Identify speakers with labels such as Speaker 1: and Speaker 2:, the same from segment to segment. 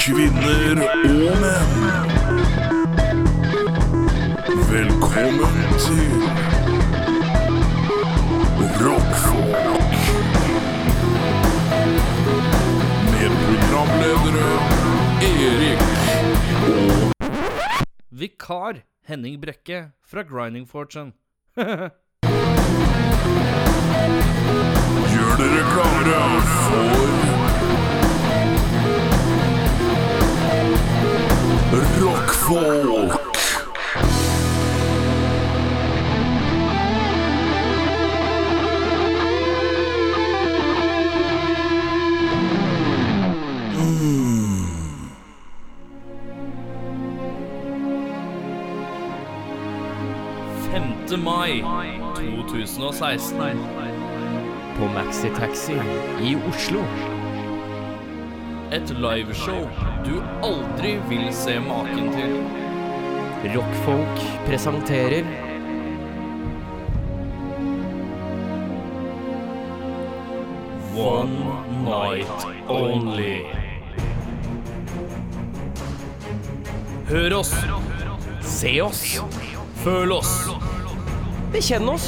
Speaker 1: kvinner og menn. Velkommen til Rockfolk. Med programledere Erik og
Speaker 2: Vikar Henning Brekke fra Grinding Fortune.
Speaker 1: Gjør dere klare for Rockfolk!
Speaker 2: Femte mai 2016.
Speaker 3: på Maxi Taxi i Oslo.
Speaker 2: Et liveshow du aldri vil se maken til.
Speaker 3: Rockfolk presenterer
Speaker 2: One night only. Hør oss,
Speaker 3: Se oss,
Speaker 2: føl oss,
Speaker 3: bekjenn oss,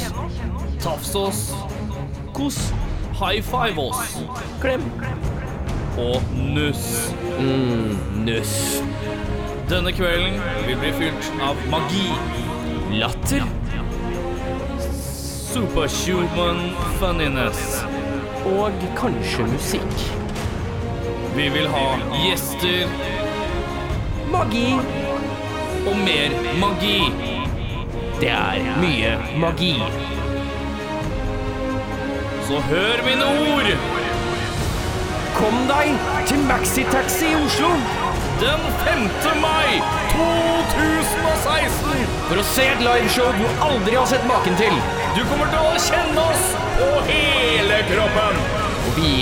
Speaker 2: tafs oss,
Speaker 3: kos,
Speaker 2: high five oss
Speaker 3: klem,
Speaker 2: og nuss. Mm,
Speaker 3: nuss,
Speaker 2: Denne kvelden vil bli fylt av magi,
Speaker 3: latter
Speaker 2: superhuman funniness.
Speaker 3: og kanskje musikk.
Speaker 2: Vi vil ha gjester
Speaker 3: Magi.
Speaker 2: og mer magi.
Speaker 3: Det er mye magi.
Speaker 2: Så hør mine ord!
Speaker 3: Kom deg til Maxi Taxi i Oslo
Speaker 2: Den 5. mai 2016!
Speaker 3: for å se et liveshow du aldri har sett maken til.
Speaker 2: Du kommer til å kjenne oss på hele kroppen!
Speaker 3: Og vi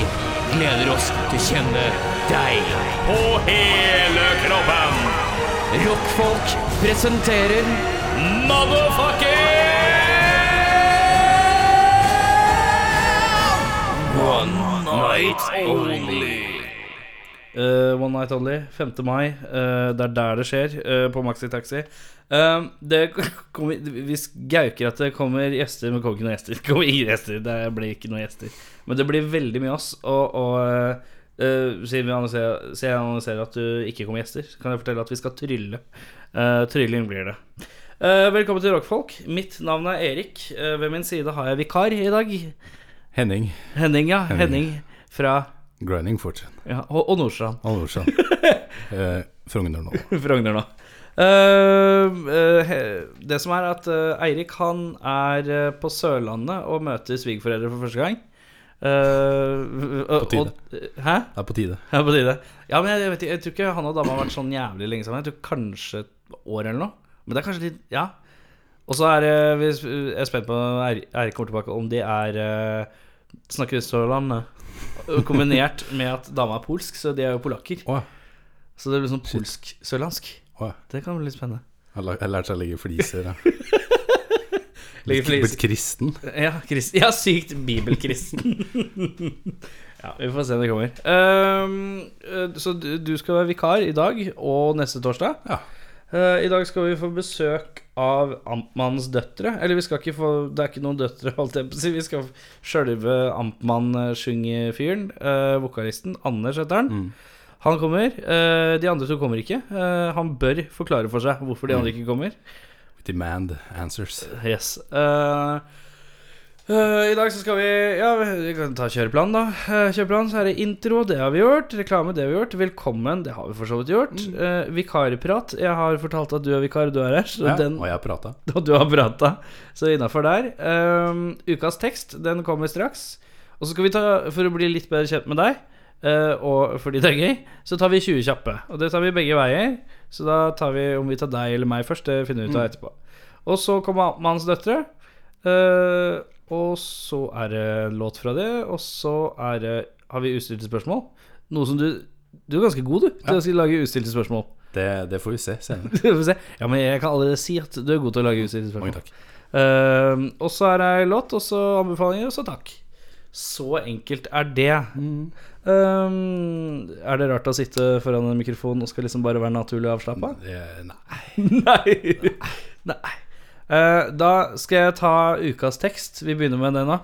Speaker 3: gleder oss til å kjenne deg.
Speaker 2: På hele kroppen!
Speaker 3: Rockfolk presenterer
Speaker 2: Motherfucking One night only. Eh, One Night Only, 5. mai. eh, det er der det skjer, eh, på Maxi Taxi. Eh, det kommer, hvis gauker at det kommer gjester, men det kommer ikke noen gjester. Det kommer ingen gjester, det blir ikke noen gjester. Men det blir veldig mye oss. Og, og eh, eh, siden vi annonserer, siden jeg annonserer at du ikke kommer gjester, så kan jeg fortelle at vi skal trylle. Eh, trylling blir det. Eh, velkommen til Rockfolk. Mitt navn er Erik. Eh, ved min side har jeg vikar i dag.
Speaker 4: Henning.
Speaker 2: Henning, ja. Henning fra
Speaker 4: Grinding Fortune.
Speaker 2: ja, og, og Nordstrand.
Speaker 4: Alle år siden. eh, Frogner nå.
Speaker 2: Frogner nå. Eh, eh, he- det som er at eh, Eirik han er eh, på Sørlandet og møter svigerforeldre for første gang. på
Speaker 4: tide.
Speaker 2: hæ?
Speaker 4: Det er på tide.
Speaker 2: Ja, på tide. Ja, men jeg, jeg, vet, ikke- jeg tror ikke han og dama har vært sånn jævlig lenge sammen. Jeg tror kanskje et år eller noe. Men det er kanskje litt Ja. Og så er det hvis- jeg er spent på når Eir- Eirik kommer tilbake, om de er eh, Snakker Sørland eh, kombinert med at dama er polsk, så de er jo polakker.
Speaker 4: Å,
Speaker 2: Så det blir sånn polsk-sørlandsk.
Speaker 4: å.
Speaker 2: Det kan bli litt spennende.
Speaker 4: Jeg har lært- jeg har lært seg å legge fliser. jeg.
Speaker 2: Legge
Speaker 4: Blitt-
Speaker 2: flis.
Speaker 4: Blitt kristen.
Speaker 2: Ja, krist, ja sykt bibelkristen. ja, vi får se om det kommer. Ehm, eh, så du, du skal være vikar i dag og neste torsdag.
Speaker 4: Ja.
Speaker 2: Eh, I dag skal vi få besøk av Amtmannens døtre. Eller vi skal ikke få Det er ikke noen døtre, holdt jeg på å si. Vi skal sjølve eh, Amtmann-syngefyren, uh, vokalisten Anders heter han. Han kommer. Eh, de andre to kommer ikke. Eh, han bør forklare for seg hvorfor de andre ikke kommer.
Speaker 4: Demand answers.
Speaker 2: Yes. Eh, eh, I dag så skal vi Ja, vi kan ta kjøreplan, da. Eh, kjøreplan, så er det intro, det har vi gjort. Reklame, det har vi gjort. Velkommen, det har vi for så vidt gjort.
Speaker 4: Mm.
Speaker 2: Eh, vikarprat. Jeg har fortalt at du er vikar, og du er her. Så
Speaker 4: Ja,
Speaker 2: den,
Speaker 4: og jeg har prata.
Speaker 2: og du har prata. Så innafor der. Ehm, ukas tekst, den kommer straks. Og så skal vi ta, for å bli litt bedre kjent med deg, eh, og fordi det er gøy, så tar vi 20 kjappe. Og det tar vi begge veier. Så da tar vi om vi tar deg eller meg først, det finner vi ut av etterpå. Og så kommer Amtmannens døtre. Eh, og så er det låt fra det, og så er det Har vi ustilte spørsmål? Noe som du Du er ganske god, du, til å skulle lage ustilte spørsmål.
Speaker 4: Det, det får vi se senere.
Speaker 2: Vi får se. ja, men jeg kan allerede si at du er god til å lage ustilte spørsmål.
Speaker 4: Mange takk.
Speaker 2: Ehm, og så er det ei låt, og så anbefalinger, og så takk. Så enkelt er det.
Speaker 4: Mm.
Speaker 2: Um, er det rart å sitte foran en mikrofon og skal liksom bare være naturlig avslappa?
Speaker 4: Eh, Nei.
Speaker 2: Nei. Nei. Eh, da skal jeg ta ukas tekst. Vi begynner med den, da.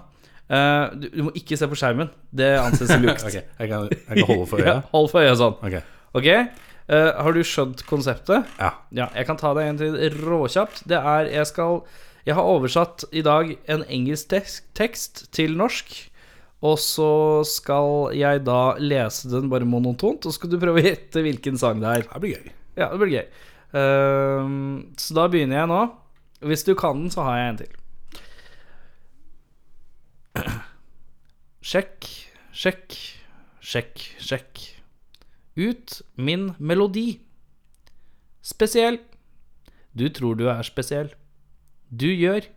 Speaker 2: Eh, du, du må ikke se på skjermen. Det anses som jukt.
Speaker 4: Ok, jeg kan, jeg kan holde for øya.
Speaker 2: Ja, hold for øya sånn.
Speaker 4: Ok,
Speaker 2: Ok, eh, har du skjønt konseptet?
Speaker 4: ja.
Speaker 2: Ja, jeg kan ta det en til råkjapt. Det er Jeg skal Jeg har oversatt i dag en engelsk tekst, tekst til norsk. Og så skal jeg da lese den bare monotont, og så skal du prøve å gjette hvilken sang det er.
Speaker 4: Det blir gøy.
Speaker 2: Ja, det blir gøy. Ehm, så da begynner jeg nå. Hvis du kan den, så har jeg en til. Sjekk, sjekk, sjekk, sjekk. Ut min melodi. Spesiell. Du tror du er spesiell. Du gjør.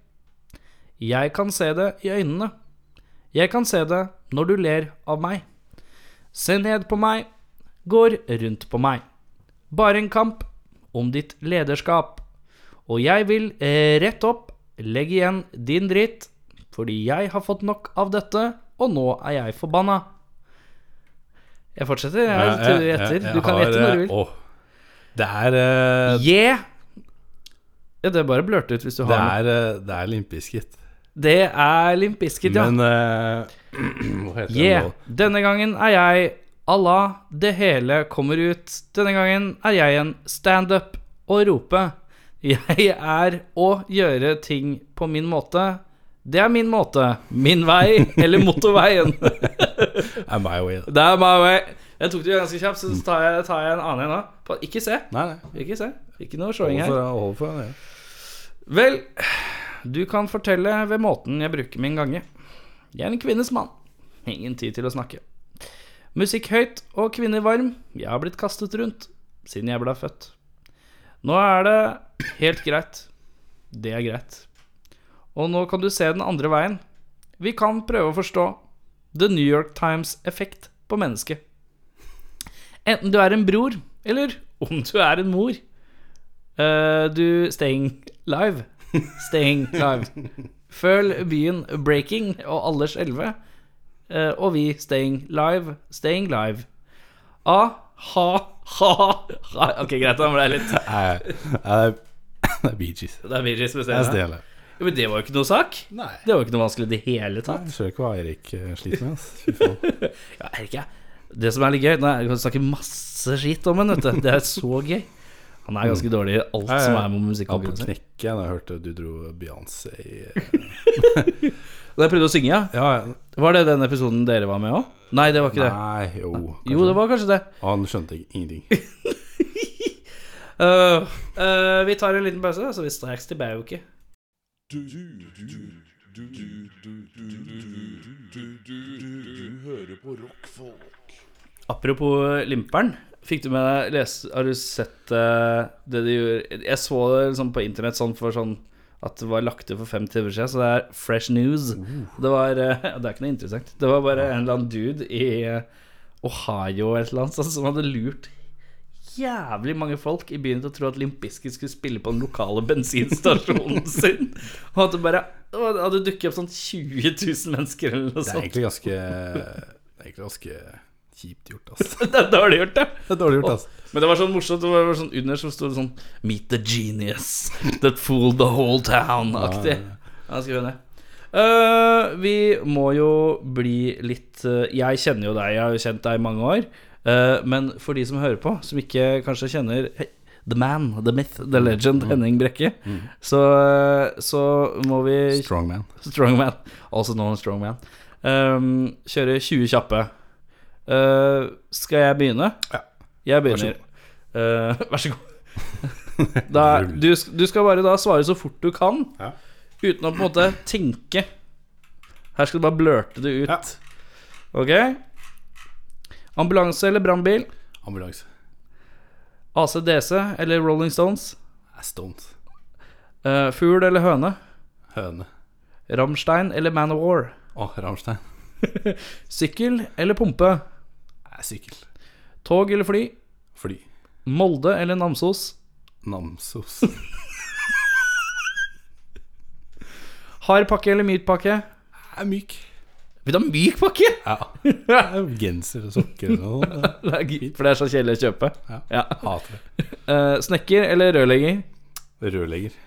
Speaker 2: Jeg kan se det i øynene. Jeg kan se det når du ler av meg. Se ned på meg, går rundt på meg. Bare en kamp om ditt lederskap. Og jeg vil eh, rett opp, legge igjen din dritt, fordi jeg har fått nok av dette, og nå er jeg forbanna. Jeg fortsetter, jeg, eh, til du gjetter. Du kan gjette når du vil.
Speaker 4: Det er eh,
Speaker 2: Yeah! Ja, det er bare blørt ut hvis du
Speaker 4: Det
Speaker 2: har noe.
Speaker 4: er, eh, det er Limp Bizkit.
Speaker 2: Det er Limp Bizkit, ja.
Speaker 4: Men eh, Hva heter
Speaker 2: Yeah.
Speaker 4: det nå?
Speaker 2: Denne gangen er jeg Allah, det hele kommer ut. Denne gangen er jeg en standup og rope. Jeg er å gjøre ting på min måte. Det er min måte. Min vei, eller motorveien.
Speaker 4: Er My Way. da.
Speaker 2: Det er my way. Jeg tok det jo ganske kjapt, så tar jeg, tar jeg en annen en nå. Pa- Ikke se.
Speaker 4: Nei, nei.
Speaker 2: Ikke se. Ikke noe showing
Speaker 4: Hold
Speaker 2: her.
Speaker 4: for, hold for, ja.
Speaker 2: Vel, du kan fortelle ved måten jeg bruker min gange. Jeg er en kvinnes mann. Ingen tid til å snakke. Musikk høyt og kvinner varm. Jeg har blitt kastet rundt siden jeg ble født. Nå er det helt greit. Det er greit. Og nå kan du se den andre veien. Vi kan prøve å forstå The New York Times effekt på mennesket. Enten du er en bror, eller om du er en mor. Eh, du Staying live. Staying live. Føl byen breaking og alle skjelve. Eh, og vi staying live, staying live. A, ha, ha, ha. Ok, greit, da ble jeg litt
Speaker 4: Nei, nei, det er- det er Bee Gees.
Speaker 2: Det er Vigis
Speaker 4: Det er
Speaker 2: spesielt.
Speaker 4: stille.
Speaker 2: Ja, men det var jo ikke noe sak.
Speaker 4: Nei.
Speaker 2: Det var jo ikke noe vanskelig i det hele tatt.
Speaker 4: Jeg skjønner ikke hva Eirik eh, sliter med. ass. Fy faen.
Speaker 2: Ja, er det ikke Det som er litt gøy, nå er- jeg kan snakke masse skitt om han, vet du. Det er så gøy. Han er ganske dårlig i alt
Speaker 4: Mm. ja.
Speaker 2: som er med
Speaker 4: Jeg var på
Speaker 2: musikkonkurranser.
Speaker 4: knekket da jeg hørte du dro Beyoncé i eh,
Speaker 2: Da jeg prøvde å synge, ja.
Speaker 4: Ja,
Speaker 2: Var det den episoden dere var med òg? Nei, det var ikke det.
Speaker 4: nei, jo. kanskje.
Speaker 2: Jo, det var kanskje det.
Speaker 4: Og Han skjønte ikke- ingenting.
Speaker 2: Øh, øh, vi tar en liten pause, så vi straks tilbake.
Speaker 1: Du, du, du, du, du, du, du, du, du, du hører på rockfolk.
Speaker 2: Apropos limperen. Fikk du med deg lese, Har du sett eh, det de gjorde Jeg så det liksom på internett sånn for sånn at det var lagt ut for fem timer siden, så det er fresh news.
Speaker 4: Uh.
Speaker 2: Det var eh, Det er ikke noe interessant. Det var bare en eller annen dude i eh, Ohio eller et eller annet sånn, som hadde lurt jævlig mange folk i byen til å tro at Limp Bizkit skulle spille på den lokale bensinstasjonen sin. Og at det bare og det hadde dukket opp sånn 20 000 mennesker eller noe
Speaker 4: Det er
Speaker 2: sånt.
Speaker 4: egentlig ganske Det er egentlig ganske kjipt gjort, ass.
Speaker 2: Det er dårlig gjort, det.
Speaker 4: Det er dårlig gjort, ass.
Speaker 2: Men det var sånn morsomt. Det var sånn under som stod det sånn Meet the genius that fooled the whole town-aktig. Ja, skrev jeg ned. Eh, vi må jo bli litt eh, Jeg kjenner jo deg, jeg har jo kjent deg i mange år. Eh, men for de som hører på, som ikke kanskje kjenner he- The Man, The Myth, The Legend, Henning Brekke, så, så må vi
Speaker 4: Strongman.
Speaker 2: Strongman, also known as Strongman, um, kjøre 20 kjappe. Eh, skal jeg begynne?
Speaker 4: Ja.
Speaker 2: Jeg begynner. Eh, vær så god. Da, du, sk- du skal bare da svare så fort du kan,
Speaker 4: Ja.
Speaker 2: uten å på en måte tenke. Her skal du bare blørte det ut.
Speaker 4: Ja.
Speaker 2: Ok? Ambulanse eller brannbil?
Speaker 4: Ambulanse.
Speaker 2: ACDC eller Rolling Stones?
Speaker 4: Det er Stones.
Speaker 2: Eh, fugl eller høne?
Speaker 4: Høne.
Speaker 2: Ramstein eller Man of War?
Speaker 4: Å, Rammstein.
Speaker 2: Sykkel eller pumpe?
Speaker 4: Det er Sykkel.
Speaker 2: Tog eller fly?
Speaker 4: Fly.
Speaker 2: Molde eller Namsos?
Speaker 4: Namsos.
Speaker 2: Hard pakke eller myk pakke?
Speaker 4: Jeg er myk.
Speaker 2: Vil du ha myk pakke?
Speaker 4: Ja. Genser og sokker og sånn.
Speaker 2: Det er gøy, For det er så kjedelig å kjøpe.
Speaker 4: Ja.
Speaker 2: Ja.
Speaker 4: Hater det.
Speaker 2: Eh, snekker eller rørlegger?
Speaker 4: Rørlegger.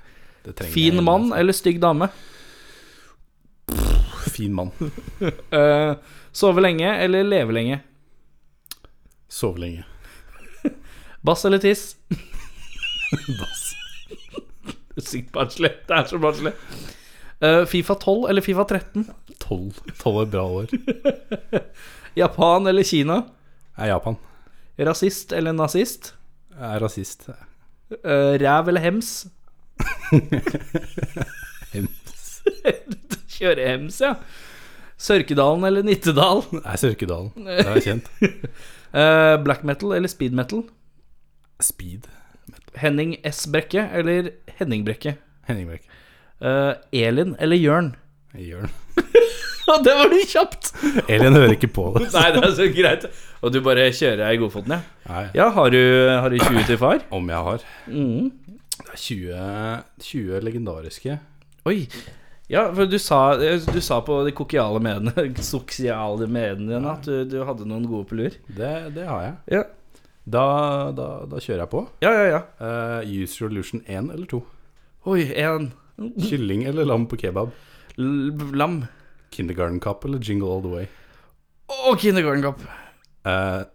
Speaker 4: Det trenger
Speaker 2: Fin
Speaker 4: jeg.
Speaker 2: mann eller stygg dame?
Speaker 4: altså. Fin mann.
Speaker 2: Eh, sove lenge eller leve lenge?
Speaker 4: Sove lenge.
Speaker 2: Bass eller tiss?
Speaker 4: Bass.
Speaker 2: Det er Sykt barnslig. Det er så barnslig. Eh, Fifa 12 eller Fifa 13?
Speaker 4: Tolv. Tolv er bra år.
Speaker 2: Japan eller Kina?
Speaker 4: Er Japan.
Speaker 2: Rasist eller nazist?
Speaker 4: Jeg er rasist.
Speaker 2: Eh, ræv eller hems?
Speaker 4: Hems.
Speaker 2: Kjøre hems, ja. Sørkedalen eller Nittedal?
Speaker 4: Er Sørkedalen. Det er kjent.
Speaker 2: Eh, black metal eller speed metal?
Speaker 4: Speed.
Speaker 2: Henning S. Brekke eller Henning Brekke?
Speaker 4: Henning Brekk.
Speaker 2: Eh, Elin eller Jørn?
Speaker 4: Jørn.
Speaker 2: Ja, det var litt kjapt!
Speaker 4: Elin hører ikke på det.
Speaker 2: Nei, det er så greit. Og du bare kjører deg i godfoten, ja.
Speaker 4: Nei.
Speaker 2: Ja, har du, har du 20 til far?
Speaker 4: Om jeg har. Det er 20, 20 legendariske.
Speaker 2: Oi. Ja, for du sa, du sa på de kokiale mediene, sosiale mediene dine at du, du hadde noen gode på lur.
Speaker 4: Det, det har jeg.
Speaker 2: Ja.
Speaker 4: Da, da, da kjører jeg på.
Speaker 2: ja, ja, ja.
Speaker 4: Uh, Use Revolution 1 eller 2.
Speaker 2: Oi, en
Speaker 4: Kylling eller lam på kebab?
Speaker 2: l- lam.
Speaker 4: Kindergarten Cup eller Jingle All The Way?
Speaker 2: Og kindergarten cup.
Speaker 4: Eh,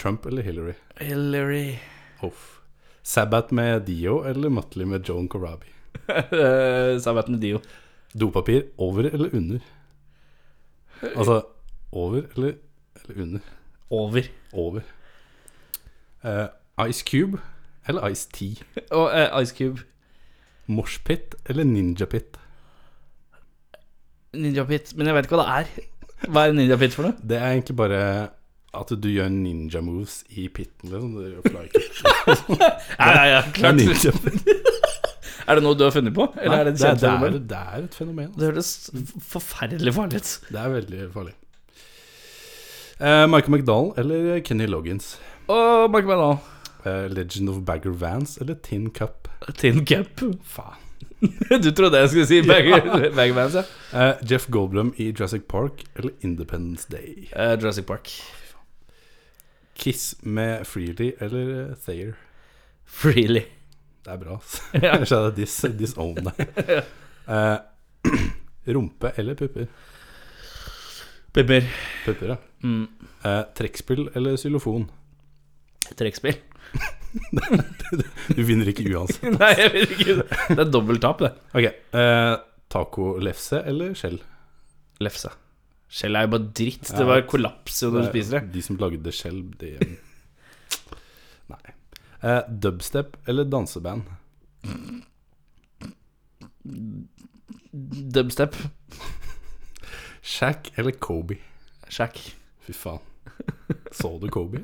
Speaker 4: Trump eller Hillary?
Speaker 2: Hillary.
Speaker 4: Off. Sabbat med Dio eller Mutley med Joan Corabi?
Speaker 2: Eh, Sabbat med Dio.
Speaker 4: Dopapir over eller under? Altså over eller, eller under?
Speaker 2: Over.
Speaker 4: Over. Eh, Ice Cube eller Ice Tea?
Speaker 2: Og eh, Ice Cube.
Speaker 4: Moshpit eller Ninja Pit?
Speaker 2: Ninja Pit. Men jeg vet ikke hva det er. Hva er Ninja Pit for noe?
Speaker 4: Det er egentlig bare at du gjør ninja moves i pitten, liksom. Du gjør fly kick.
Speaker 2: Ja, ja, ja,
Speaker 4: Det er
Speaker 2: klart.
Speaker 4: ninja.
Speaker 2: Er det noe du har funnet på? Eller
Speaker 4: Nei,
Speaker 2: er det et
Speaker 4: det, er,
Speaker 2: kjent
Speaker 4: det, er,
Speaker 2: fenomen?
Speaker 4: det er et fenomen. altså.
Speaker 2: Det høres f- forferdelig farlig ut.
Speaker 4: Det er veldig farlig. Eh, Michael McDowell eller Kenny Loggins?
Speaker 2: Og Mark Manal.
Speaker 4: Eh, Legend of Bagger Vans eller Tin Cup?
Speaker 2: Tin Cup.
Speaker 4: Faen.
Speaker 2: Du trodde jeg skulle si Bagger- Baggermans, ja.
Speaker 4: Eh, Jeff Goldblum i Jurassic Park eller Independence Day?
Speaker 2: Eh, Jurassic Park.
Speaker 4: Kiss med Freely eller eh, Thayer?
Speaker 2: Freely.
Speaker 4: Det er bra, altså. Ellers er det dis, disown deg. Eh, rumpe eller pupper?
Speaker 2: Pipper.
Speaker 4: Pupper, ja.
Speaker 2: Mm.
Speaker 4: Eh, trekkspill eller xylofon?
Speaker 2: Trekkspill.
Speaker 4: Du vinner ikke uansett.
Speaker 2: Nei, jeg vet ikke. Det er dobbelt tap, det.
Speaker 4: Ok, eh, Tacolefse eller skjell?
Speaker 2: Lefse. Skjell er jo bare dritt. Det var kollaps jo når du spiser det.
Speaker 4: De som lagde skjell, de Nei. Eh, dubstep eller danseband?
Speaker 2: Dubstep.
Speaker 4: Shack eller Kobe?
Speaker 2: Shack.
Speaker 4: Fy faen. Så du Kobe?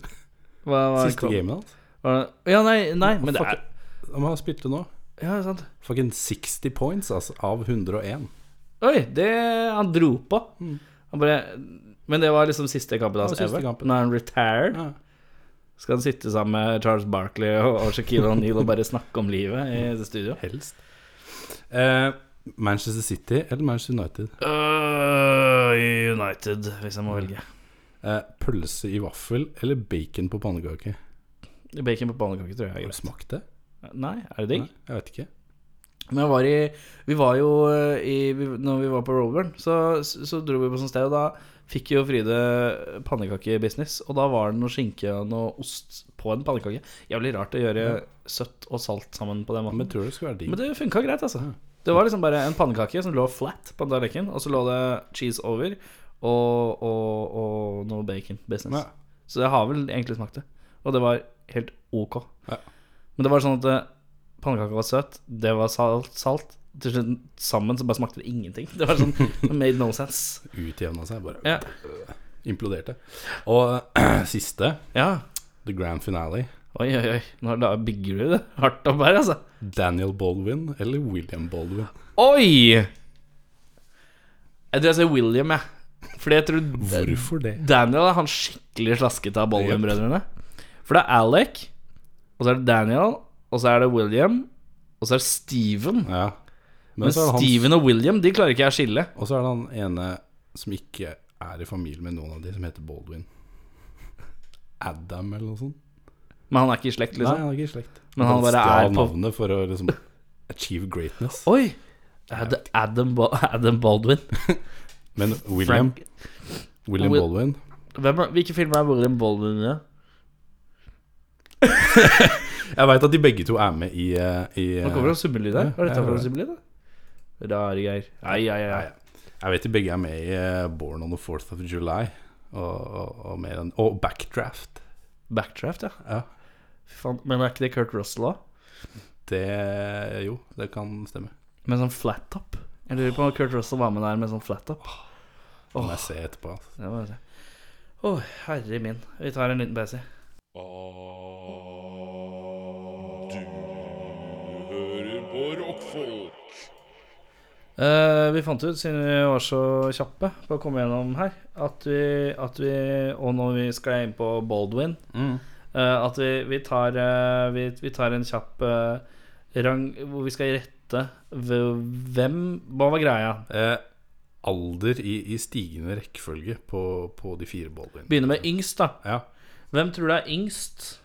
Speaker 2: Hva var
Speaker 4: Siste gamet hans?
Speaker 2: Var det- Ja, nei, nei, men det
Speaker 4: Fuck
Speaker 2: er
Speaker 4: it. Han har spilt det nå.
Speaker 2: Ja, det er sant.
Speaker 4: Fucking 60 points altså, av 101.
Speaker 2: Oi, det Han dro på. Han bare Men Mm. det var liksom siste kampen hans
Speaker 4: Det var siste
Speaker 2: ever.
Speaker 4: kampen.
Speaker 2: Nå er han retired.
Speaker 4: Ja.
Speaker 2: Skal han sitte sammen med Charles Barkley og og Shaquille O'Neal og bare snakke om livet i det studio?
Speaker 4: Helst. Eh, Manchester City eller Manchester United?
Speaker 2: Øh, United, hvis jeg må velge.
Speaker 4: Eh, pølse i vaffel eller bacon på pannekake?
Speaker 2: Bacon på pannekake tror jeg er
Speaker 4: Har du
Speaker 2: greit.
Speaker 4: smakt det?
Speaker 2: Nei, er det digg?
Speaker 4: Nei, jeg vet ikke.
Speaker 2: Men jeg var i, vi var jo eh, i, vi- Når vi var på Rollburn, så, så dro vi på sånt sted, og da fikk jo Fride pannekakebusiness. Og da var det noe skinke og noe ost på en pannekake. Jævlig rart å gjøre søtt og salt sammen på den
Speaker 4: Men
Speaker 2: måten.
Speaker 4: tror det skulle være digg.
Speaker 2: Men det funka greit, altså. Det var liksom bare en pannekake som lå flat på tallerkenen, og så lå det cheese over og, og, og noe bacon business.
Speaker 4: Ja.
Speaker 2: Så jeg har vel egentlig smakt det. Og det var helt ok.
Speaker 4: Ja.
Speaker 2: Men det var sånn at eh, pannekaka var søt, det var salt, salt. Til slutt sammen så bare smakte det ingenting. Det var sånn it made no sense.
Speaker 4: Utjevna seg, bare
Speaker 2: Ja.
Speaker 4: imploderte. Og eh, siste,
Speaker 2: ja.
Speaker 4: the grand finale.
Speaker 2: Oi, oi, oi. Nå da bygger du det hardt opp her, altså.
Speaker 4: Daniel Baldwin eller William Baldwin?
Speaker 2: Oi! Jeg tror jeg sier William, jeg. Fordi jeg tror
Speaker 4: Hvorfor det?
Speaker 2: Daniel er han skikkelig slasket av Baldwin-brødrene. For det er Alec, og så er det Daniel, og så er det William, og så er det Steven.
Speaker 4: Ja. Men,
Speaker 2: Men
Speaker 4: så er det han,
Speaker 2: Steven og William de klarer ikke jeg å skille.
Speaker 4: og så er det han ene som ikke er i familie med noen av de, som heter Baldwin. Adam eller noe sånt.
Speaker 2: Men han er ikke i slekt,
Speaker 4: Nei,
Speaker 2: liksom?
Speaker 4: han er ikke i slekt.
Speaker 2: Men han bare
Speaker 4: stjal
Speaker 2: er på-
Speaker 4: navnet for å liksom achieve greatness.
Speaker 2: Oi! Er det Adam, ba Adam Baldwin?
Speaker 4: Men William,
Speaker 2: Frank
Speaker 4: William
Speaker 2: Will-
Speaker 4: Baldwin
Speaker 2: Hvem er, Hvilke filmer er William Baldwin i?
Speaker 4: Jeg veit at de begge to er med i, eh, i eh,
Speaker 2: Nå kommer det en summelig der. Hva er
Speaker 4: Ja,
Speaker 2: dette
Speaker 4: jeg
Speaker 2: for en
Speaker 4: hører
Speaker 2: summelig, da? Rare greier. Ai, ai, ai.
Speaker 4: Nei, eh, Jeg vet de begge er med i eh, Born on the 4th of July og, og, og, mer enn, og Backdraft.
Speaker 2: Backdraft, ja.
Speaker 4: Ja,
Speaker 2: Fy faen. Men er ikke det Kurt Russell òg?
Speaker 4: det Jo, det kan stemme.
Speaker 2: Med sånn flat top? Jeg lurer på om Kurt Russell var med der med sånn flat top.
Speaker 4: Det må
Speaker 2: Åh.
Speaker 4: jeg se etterpå. altså.
Speaker 2: Det var det. Å, herre min. Vi tar en liten pause.
Speaker 1: Ah, Du hører på rockfolk.
Speaker 2: Eh, vi fant ut, siden vi var så kjappe på å komme gjennom her, at vi, at vi Og når vi skal inn på Baldwin
Speaker 4: Mm.
Speaker 2: eh, At vi, vi, tar, eh, vi, vi tar en kjapp eh, rang hvor vi skal rette v- hvem Hva var greia?
Speaker 4: Eh, alder i, i stigende rekkefølge på, på de fire Baldwin.
Speaker 2: Begynner med yngst, da.
Speaker 4: Ja.
Speaker 2: Hvem tror du er yngst?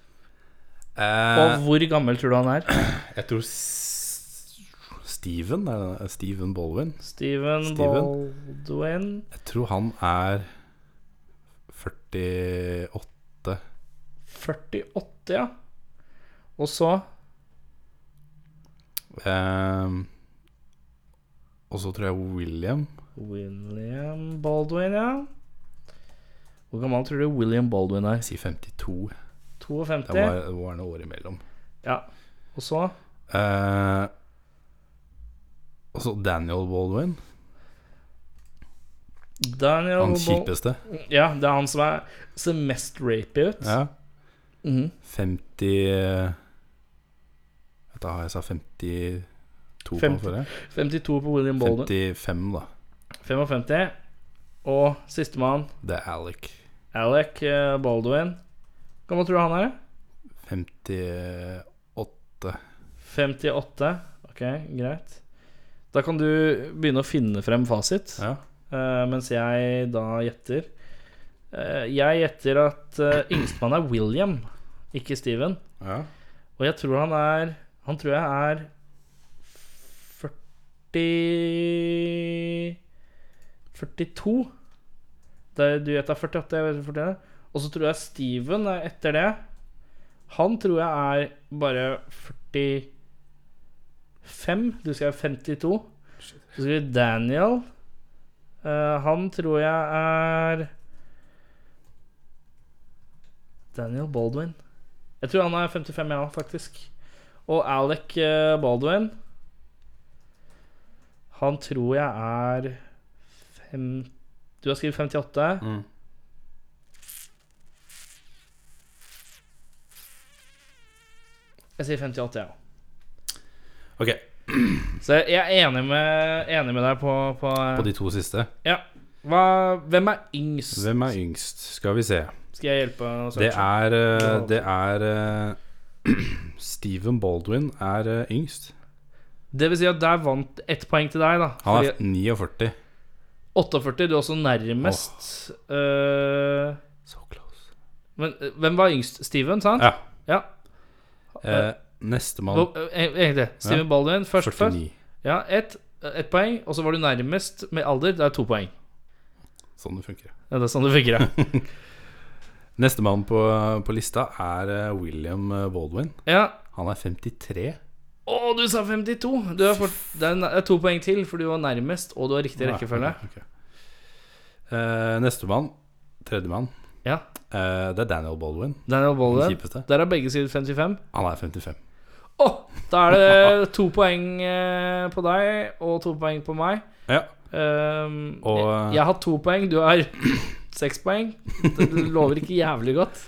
Speaker 2: Og
Speaker 4: Eh,
Speaker 2: hvor gammel tror du han er?
Speaker 4: jeg tror S- Steven, er det- Steven Baldwin
Speaker 2: Steven
Speaker 4: Steven.
Speaker 2: Baldwin
Speaker 4: Jeg tror han er 48
Speaker 2: 48, ja. Og så
Speaker 4: Ehm, Og så tror jeg William
Speaker 2: William Baldwin, ja. Hvor gammel tror du William Baldwin er?
Speaker 4: Jeg sier 52 Det
Speaker 2: 52?
Speaker 4: var, det var noen år imellom
Speaker 2: Ja. Og så
Speaker 4: Eh, Og så Daniel Baldwin
Speaker 2: Daniel
Speaker 4: Han
Speaker 2: Bal-
Speaker 4: kjipeste
Speaker 2: Ja, det er han som er, ser mest rapy ut.
Speaker 4: ja.
Speaker 2: Mhm.
Speaker 4: 50 Vet du, har jeg sa 52 på den
Speaker 2: 50.
Speaker 4: forrige?
Speaker 2: 52 på William Baldwin.
Speaker 4: 55 da
Speaker 2: 55. Og sistemann,
Speaker 4: Det er Alec
Speaker 2: Alec eh, Baldwin. Hvor gammel tror du han er?
Speaker 4: 58
Speaker 2: 58. Ok, greit. Da kan du begynne å finne frem fasit.
Speaker 4: Ja
Speaker 2: Eh, mens jeg da gjetter Eh, Jeg gjetter at eh, yngstemann er William, ikke Steven.
Speaker 4: Ja
Speaker 2: Og jeg tror han er Han tror jeg er 40 42. Der du gjetter 48, jeg vet ikke 41. Og så tror jeg Steven er etter det. Han tror jeg er bare 45. Du skal være 52. Så skal vi Daniel. Eh, han tror jeg er Daniel Baldwin. Jeg tror han er 55, ja, faktisk. Og Alec eh, Baldwin Han tror jeg er fem... Du har skrevet 58.
Speaker 4: Mm.
Speaker 2: Jeg sier 58, jeg ja. òg.
Speaker 4: Ok,
Speaker 2: Så jeg er enig med, enig med deg på, på,
Speaker 4: på de to siste
Speaker 2: Ja. Hva, hvem er yngst?
Speaker 4: Hvem er yngst? Skal vi se
Speaker 2: Skal jeg hjelpe? å
Speaker 4: Det
Speaker 2: searche?
Speaker 4: er eh, Det er eh, Steven Baldwin er eh, yngst.
Speaker 2: Det vil si at der vant ett poeng til deg, da.
Speaker 4: Han
Speaker 2: Fordi
Speaker 4: er 49.
Speaker 2: 48, du er også nærmest. Eh,
Speaker 4: So close.
Speaker 2: men eh, hvem var yngst? Steven, sant?
Speaker 4: Ja.
Speaker 2: ja.
Speaker 4: Eh, Nestemann
Speaker 2: Hvor- eh, Egentlig. Steven
Speaker 4: Ja.
Speaker 2: Baldwin, først først.
Speaker 4: 49.
Speaker 2: Ja, ett eh, ett poeng, og så var du nærmest med alder. Det er to poeng.
Speaker 4: Sånn det funker.
Speaker 2: Ja, det er sånn det funker, ja.
Speaker 4: Nestemann på, på lista er eh, William eh, Baldwin.
Speaker 2: ja.
Speaker 4: Han er 53.
Speaker 2: Å, du sa 52! Du er fort, det er nær- det er to poeng til, for du var nærmest, og du har riktig rekkefølge.
Speaker 4: Ja, ok. Eh, Nestemann, tredjemann,
Speaker 2: Ja.
Speaker 4: eh, det er Daniel Baldwin.
Speaker 2: Daniel
Speaker 4: Den
Speaker 2: Baldwin.
Speaker 4: kjipeste.
Speaker 2: Der har begge skrevet 55.
Speaker 4: Han er 55.
Speaker 2: Å! da er det to poeng eh, på deg og to poeng på meg.
Speaker 4: Ja.
Speaker 2: Ehm,
Speaker 4: Og, eh,
Speaker 2: jeg, jeg har to poeng, du har seks poeng. Det lover ikke jævlig godt.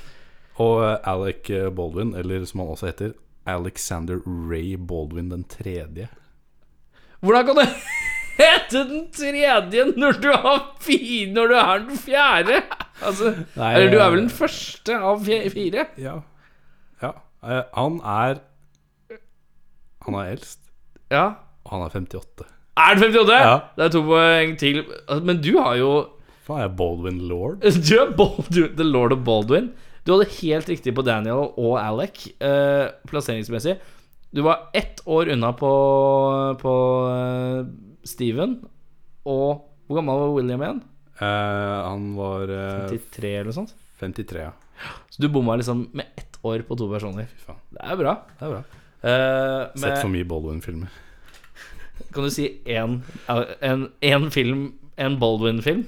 Speaker 4: Og eh, Alec eh, Baldwin, eller som han også heter, Alexander Ray Baldwin den tredje.
Speaker 2: Hvordan kan du hete den tredje når du har fire Når du er den fjerde? Altså,
Speaker 4: Nei,
Speaker 2: eller du er
Speaker 4: eh,
Speaker 2: vel den første av fje- fire?
Speaker 4: Ja. ja. Eh, han er Han er eldst,
Speaker 2: Ja.
Speaker 4: og han er 58.
Speaker 2: Er det 58?
Speaker 4: Ja.
Speaker 2: Det er to poeng til. Altså, Men du har jo
Speaker 4: Faen, er jeg Baldwin Lord?
Speaker 2: Du er Baldwin, The Lord of Baldwin. Du hadde helt riktig på Daniel og Alec eh, plasseringsmessig. Du var ett år unna på, på eh, Steven. Og hvor gammel var William igjen?
Speaker 4: Eh, han var eh,
Speaker 2: 53 eller noe sånt?
Speaker 4: 53, ja.
Speaker 2: Så du bomma liksom med ett år på to personer.
Speaker 4: Fy faen.
Speaker 2: Det er bra.
Speaker 4: Det er bra.
Speaker 2: Eh, men
Speaker 4: Sett for mye Baldwin-filmer.
Speaker 2: kan du si én en, en film, en Baldwin-film,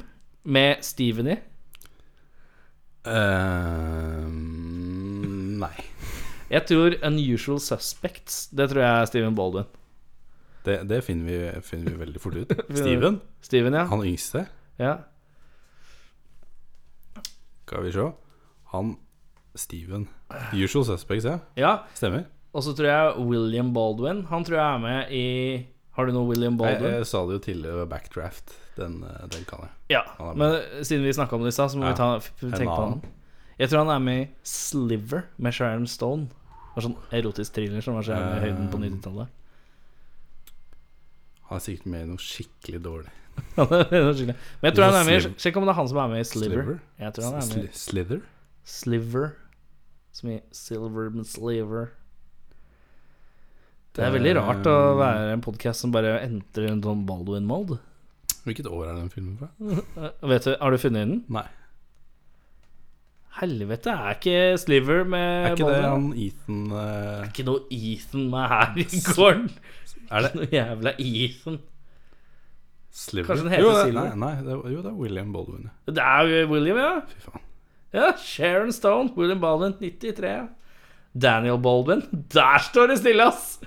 Speaker 2: med Steven i?
Speaker 4: Eh, nei.
Speaker 2: Jeg tror Unusual Suspects. Det tror jeg er Steven Baldwin.
Speaker 4: Det, det finner, vi, finner vi veldig fort ut. Steven,
Speaker 2: Steven, ja.
Speaker 4: han yngste,
Speaker 2: ja.
Speaker 4: skal vi se. Han Steven. Usual Suspects, ja.
Speaker 2: ja.
Speaker 4: Stemmer.
Speaker 2: Og så tror jeg William Baldwin. Han tror jeg er med i Har du noe William
Speaker 4: Jeg,
Speaker 2: Baldwin?
Speaker 4: jeg sa det jo tidligere, backdraft. Den, eh, den kan jeg.
Speaker 2: ja.
Speaker 4: han er
Speaker 2: Men siden vi snakka om det i stad, så må
Speaker 4: Ja.
Speaker 2: vi ta, f-
Speaker 4: En
Speaker 2: tenke på han.
Speaker 4: annen.
Speaker 2: Jeg tror han er med i Sliver med Sharon Stone. Det var sånn erotisk thriller som var så jævlig i høyden
Speaker 4: Eh,
Speaker 2: på 90-tallet.
Speaker 4: Han er sikkert med i noe skikkelig dårlig.
Speaker 2: Ja, det er noe skikkelig. Men jeg tror han er med i
Speaker 4: Sliver.
Speaker 2: Sjekk om det er han som er med i Sliver.
Speaker 4: Sliver?
Speaker 2: Jeg tror han er med
Speaker 4: Sli- Slither?
Speaker 2: i Sliver. Som i Silver med Sliver. Det er veldig rart å
Speaker 4: Eh,
Speaker 2: være en podkast som bare entrer en sånn Baldwin-mode.
Speaker 4: Hvilket år er den filmen
Speaker 2: Mm.
Speaker 4: fra?
Speaker 2: Vet du, Har du funnet den?
Speaker 4: Nei.
Speaker 2: Helvete, er ikke Sliver med
Speaker 4: Er ikke
Speaker 2: Baldwin?
Speaker 4: det han Ethan
Speaker 2: Det
Speaker 4: eh,
Speaker 2: er ikke noe Ethan med her i gården.
Speaker 4: Er det
Speaker 2: Noe jævla Ethan.
Speaker 4: Sliver?
Speaker 2: Kanskje den heter
Speaker 4: jo, det-
Speaker 2: Silver?
Speaker 4: Nei, nei det, jo, det er William Baldwin. ja.
Speaker 2: Det er jo William, ja.
Speaker 4: Fy faen.
Speaker 2: ja. Sharon Stone, William Baldwin, 93. Daniel Baldwin. Der står det stille, ass!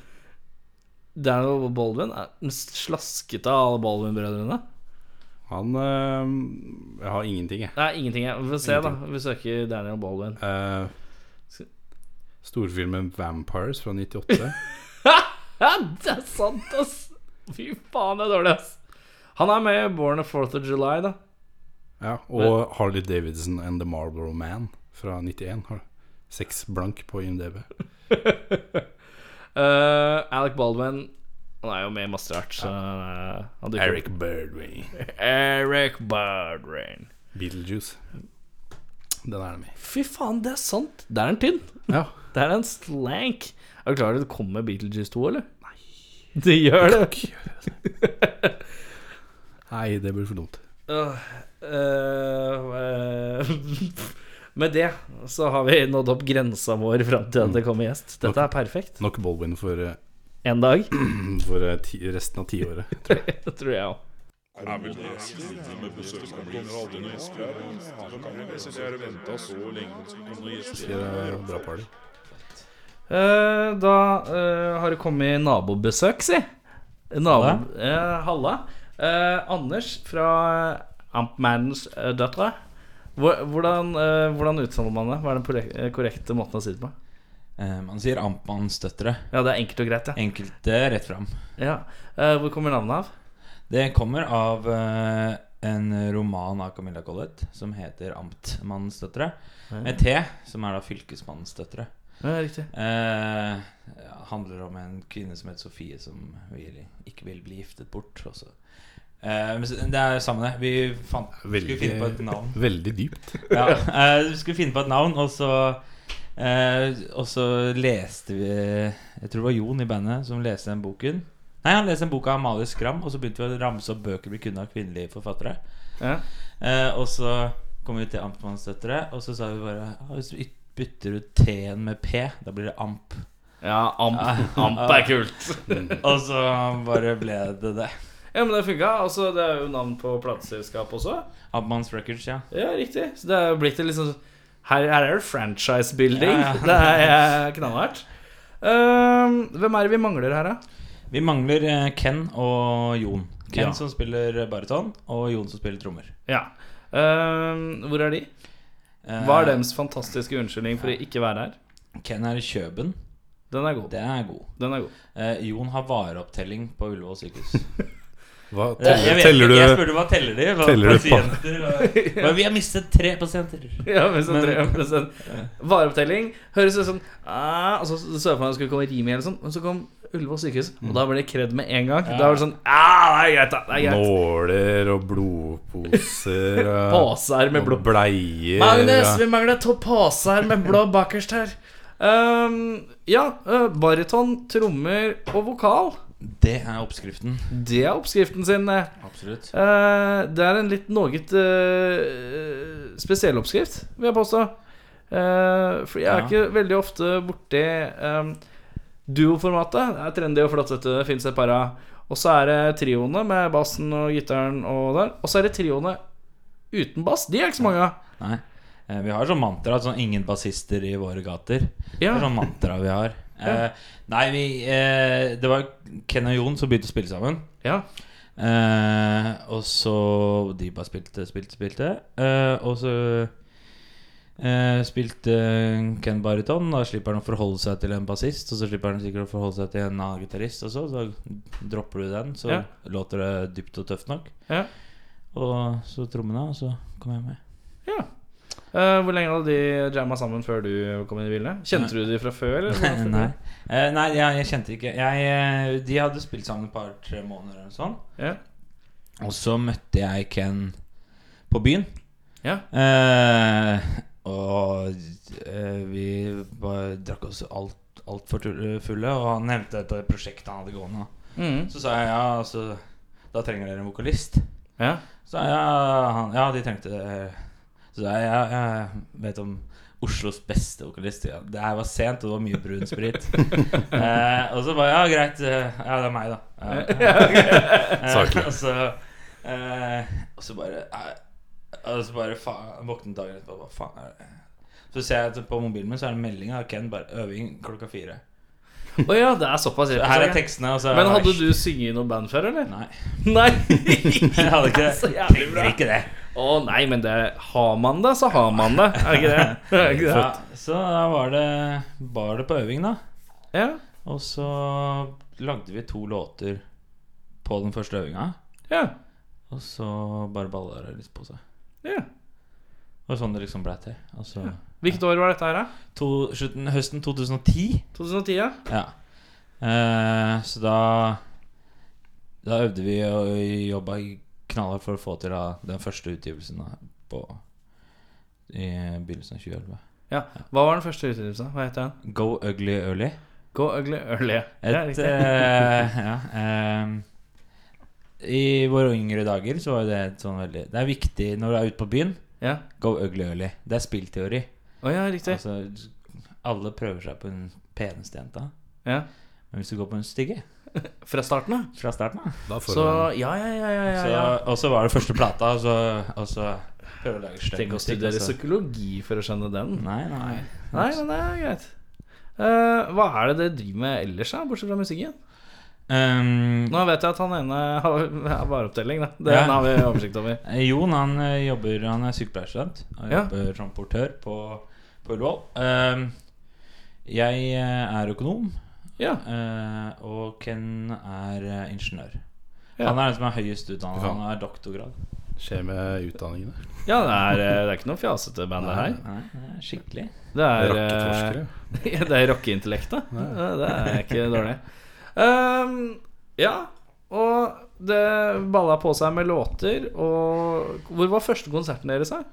Speaker 2: Daniel Baldwin er den mest slaskete av alle Baldwin-brødrene.
Speaker 4: Han eh, Jeg har ingenting, jeg.
Speaker 2: Det er ingenting. jeg- Vi får se, da. Vi søker Daniel Baldwin.
Speaker 4: Eh, storfilmen Vampires fra 98.
Speaker 2: Ja, det er sant, ass! Fy faen, det er dårlig, ass. Han er med i Born of 4th of July, da.
Speaker 4: ja, og Harley Davidson and The Marlboro Man fra 91. Har seks blank på IMDb.
Speaker 2: Eh, Alec Baldwin Han er jo med i masse rart, så eh, han dukker opp.
Speaker 4: Eric Birdway.
Speaker 2: Eric Baldwin.
Speaker 4: Beetlejuice. Den er det med.
Speaker 2: Fy faen, det er sant! Der er den tynn.
Speaker 4: Ja.
Speaker 2: Det er en slank. Er du klar over at det kommer Beetlejuice 2, eller? Nei. Det gjør det.
Speaker 4: Nei, det blir for dumt.
Speaker 2: Øh, øh, øh, Med det så har vi nådd opp grensa vår fram til at det kommer gjest. Dette er perfekt.
Speaker 4: Nok Baldwin for, eh,
Speaker 2: En dag.
Speaker 4: for eh, ti, resten av tiåret.
Speaker 2: Det tror jeg òg.
Speaker 1: Er vel det stedet med besøk som blir aldri noen gjester her? Han kan jo si at jeg har ventet så lenge på noen gjester.
Speaker 4: Det er bra party.
Speaker 2: Eh, da eh, har det kommet nabobesøk, si. Nabo, eh, Halla. Eh, Anders fra Ampmannens eh, døtre. Hvor- Hvordan, eh, hvordan uttaler man det? Hva er den korrek- eh, korrekte måten å si det på?
Speaker 5: Eh, man sier amtmannsdøtre.
Speaker 2: Ja, det er enkelt og greit, ja.
Speaker 5: Enkelte rett fram.
Speaker 2: ja. Eh, hvor kommer navnet av?
Speaker 5: Det kommer av eh, en roman av Camilla Collett som heter 'Amtmannens døtre'. Med T, som er da 'Fylkesmannens døtre'.
Speaker 2: Ja, riktig.
Speaker 5: Eh, handler om en kvinne som heter Sofie, som vil, ikke vil bli giftet bort. Også. Eh, men så- det er samme det. Vi fant, skulle finne på et navn.
Speaker 4: veldig dypt.
Speaker 5: Ja, eh, vi skulle finne på et navn, og så eh, Og så leste vi Jeg tror det var Jon i bandet som leste den boken. Nei, han leste en bok av Amalie Skram, og så begynte vi å ramse opp bøker vi kunne av kvinnelige forfattere.
Speaker 2: Ja.
Speaker 5: Eh, og så kom vi til Amtmannsdøtre, og så sa vi bare «Ah, Hvis vi bytter ut T-en med P, da blir det Amp.
Speaker 2: Ja, amp, amp er kult.
Speaker 5: Og så bare ble det det.
Speaker 2: Ja, men det funka. Altså, det er jo navn på plateselskap også.
Speaker 5: Amtmanns Records, ja.
Speaker 2: Ja, riktig. Så det er jo blitt en liksom Her, her er det franchise building.
Speaker 5: Ja, ja.
Speaker 2: Det er eh, knallhardt. Ehm, hvem er det vi mangler her, da?
Speaker 5: Vi mangler eh, Ken og Jon. Ken
Speaker 2: Ja.
Speaker 5: som spiller baryton, og Jon som spiller trommer.
Speaker 2: Ja. Ehm, hvor er de?
Speaker 5: Eh,
Speaker 2: Hva er deres fantastiske unnskyldning for å ikke være her?
Speaker 5: Ken er i Kjøben.
Speaker 2: Den er god.
Speaker 5: Det er god.
Speaker 2: Den er god.
Speaker 5: Eh, Jon har vareopptelling på Ullevål sykehus.
Speaker 4: Hva,
Speaker 5: Jeg,
Speaker 4: teller,
Speaker 5: jeg, vet
Speaker 4: teller
Speaker 5: ikke, jeg
Speaker 4: du
Speaker 5: spurte hva teller de? Hva,
Speaker 4: teller du på-
Speaker 5: pasienter? hva- hva- Vi har mistet tre pasienter.
Speaker 2: Ja, men så
Speaker 5: Men-
Speaker 2: tre prosent. Vareopptelling høres ut som ah, Og så så jeg for meg det skulle komme rim i, eller sånn, men så kom Ullevål sykehus.
Speaker 5: Mm.
Speaker 2: Og da ble det kred med en gang. Da var det sånn Ja, det er greit, da. Det er greit.
Speaker 4: Nåler og blodposer og
Speaker 2: Poser med blå
Speaker 4: og bleier.
Speaker 2: Magnus,
Speaker 4: og-
Speaker 2: vi mangler to poser med blå bakerst her. Ehm, ja, eh, baryton, trommer og vokal.
Speaker 5: Det er oppskriften.
Speaker 2: Det er oppskriften sin. eh.
Speaker 5: Absolutt.
Speaker 2: Eh, det er en litt noe eh, spesiell oppskrift, vil jeg påstå. Eh, for jeg er
Speaker 5: Ja.
Speaker 2: ikke veldig ofte borti um, duoformatet. Det er trendy og flott, dette. Det fins et par av. Og så er det trioene med bassen og gitaren og der. Og så er det trioene uten bass. De er ikke så mange av.
Speaker 5: Nei. Eh, Vi har sånn mantra sånn 'ingen bassister i våre gater'. Det
Speaker 2: Ja.
Speaker 5: er sånn mantra vi har. Eh, nei, vi eh, Det var Ken og Jon som begynte å spille sammen.
Speaker 2: Ja.
Speaker 5: Eh, og så De bare spilte, spilte, spilte. Eh, og så eh, spilte Ken baryton. Da slipper han å forholde seg til en bassist, og så slipper han sikkert å forholde seg til en annen gitarist, og så, så dropper du den. Så
Speaker 2: Ja.
Speaker 5: låter det dypt og tøft nok.
Speaker 2: Ja.
Speaker 5: Og så trommene, og så kom jeg med.
Speaker 2: ja. Eh, hvor lenge hadde de jamma sammen før du kom inn i bildet? Kjente du de fra før? Eller? hvordan-
Speaker 5: Nei, Eh, nei jeg, jeg kjente ikke jeg, eh, De hadde spilt sammen et par-tre måneder eller sånn.
Speaker 2: Ja.
Speaker 5: Og så møtte jeg Ken på byen.
Speaker 2: Ja.
Speaker 5: Eh, og eh, vi bare drakk oss alt altfor fulle, og han nevnte dette prosjektet han hadde gående.
Speaker 2: Mhm.
Speaker 5: Så sa jeg ja, altså, da trenger dere en vokalist.
Speaker 2: ja.
Speaker 5: Så sa jeg ja, han, ja de trengte det. Så sa jeg ja, jeg vet om Oslos beste vokalist. Ja, det her var sent, og det var mye brun sprit. eh, og så bare ja, greit. eh, Ja, det er meg, da. Ja,
Speaker 4: Saklig.
Speaker 5: Eh, og så, eh, og så bare eh, Og så bare faen Våknet dagen etterpå, hva faen er det? Så ser jeg at på mobilen min så er det en melding av Ken, bare 'øving klokka fire'.
Speaker 2: Å ja, det er såpass. hjelp,
Speaker 5: Her
Speaker 2: så-
Speaker 5: er tekstene, og så
Speaker 2: Men hadde du sunget i noe band før, eller?
Speaker 5: Nei.
Speaker 2: Nei!
Speaker 5: Jeg hadde ikke
Speaker 2: Så
Speaker 5: det.
Speaker 2: jævlig bra.
Speaker 5: Trenger ikke det.
Speaker 2: Å nei, men det har man det, så har man det. Er det ikke det? Er det ikke det?
Speaker 5: Ja, så da var det, var det på øving, da.
Speaker 2: Ja.
Speaker 5: Og så lagde vi to låter på den første øvinga.
Speaker 2: Ja.
Speaker 5: Og så bare balla det litt på seg.
Speaker 2: ja.
Speaker 5: Det var sånn det liksom blei til. Og så
Speaker 2: Hvilket år var dette her, da?
Speaker 5: to, slutten, Høsten 2010.
Speaker 2: 2010, ja?
Speaker 5: Ja. Eh, så da Da øvde vi og jobba knallhardt for å få til da, den første utgivelsen da, på, i begynnelsen av 2011.
Speaker 2: ja. Hva var den første utgivelsen? Hva heter den?
Speaker 5: Go Ugly Early.
Speaker 2: Go Ugly Early. Det er
Speaker 5: Et,
Speaker 2: riktig.
Speaker 5: eh, ja, ehm, I våre yngre dager så var jo det et sånn veldig Det er viktig når du er ute på byen.
Speaker 2: Ja.
Speaker 5: Go ugly early. Det er spillteori.
Speaker 2: Å ja, riktig.
Speaker 5: Altså, alle prøver seg på den peneste jenta.
Speaker 2: Ja.
Speaker 5: Men hvis du går på den stygge
Speaker 2: Fra starten av.
Speaker 5: fra starten av
Speaker 4: Da får
Speaker 2: Så
Speaker 4: du-
Speaker 2: ja, ja, ja, ja. ja,
Speaker 5: så-
Speaker 2: ja.
Speaker 5: Og så var det første plata, og så, og så prøver du å lage stygg
Speaker 2: Trenger ikke å
Speaker 5: musikk.
Speaker 2: studere
Speaker 5: og så-
Speaker 2: psykologi for å skjønne den.
Speaker 5: Nei, nei.
Speaker 2: Nei, men det er greit. Eh, hva er det dere driver med ellers, da, bortsett fra musikken?
Speaker 5: Ehm,
Speaker 2: Nå vet jeg at han ene har har vareopptelling, da. Den
Speaker 5: Ja.
Speaker 2: har vi oversikt over.
Speaker 5: Eh, Jon han eh, jobber Han er sykepleierstudent. Han
Speaker 2: Ja.
Speaker 5: jobber som portør på, på Ullevål. Ehm, jeg eh, er økonom,
Speaker 2: Ja.
Speaker 5: eh, og Ken er eh, ingeniør.
Speaker 2: Ja.
Speaker 5: Han er den som er høyest utdannet.
Speaker 4: faen.
Speaker 5: Han har doktorgrad.
Speaker 4: Skjer med utdanningene.
Speaker 2: Ja, det er, eh, det er ikke noe fjasete band, det her.
Speaker 5: Nei, det er skikkelig.
Speaker 2: Det er,
Speaker 4: Rakkeforskere.
Speaker 2: eh, det er rockeintellektet. Eh, Det er ikke dårlig. Ehm, ja, og det balla på seg med låter, og Hvor var første konserten deres, da?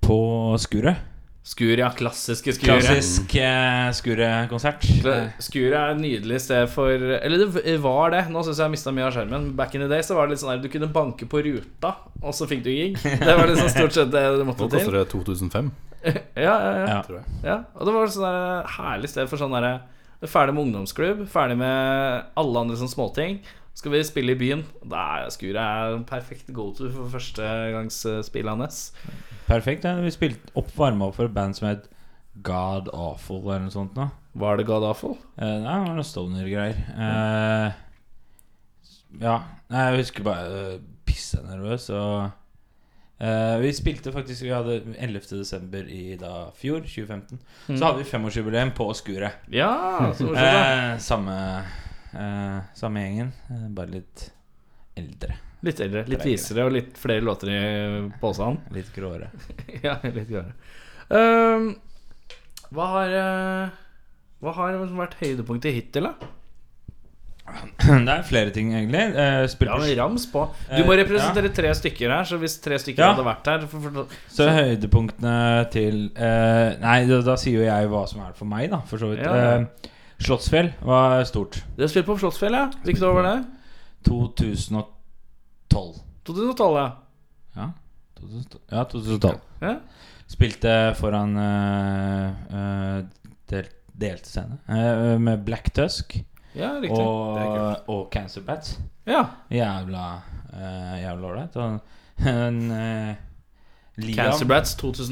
Speaker 5: På Skuret.
Speaker 2: Skur, ja. Klassiske Skur. ja.
Speaker 5: Klassisk eh, Skuret-konsert.
Speaker 2: Kla- Skuret er et nydelig sted for Eller det v- var det. Nå syns jeg jeg mista mye av skjermen. Back in the day så var det litt sånn der du kunne banke på ruta, og så fikk du gig. Det var liksom stort sett det du måtte
Speaker 4: Nå koster
Speaker 2: til.
Speaker 4: det 2005,
Speaker 2: Ja, ja, ja.
Speaker 5: Eh, Ja.
Speaker 4: tror jeg.
Speaker 2: Ja, og det var et sånn der herlig sted for sånn derre Ferdig med ungdomsklubb, ferdig med alle andre sånne småting. Skal vi spille i byen? Da er Skuret er en perfekt go to for førstegangsspillet hans.
Speaker 5: Perfekt. Ja. Vi spilte opp varma opp for et band som het God Awful eller noe sånt. nå
Speaker 2: Var det God Awful?
Speaker 5: Eh, Nei, det var noe Stovner-greier. Eh, ja. Nei, jeg husker bare uh, pissa nervøs. Og eh, vi spilte faktisk Vi hadde 11. desember i da fjor, 2015.
Speaker 2: Mm.
Speaker 5: Så hadde vi femårsjubileum på Skuret.
Speaker 2: Ja, så morsomt. da.
Speaker 5: Eh, samme, eh, samme gjengen, eh, bare litt eldre.
Speaker 2: Litt eldre, litt visere og litt flere låter i posen.
Speaker 5: Litt gråere.
Speaker 2: ja, litt gøyere. Ehm, hva har eh, Hva har vært høydepunktet hittil, da?
Speaker 5: Det er flere ting, egentlig. Eh, spilt
Speaker 2: Ja,
Speaker 5: på
Speaker 2: men rams på. Du
Speaker 5: Eh,
Speaker 2: må representere tre stykker her, så hvis tre stykker
Speaker 5: Ja.
Speaker 2: hadde vært her for, for,
Speaker 5: Så høydepunktene til eh, Nei, da, da sier jo jeg hva som er for meg, da, for så vidt.
Speaker 2: Ja, ja.
Speaker 5: Eh, Slottsfjell var stort.
Speaker 2: Du har spilt på Slottsfjell, ja? Hvilket år var det?
Speaker 5: 2012.
Speaker 2: 2012, ja.
Speaker 5: Ja, 2012. Ja, 2012.
Speaker 2: Ja.
Speaker 5: Spilte foran eh, eh, del, delt scene eh, med Black Tusk
Speaker 2: Ja, riktig.
Speaker 5: og, og Cancer Bats.
Speaker 2: Ja.
Speaker 5: Jævla eh, jævla ålreit. Og en eh, Liam-
Speaker 2: Cancer Brats 2012.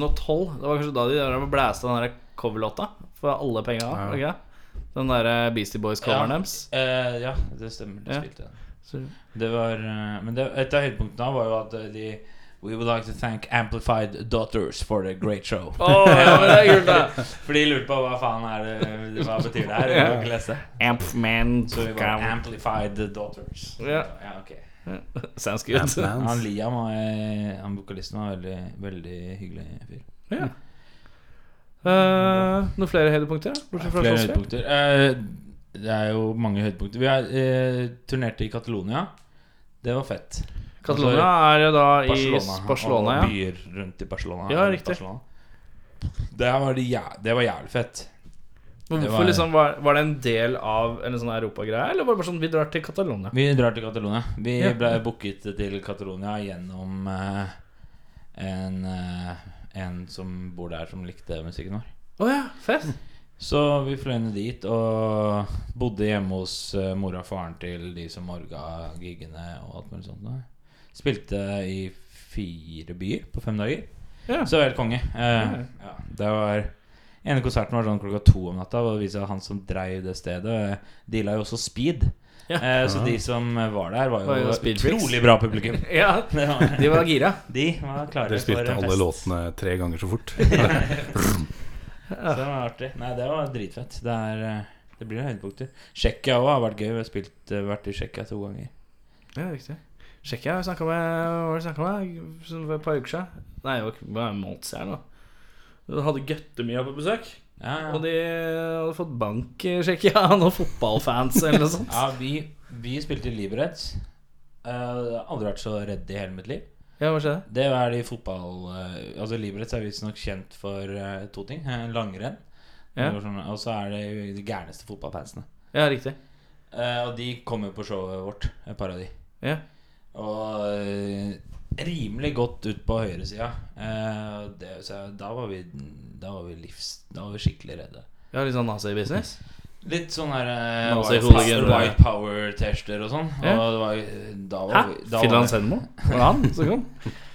Speaker 2: Det var kanskje da de der blæsta den der coverlåta for alle penga. var det ikke det? Den derre Beastie Boys-coveren
Speaker 5: Ja.
Speaker 2: deres.
Speaker 5: Eh, ja, det stemmer. Du
Speaker 2: Ja.
Speaker 5: spilte den.
Speaker 2: Så-
Speaker 5: Det var eh, Men det, et av høydepunktene da var jo at eh, de We would like to thank Amplified Daughters for the great show.
Speaker 2: Å, ja, men det er kult, da!
Speaker 5: For de lurte på hva faen er det Hva betyr det her? Jeg kan ikke lese.
Speaker 2: Ampman
Speaker 5: Så vi var Amplified Daughters.
Speaker 2: Ja.
Speaker 5: ja ok
Speaker 2: Sounds good.
Speaker 5: Han
Speaker 4: Ant-Mans.
Speaker 5: Liam, var, eh, han vokalisten, var veldig, veldig hyggelig fyr.
Speaker 2: Ja. Eh, noen flere høydepunkter? da? Bortsett fra
Speaker 5: Flere
Speaker 2: Slottsfjell?
Speaker 5: høydepunkter. Eh, det er jo mange høydepunkter. Vi er, eh, turnerte i Catalonia. Det var fett.
Speaker 2: Catalonia er jo da i
Speaker 5: Barcelona,
Speaker 2: Altså, Barcelona,
Speaker 5: og
Speaker 2: ja.
Speaker 5: byer rundt i Barcelona.
Speaker 2: Ja,
Speaker 5: rundt
Speaker 2: riktig.
Speaker 5: Barcelona. Det, var det, jæ- det var jævlig fett.
Speaker 2: Men
Speaker 5: Det
Speaker 2: Hvorfor
Speaker 5: var-
Speaker 2: liksom var, var det en del av en sånn europagreie, eller var det bare sånn vi drar til Catalonia?
Speaker 5: Vi drar til Catalonia. Vi
Speaker 2: Ja.
Speaker 5: ble booket til Catalonia gjennom eh, en, eh, en som bor der, som likte musikken vår.
Speaker 2: Å ja, fett!
Speaker 5: Så vi fløy ned dit og bodde hjemme hos eh, mora og faren til de som orga giggene og alt mulig sånt. da. Spilte i fire byer på fem dager.
Speaker 2: Ja.
Speaker 5: Så helt konge. Eh, ja, det var ene konserten var sånn klokka to om natta. Og det viste seg at han som dreiv det stedet, eh, deala jo også speed.
Speaker 2: Ja.
Speaker 5: Eh, så de som var der, var jo,
Speaker 2: Var jo speedfreaks.
Speaker 5: utrolig bra publikum.
Speaker 2: ja,
Speaker 5: Det var,
Speaker 2: de var gira.
Speaker 5: de var
Speaker 4: Dere
Speaker 5: klare for
Speaker 4: spilte
Speaker 5: en
Speaker 4: alle
Speaker 5: fest.
Speaker 4: låtene tre ganger så fort.
Speaker 5: Så det var artig. Nei, det var dritfett. Det, er, eh, det blir høydepunkter. Tsjekkia òg har vært gøy. Vi har spilt, eh, vært i Tsjekkia to ganger.
Speaker 2: Ja, riktig. Tsjekkia har jeg snakka med Hva var det jeg snakka med Sånn for et par uker siden? Nei, det var ikke- det var en måned siden. nå. Da hadde Gøttemia på besøk,
Speaker 5: Ja,
Speaker 2: og
Speaker 5: ja.
Speaker 2: de hadde fått bank i Tsjekkia av noen fotballfans eller noe sånt.
Speaker 5: ja vi, vi spilte i Liberec. Eh, Jeg har aldri vært så redd i hele mitt liv.
Speaker 2: Ja, hva skjedde?
Speaker 5: Det er de fotball eh, Altså Liberec er visstnok kjent for eh, to ting. Eh, Langrenn.
Speaker 2: Ja.
Speaker 5: Det var sånn- Og så er det jo de gærneste fotballfansene.
Speaker 2: Ja, riktig.
Speaker 5: Eh, og de kom jo på showet vårt, et par av de.
Speaker 2: Ja.
Speaker 5: Og eh, rimelig godt ut på høyresida. Eh, og det- så da var vi Da var vi livs Da var vi skikkelig redde.
Speaker 2: Ja, Litt sånn nazi-business?
Speaker 5: Litt sånn her eh,
Speaker 2: Nazi-
Speaker 5: white,
Speaker 2: hooligan-
Speaker 5: white power-T-skjorter og sånn.
Speaker 2: Ja.
Speaker 5: Og det var, da var
Speaker 2: Hæ?
Speaker 5: vi- da var vi-
Speaker 2: Finland Sennemo? Var det han som kom?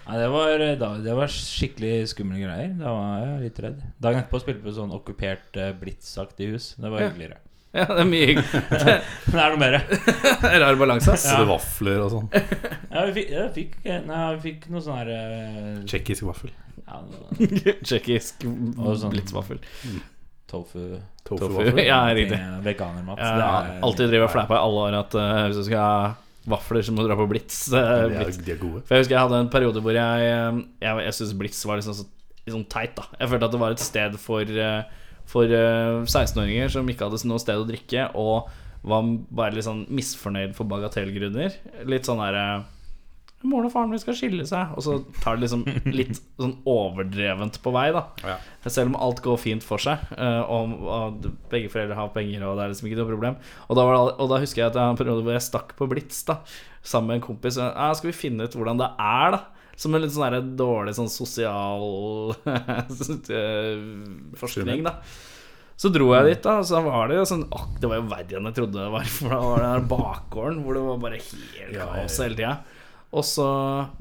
Speaker 5: Nei, det var, eh, da, det var skikkelig skumle greier. Da var jeg litt redd. Dagen etterpå spilte vi på sånn okkupert eh, Blitz-aktig hus. Det var
Speaker 2: Ja.
Speaker 5: hyggeligere.
Speaker 2: Ja, det er mye hyggelig.
Speaker 5: Det er noe mer.
Speaker 2: Rar balanse, ass.
Speaker 4: Så det vafler og sånn.
Speaker 5: Ja, vi fikk, ja, vi fikk, eh, nei, vi fikk noe sånn her eh,
Speaker 4: Tsjekkisk vaffel.
Speaker 5: ja, noe
Speaker 2: Tsjekkisk
Speaker 5: Og sånn-
Speaker 2: blitzvaffel.
Speaker 5: Tofu
Speaker 4: Tofu-vaffel.
Speaker 2: Tofu. Ja, riktig.
Speaker 5: eh, Veganermat.
Speaker 2: Jeg
Speaker 5: Det
Speaker 2: har
Speaker 5: er-
Speaker 2: alltid drevet og fleipa i alle år at eh, hvis du skal ha vafler, så må du dra på Blitz. eh,
Speaker 4: De er,
Speaker 2: blitz.
Speaker 4: de er gode.
Speaker 2: For jeg husker jeg hadde en periode hvor jeg eh, Jeg, jeg syntes Blitz var liksom så, litt sånn teit, da. Jeg følte at det var et sted for, eh, for eh, 16-åringer som ikke hadde noe sted å drikke, og var bare litt sånn misfornøyd for bagatellgrunner. Litt sånn derre Moren og faren min skal skille seg, og så tar det liksom litt sånn overdrevent på vei, da.
Speaker 4: Ja.
Speaker 2: Selv om alt går fint for seg, eh, og, og begge foreldre har penger, og det er liksom ikke noe problem. Og da, var det, og da husker jeg at det var en periode hvor jeg stakk på Blitz da sammen med en kompis. Og, «Ja, skal vi finne ut hvordan det er, da? Som en litt sånn der dårlig sånn sosial eh, forskning, da. Så dro jeg dit, da, og så var det jo sånn Åh, Det var jo verre enn jeg trodde det var. For da var det den her bakgården hvor det var bare helt kaos hele tida. Og så,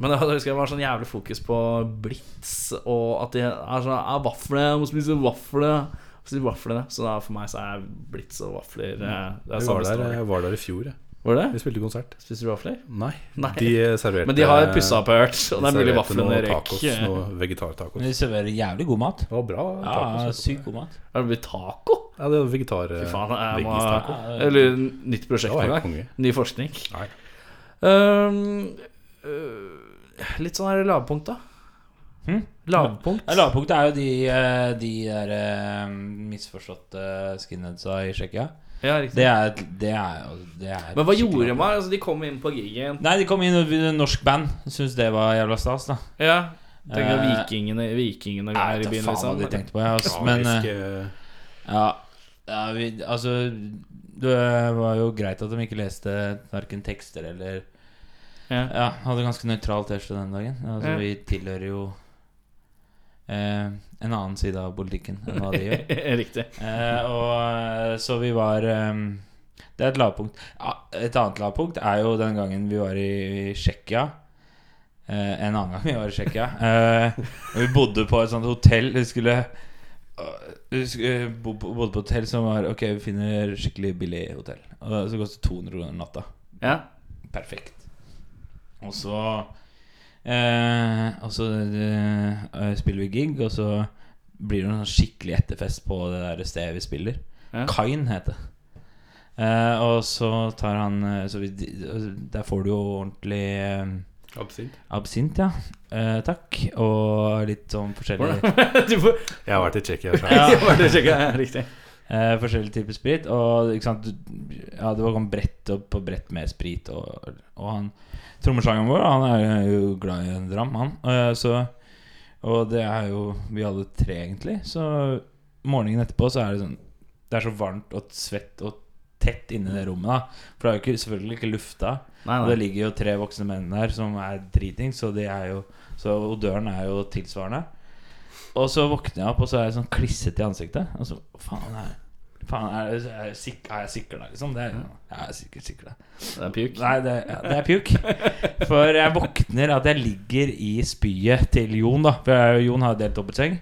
Speaker 2: men da husker jeg det var sånn jævlig fokus på blitz, og at de er sånn «Ah, Vafler, jeg må spise vafler. Så, de vaflene. så da for meg så er blitz og vafler eh, Det er
Speaker 4: Jeg var
Speaker 2: samme
Speaker 4: der,
Speaker 2: story.
Speaker 4: jeg var der i fjor, jeg.
Speaker 2: Var det?
Speaker 4: Vi spilte konsert.
Speaker 2: Spiser du vafler?
Speaker 4: Nei.
Speaker 2: Nei.
Speaker 4: De serverte
Speaker 2: Men de har pussa opp, har jeg hørt. Og det er mulig vaflene røyk.
Speaker 4: tacos, noe vegetartacos.
Speaker 5: Men de serverer jævlig god mat.
Speaker 4: Det var bra
Speaker 5: Ja,
Speaker 4: tacos. altså.
Speaker 5: Sykt god mat.
Speaker 2: Er det blitt taco?
Speaker 4: Ja, det var vegetar... eh,
Speaker 2: Fy faen, jeg må
Speaker 4: veggistaco.
Speaker 2: Eller nytt prosjekt
Speaker 4: Det var
Speaker 2: en
Speaker 4: helt
Speaker 2: gang.
Speaker 4: konge.
Speaker 2: Ny forskning.
Speaker 4: Nei.
Speaker 2: Ehm, øh, litt sånn her lavpunkt, da.
Speaker 5: Hm?
Speaker 2: Lavpunkt.
Speaker 5: Ja, Lavpunktet er jo de, eh, de der eh, misforståtte skinheadsa i Tsjekkia.
Speaker 2: Ja, riktig.
Speaker 5: Det er, det er, jo- det er
Speaker 2: Men hva
Speaker 5: skikkelig-
Speaker 2: gjorde man? Altså, de kom inn på gigen.
Speaker 5: Nei, de kom inn og vi- norsk band. Syns det var jævla stas, da.
Speaker 2: Ja. Tenker at
Speaker 5: Eh,
Speaker 2: vikingene, vikingene
Speaker 5: Nei,
Speaker 2: er i
Speaker 5: vet da
Speaker 2: byen,
Speaker 5: faen hva
Speaker 2: liksom.
Speaker 5: de tenkte på, ja, ass, men eh, ja, ja vi, Altså, det var jo greit at de ikke leste verken tekster eller
Speaker 2: Ja.
Speaker 5: Ja, hadde ganske nøytral T-skjorte den dagen. Altså,
Speaker 2: Ja.
Speaker 5: Vi tilhører jo eh, en annen side av politikken enn hva de gjør.
Speaker 2: Riktig.
Speaker 5: Eh, og eh, så vi var eh, Det er et lavpunkt. Ja, et annet lavpunkt er jo den gangen vi var i, i Tsjekkia. Eh, en annen gang vi var i Tsjekkia. Eh, vi bodde på et sånt hotell. Vi skulle øh, vi skulle, eh, bo, bo- bodde på et hotell som var Ok, vi finner skikkelig billig hotell. Og det- så koster 200 kroner natta.
Speaker 2: Ja.
Speaker 5: Perfekt. Og så eh, Og så eh, spiller vi gig, og så blir det en sånn skikkelig etterfest på det der stedet vi spiller.
Speaker 2: Ja.
Speaker 5: Kain heter det. Eh, og så tar han eh, så vi, Der får du jo ordentlig eh,
Speaker 4: Absint.
Speaker 5: absint, ja. Eh, takk. Og litt sånn forskjellig
Speaker 2: du får
Speaker 4: Jeg har vært i Tsjekkia. så-
Speaker 5: ja,
Speaker 2: bare sjekke. Ja, Riktig.
Speaker 5: eh, Forskjellige typer sprit. Og ikke sant, du- ja, det var sånn brett og på brett med sprit. Og, og han trommeslageren vår, han er jo glad i en dram, han. Eh, så, og det er jo vi alle tre, egentlig. Så morgenen etterpå så er det sånn Det er så varmt og svett og tett inni det rommet, da. For det er jo ikke, selvfølgelig ikke lufta.
Speaker 2: Nei,
Speaker 5: Og det
Speaker 2: nei.
Speaker 5: ligger jo tre voksne menn der som er driting, så de er jo Så odøren er jo tilsvarende. Og så våkner jeg opp, og så er jeg sånn klissete i ansiktet. Og så Faen, er, faen er, det- er, jeg sik- er jeg sikla, liksom? Det er, jeg er sikkert sikla.
Speaker 2: Det er pjuk.
Speaker 5: Nei, det, ja, det er pjuk. For jeg våkner at jeg ligger i spyet til Jon, da. For jeg, Jon har jo delt dobbeltseng.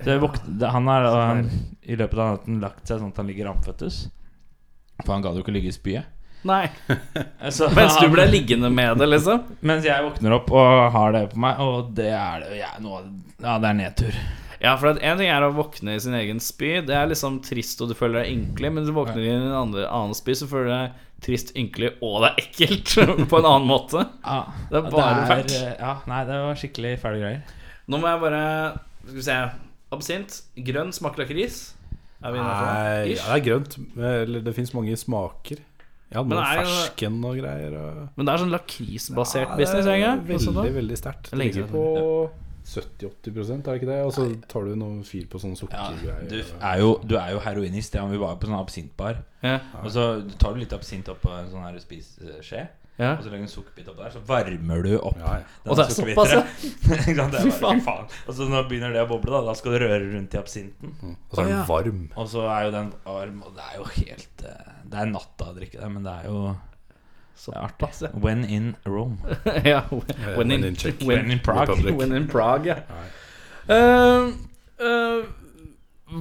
Speaker 5: Så jeg våkner, han har da- han, i løpet av natten lagt seg sånn at han ligger ramføttes. For han gadd jo ikke ligge i spyet.
Speaker 2: Nei.
Speaker 5: Så
Speaker 2: Mens du
Speaker 5: han-
Speaker 2: ble liggende med det, liksom?
Speaker 5: mens jeg våkner opp og har det på meg, og det er det jeg, nå, Ja, det er nedtur.
Speaker 2: Ja, for at en ting er å våkne i sin egen spy. Det er liksom trist, og du føler deg ynkelig. Men du våkner i en andre, annen spy, så føler du deg trist, ynkelig, og det er ekkelt. På en annen måte.
Speaker 5: Ja,
Speaker 2: Det er eh, bare fælt.
Speaker 5: Ja, nei, det var skikkelig fæle greier.
Speaker 2: Nå må jeg bare Skal vi se. Absint. Grønn smaker lakris. Er vi
Speaker 4: Nei,
Speaker 2: innafor?
Speaker 4: ja, det er grønt. Eller det fins mange smaker. Jeg hadde
Speaker 2: Men
Speaker 4: noe
Speaker 2: er det-
Speaker 4: fersken og greier. Og...
Speaker 2: Men det er sånn lakrisbasert
Speaker 4: Ja, det er
Speaker 2: business,
Speaker 4: Veldig,
Speaker 2: egentlig.
Speaker 4: veldig sterkt. Det
Speaker 2: Lenge
Speaker 4: ligger på 70-80 er det ikke det? Og så tar du noe fyr på sånne
Speaker 5: Ja,
Speaker 4: sukkergreier.
Speaker 5: du,
Speaker 4: og-
Speaker 5: er jo, du er jo heroinist. Ja, men vi var jo på sånn absintbar.
Speaker 2: Ja,
Speaker 5: Og så tar du litt absint opp på en sånn her spiseskje,
Speaker 2: ja.
Speaker 5: og så legger du en sukkerbit oppå der, så varmer du opp.
Speaker 4: Ja, ja.
Speaker 5: den
Speaker 2: Og det er
Speaker 5: sukkerbiten.
Speaker 2: såpass, ja.
Speaker 5: Ikke sant, det er
Speaker 2: Fy
Speaker 5: bare, fy faen. Og så når begynner det å boble, da, da skal du røre rundt i absinten.
Speaker 4: Og så er den varm.
Speaker 5: Og så er jo den varm, og det er jo helt eh, Det er natta å drikke det, men det er jo det er artig.
Speaker 2: Såpass, ja.
Speaker 5: When in Rome.
Speaker 2: ja. When
Speaker 4: when
Speaker 2: in,
Speaker 4: in Czech.
Speaker 2: when,
Speaker 5: in Prague.
Speaker 4: Republic.
Speaker 2: when in Prague, ja. Eh, eh,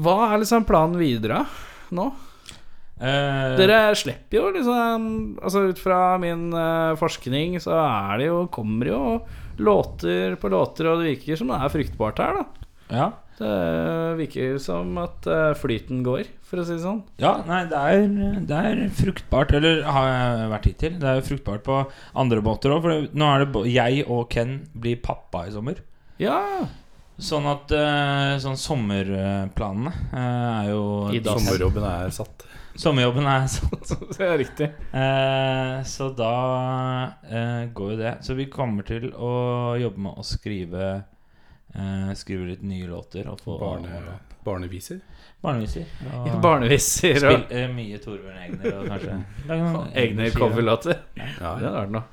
Speaker 2: hva er liksom planen videre nå?
Speaker 5: Eh,
Speaker 2: Dere slipper jo liksom Altså ut fra min eh, forskning så er det jo Kommer det jo låter på låter, og det virker som det er fruktbart her, da.
Speaker 5: Ja.
Speaker 2: Det virker som at eh, flyten går, for å si det sånn.
Speaker 5: ja, nei, det er, det er fruktbart. Eller har jeg vært hittil. Det er fruktbart på andre båter òg. For det, nå er det bo- jeg og Ken blir pappa i sommer.
Speaker 2: Ja!
Speaker 5: Sånn at eh, sånn sommerplanene eh, er jo
Speaker 2: I dag.
Speaker 4: Sommerjobben er satt.
Speaker 5: Sommerjobben er sånn.
Speaker 2: Det er riktig.
Speaker 5: Eh, så da eh, går jo det. Så vi kommer til å jobbe med å skrive eh, Skrive litt nye låter og få
Speaker 4: Barne, barneviser.
Speaker 5: barneviser. Og
Speaker 2: Barneviser og
Speaker 5: spille eh, mye Torbjørn Egner og kanskje lage noen
Speaker 2: egne
Speaker 5: skiver.
Speaker 2: coverlåter.
Speaker 4: Ja,
Speaker 2: Det er det noe.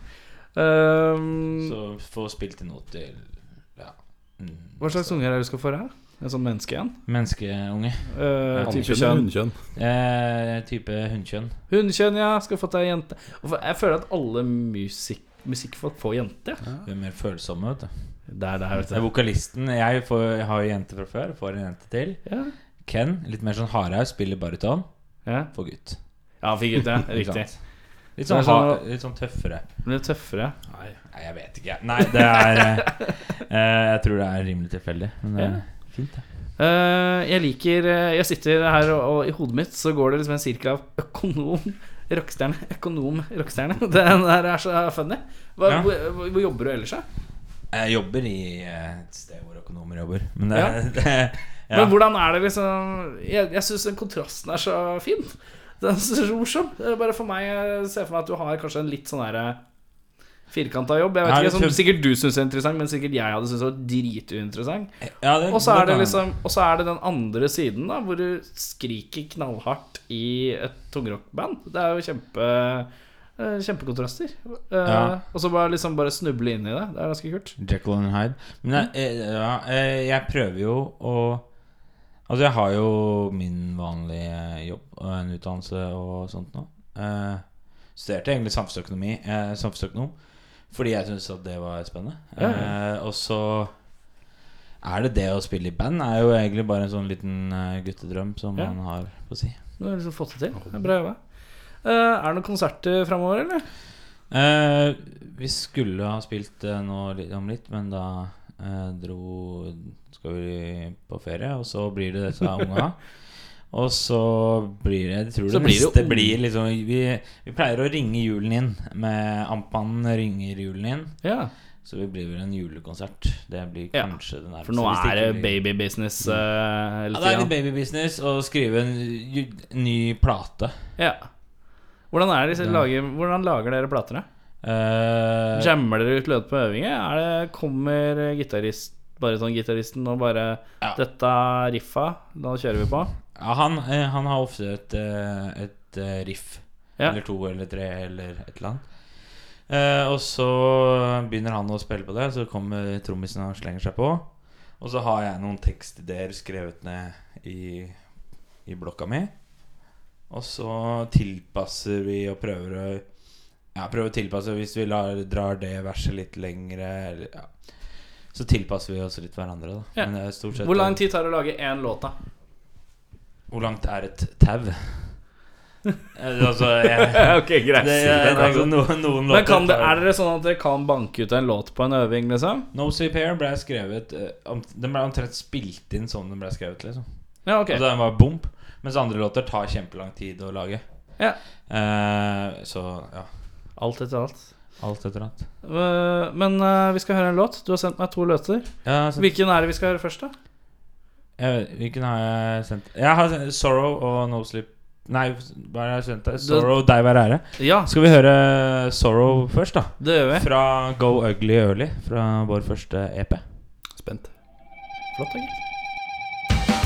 Speaker 2: Ehm,
Speaker 5: Så få spilt inn noe til ja. mm,
Speaker 2: hva slags unger er det du skal få her? En sånn menneske igjen?
Speaker 5: Menneskeunge.
Speaker 2: Eh, type
Speaker 4: Hannkjønn eller
Speaker 2: kjønn?
Speaker 4: hunnkjønn?
Speaker 5: Eh, type hunnkjønn.
Speaker 2: Hunnkjønn, ja. Skal få deg jente. Hvorfor- Jeg føler at alle musikk, musikkfolk får jente. ja.
Speaker 5: Vi er mer følsomme, vet du.
Speaker 2: Det er det her, vet
Speaker 5: Det er
Speaker 2: du.
Speaker 5: vokalisten. Jeg, får, jeg har jo jente fra før, får en jente til.
Speaker 2: Ja,
Speaker 5: Ken, litt mer sånn hardhaus, spiller baryton.
Speaker 2: ja.
Speaker 5: Får gutt.
Speaker 2: ja fikk ut det.
Speaker 5: Ikke
Speaker 2: Riktig.
Speaker 5: sant? Litt
Speaker 2: Det er
Speaker 5: sånn,
Speaker 2: sånn-
Speaker 5: hard, litt sånn tøffere.
Speaker 2: Blir tøffere.
Speaker 5: Nei, jeg vet ikke. Nei, det er eh, eh, Jeg tror det er rimelig tilfeldig. Men det er fint, det.
Speaker 2: Eh, jeg liker eh, Jeg sitter her, og, og i hodet mitt så går det liksom en sirkel av økonom, rockestjerne, økonom, rockestjerne. Det der er så funny. Hva,
Speaker 5: Ja.
Speaker 2: hvor, hvor, hvor jobber du ellers, da?
Speaker 5: Jeg jobber i eh, et sted hvor økonomer jobber. Men det,
Speaker 2: Ja.
Speaker 5: det ja.
Speaker 2: Men hvordan er det liksom Jeg, jeg syns den kontrasten er så fin. Den er så morsom. Det er Bare for meg jeg ser for meg at du har kanskje en litt sånn derre firkanta jobb. Jeg vet
Speaker 5: Nei,
Speaker 2: ikke, som
Speaker 5: kjempe-
Speaker 2: Sikkert du syns er interessant, men sikkert jeg hadde syntes det var drituinteressant.
Speaker 5: Ja, det-
Speaker 2: Og så er det
Speaker 5: kan-
Speaker 2: liksom Og så er det den andre siden, da, hvor du skriker knallhardt i et tungrockband. Det er jo kjempe eh, Kjempekontraster. Eh,
Speaker 5: Ja.
Speaker 2: Og så bare liksom bare snuble inn i det. Det er ganske kult.
Speaker 5: Jekyll and Hyde. Men jeg,
Speaker 2: Mm.
Speaker 5: eh, ja, eh, jeg prøver jo å Altså, jeg har jo min vanlige jobb og en utdannelse og sånt nå. Eh, studerte egentlig samfunnsøkonomi, eh, samfunnsøkonom, fordi jeg syntes at det var spennende.
Speaker 2: Ja,
Speaker 5: Eh, og så er det det å spille i band er jo egentlig bare en sånn liten eh, guttedrøm som
Speaker 2: Ja.
Speaker 5: man har, på å si.
Speaker 2: Du har liksom fått det til. Det er bra jobba. Eh, er det noen konserter framover, eller?
Speaker 5: Eh, vi skulle ha spilt eh, nå litt, om litt, men da eh, dro Skal vi på ferie, og så blir det disse unga. Og så blir det Jeg tror
Speaker 2: Så
Speaker 5: det
Speaker 2: blir det
Speaker 5: neste
Speaker 2: unge.
Speaker 5: blir liksom vi, vi pleier å ringe julen inn. Med Amtmannen ringer julen inn.
Speaker 2: Ja.
Speaker 5: Så vi blir vel en julekonsert. Det blir
Speaker 2: Ja,
Speaker 5: kanskje det nærmeste.
Speaker 2: For nå
Speaker 5: hvis
Speaker 2: er det
Speaker 5: ikke blir-
Speaker 2: babybusiness. Uh,
Speaker 5: ja, det er litt babybusiness å skrive en ju- ny plate.
Speaker 2: Ja. Hvordan, er det, disse lager, hvordan lager dere plater? da?
Speaker 5: Eh,
Speaker 2: Jammer dere ut lød på øvinger? Er det, kommer gitarist, barytongitaristen og bare
Speaker 5: Ja.
Speaker 2: 'Dette er riffa, da kjører vi på'?
Speaker 5: Ja, han, eh, han har ofte et, eh, et eh, riff.
Speaker 2: Ja.
Speaker 5: Eller to eller tre eller et eller annet. Eh, og så begynner han å spille på det, så kommer trommisen og slenger seg på. Og så har jeg noen tekstideer skrevet ned i, i blokka mi. Og så tilpasser vi og prøver å Ja, prøver å tilpasse hvis vi lar, drar det verset litt lengre. Eller, ja. Så tilpasser vi oss litt hverandre, da.
Speaker 2: Ja.
Speaker 5: det er stort sett-
Speaker 2: Hvor lang tid tar det å lage én låt, da?
Speaker 5: hvor langt er et tau? Eh, altså, jeg,
Speaker 2: ok, greit.
Speaker 5: det, jeg, altså, noen, noen
Speaker 2: Men kan det,
Speaker 5: tar-
Speaker 2: er dere sånn at dere kan banke ut en låt på en øving, liksom?
Speaker 5: No Sleep Here ble skrevet eh, om, Den ble omtrent spilt inn sånn den ble skrevet, liksom.
Speaker 2: Ja, ok.
Speaker 5: Altså, den var bomb. Mens andre låter tar kjempelang tid å lage.
Speaker 2: Ja.
Speaker 5: Eh, så ja.
Speaker 2: Alt etter alt.
Speaker 5: Alt etter alt.
Speaker 2: Eh, Men eh, vi skal høre en låt. Du har sendt meg to låter.
Speaker 5: Ja, så,
Speaker 2: Hvilken er det vi skal høre først, da?
Speaker 5: jeg, vet- hvilken har jeg sendt Jeg har sendt Sorrow og No Sleep Nei, hva er det jeg har sendt deg? Sorrow, deg være ære.
Speaker 2: Ja,
Speaker 5: Skal vi høre Sorrow først, da?
Speaker 2: det gjør vi.
Speaker 5: Fra Go Ugly Early, fra vår første E EP.
Speaker 4: Spent.
Speaker 2: Flott, da, gitt.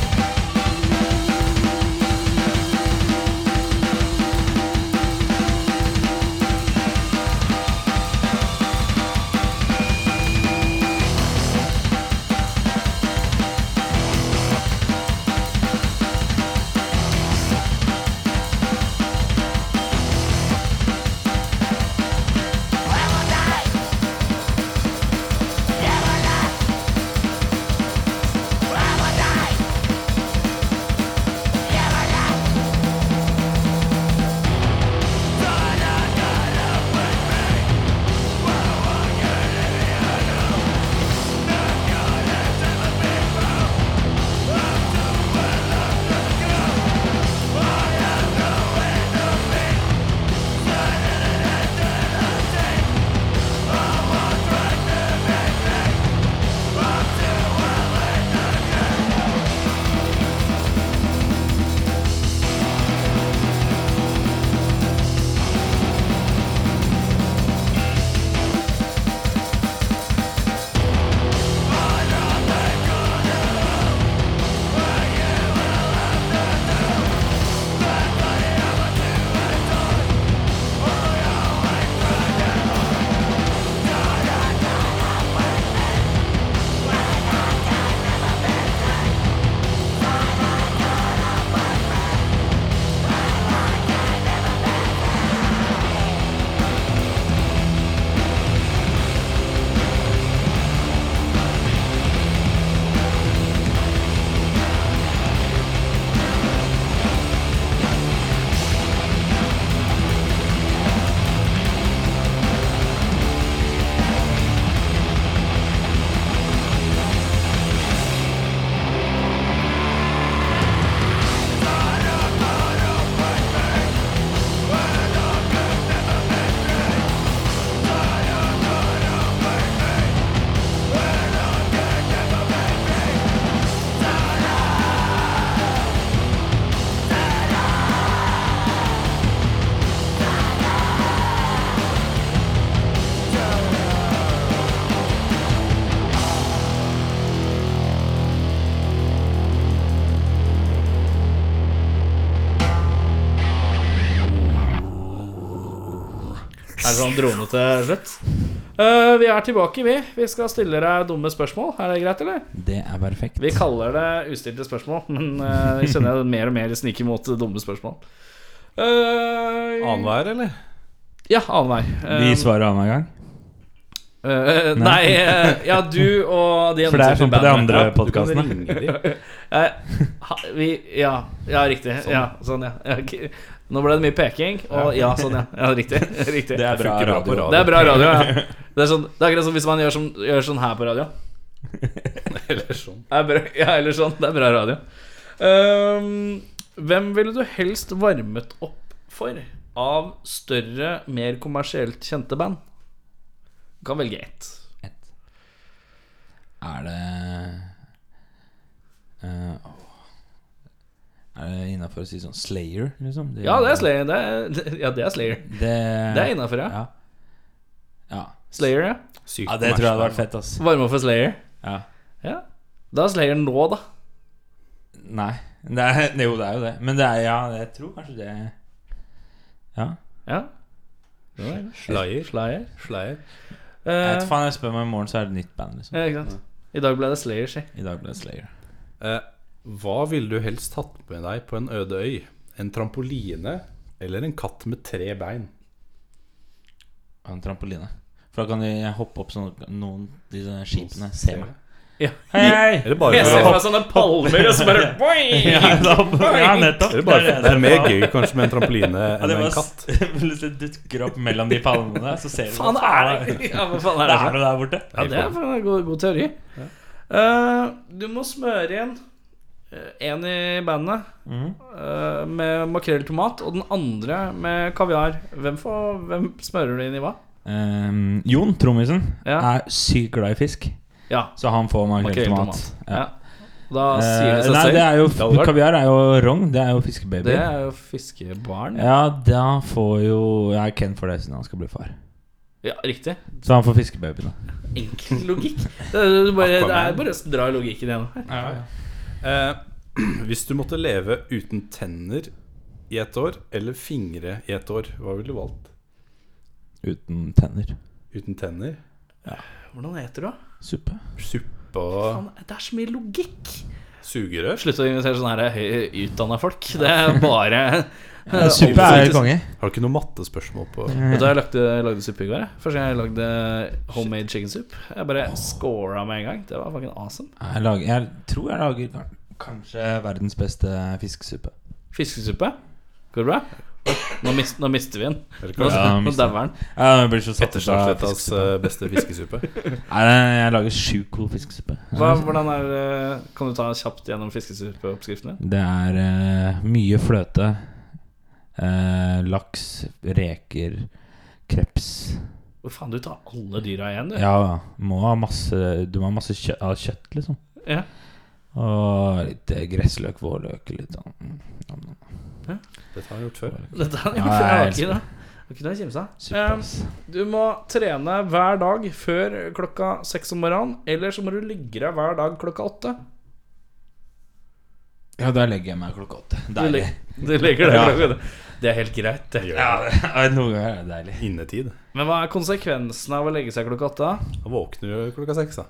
Speaker 6: Never
Speaker 2: Er det sånn dronete slutt? Eh, vi er tilbake, vi. Vi skal stille deg dumme spørsmål. Er det greit, eller?
Speaker 5: Det er perfekt.
Speaker 2: Vi kaller det ustilte spørsmål, men eh, jeg kjenner jeg mer og mer sniker mot dumme spørsmål. Uh,
Speaker 4: Annenhver, eller?
Speaker 2: Ja, annenhver. Eh,
Speaker 5: Vi svarer annenhver gang.
Speaker 2: eh, nei, eh, ja, du og de
Speaker 5: For det er sånn på de
Speaker 2: bandene.
Speaker 5: andre
Speaker 4: Ja, du kan
Speaker 5: podcastene.
Speaker 4: ringe de.
Speaker 2: Eh, ha, vi, ja, ja, riktig. Ja, sånn, ja. ja. ok. Nå ble det mye peking, og ja, sånn, ja. ja riktig. riktig.
Speaker 5: Det er bra
Speaker 4: Funker bra på
Speaker 5: radio.
Speaker 4: radio.
Speaker 2: Det er bra radio, ja. Det er, sånn, det er akkurat som hvis man gjør, sånn- gjør sånn her på radio.
Speaker 4: Eller sånn.
Speaker 2: Det Er bra, ja, eller sånn. Det er bra radio. Ehm, hvem ville du helst varmet opp for av større, mer kommersielt kjente band? Du kan velge ett.
Speaker 5: Er det eh, åh. Er det innafor å si sånn Slayer, liksom?
Speaker 2: Ja, det er Slayer. Det er, ja, det er Slayer.
Speaker 5: Det,
Speaker 2: Det er innafor, ja.
Speaker 5: Ja. Ja.
Speaker 2: Slayer, ja.
Speaker 4: Sykt
Speaker 5: ja, det tror jeg hadde vært fett, ass.
Speaker 2: Varme opp for Slayer.
Speaker 5: Ja.
Speaker 2: Ja. Da er Slayer nå, da.
Speaker 5: Nei. Det er, jo, det er jo det. Men det er, ja, jeg tror kanskje det Ja.
Speaker 2: Ja.
Speaker 4: Slayer.
Speaker 2: Slayer. Eh,
Speaker 4: Slayer.
Speaker 5: Jeg vet faen, jeg spør meg i morgen, så er det nytt band, liksom.
Speaker 2: ja, ikke sant. I dag ble det Slayer, si.
Speaker 5: I dag ble det Slayer.
Speaker 4: Eh, hva ville du helst tatt med deg på en øde øy? En trampoline eller en katt med tre bein?
Speaker 5: Og en trampoline. For da kan de hoppe opp sånn at noen de sånne skipene ser meg.
Speaker 2: Ja.
Speaker 5: Hei, hei!
Speaker 4: Eller bare
Speaker 2: Jeg ser
Speaker 4: for
Speaker 2: for
Speaker 4: å-
Speaker 2: meg sånne palmer, og så bare boing!
Speaker 5: Ja, da, ja nettopp.
Speaker 4: eller bare,
Speaker 5: Det er
Speaker 4: det er mer
Speaker 5: jeg
Speaker 4: gøy kanskje med en trampoline
Speaker 5: Ja,
Speaker 4: enn
Speaker 5: det
Speaker 4: med
Speaker 5: var
Speaker 4: en katt.
Speaker 5: Plutselig dukker opp mellom de palmene, så ser du
Speaker 2: Faen,
Speaker 5: hva
Speaker 2: er det sånn? Ja, hva faen er
Speaker 5: Det
Speaker 2: det?
Speaker 5: er
Speaker 2: for?
Speaker 5: det der borte.
Speaker 2: Ja, det er en god, god teori. Eh, du må smøre igjen én i bandet
Speaker 5: Mhm.
Speaker 2: eh, med makrell i tomat, og den andre med kaviar. Hvem, får, hvem smører du inn i hva?
Speaker 5: Ehm, Jon, trommisen,
Speaker 2: Ja.
Speaker 5: er sykt glad i fisk,
Speaker 2: Ja,
Speaker 5: så han får makrell i
Speaker 2: makrell i
Speaker 5: tomat.
Speaker 2: tomat.
Speaker 5: Ja.
Speaker 2: Ja. Da sier
Speaker 5: Eh,
Speaker 2: det seg
Speaker 5: nei,
Speaker 2: selv.
Speaker 5: det er jo,
Speaker 4: hadde vært-
Speaker 5: kaviar er jo rogn. Det er jo fiskebabyer.
Speaker 2: Det er jo fiskebarn. Ja,
Speaker 5: Ja, da får jo Ja, Ken får det siden han skal bli far.
Speaker 2: riktig.
Speaker 5: Så han får fiskebaby, da.
Speaker 2: Enkel logikk. Det er du bare, det er
Speaker 4: Aquaman.
Speaker 2: bare å dra logikken igjennom.
Speaker 4: Eh, hvis du måtte leve uten tenner i et år, eller fingre i et år, hva ville du valgt?
Speaker 5: Uten tenner.
Speaker 4: Uten tenner?
Speaker 2: Hvordan heter du, da?
Speaker 5: Suppe.
Speaker 4: Suppe og
Speaker 2: Faen, Det er så mye logikk.
Speaker 4: sugerør?
Speaker 2: Slutt å invitere sånne utdanna folk. Det er bare
Speaker 5: Suppe er helt konge.
Speaker 4: Har du ikke noe mattespørsmål på
Speaker 2: Vet du hva jeg lagde, lagde suppe i går? jeg? Første gang jeg lagde homemade chicken soup. Jeg bare scora med en gang. Det var fucking awesome.
Speaker 5: Jeg, lager, jeg tror jeg lager kan- kanskje verdens beste fiskesuppe.
Speaker 2: Fiskesuppe. Går det bra? Nå, mist, nå mister vi den.
Speaker 4: Eller
Speaker 2: Nå,
Speaker 4: kanskje
Speaker 5: Ja,
Speaker 2: nå
Speaker 5: mister
Speaker 2: dauer den.
Speaker 5: Ja, Jeg blir så satt ut av
Speaker 2: altså.
Speaker 4: Etterstartsletas
Speaker 5: fiskesuppe.
Speaker 4: beste fiskesuppe?
Speaker 5: Nei, nei, jeg lager sjukt cool fiskesuppe.
Speaker 2: Hva- Hvordan er eh, Kan du ta kjapt gjennom fiskesuppeoppskriften din?
Speaker 5: Det er eh, mye fløte. eh, laks, reker, kreps
Speaker 2: Hvor faen, du tar alle dyra igjen, du.
Speaker 5: Ja, ja. Må ha masse, du må ha masse kjøtt, av kjøtt, liksom.
Speaker 2: Ja.
Speaker 5: Og litt eh, gressløk, vårløk, litt sånn. Mm, nom, nom.
Speaker 4: Dette har jeg gjort før.
Speaker 2: Dette er
Speaker 5: Ja, jeg
Speaker 2: jo
Speaker 5: elsker
Speaker 2: ikke noe. Ikke noe å kimse av.
Speaker 5: Suppe,
Speaker 2: Eh,
Speaker 5: ass.
Speaker 2: Du må trene hver dag før klokka seks om morgenen, eller så må du ligge deg hver dag klokka åtte.
Speaker 5: Ja, der legger jeg meg klokka åtte.
Speaker 2: Du,
Speaker 5: Deilig.
Speaker 2: lig- du ligger der
Speaker 5: Ja.
Speaker 2: klokka åtte. Det er helt greit, det.
Speaker 5: Ja, det- noen ganger er det deilig.
Speaker 4: Innetid.
Speaker 2: Men hva er konsekvensen av å legge seg klokka åtte? da?
Speaker 4: Da våkner du klokka seks, da.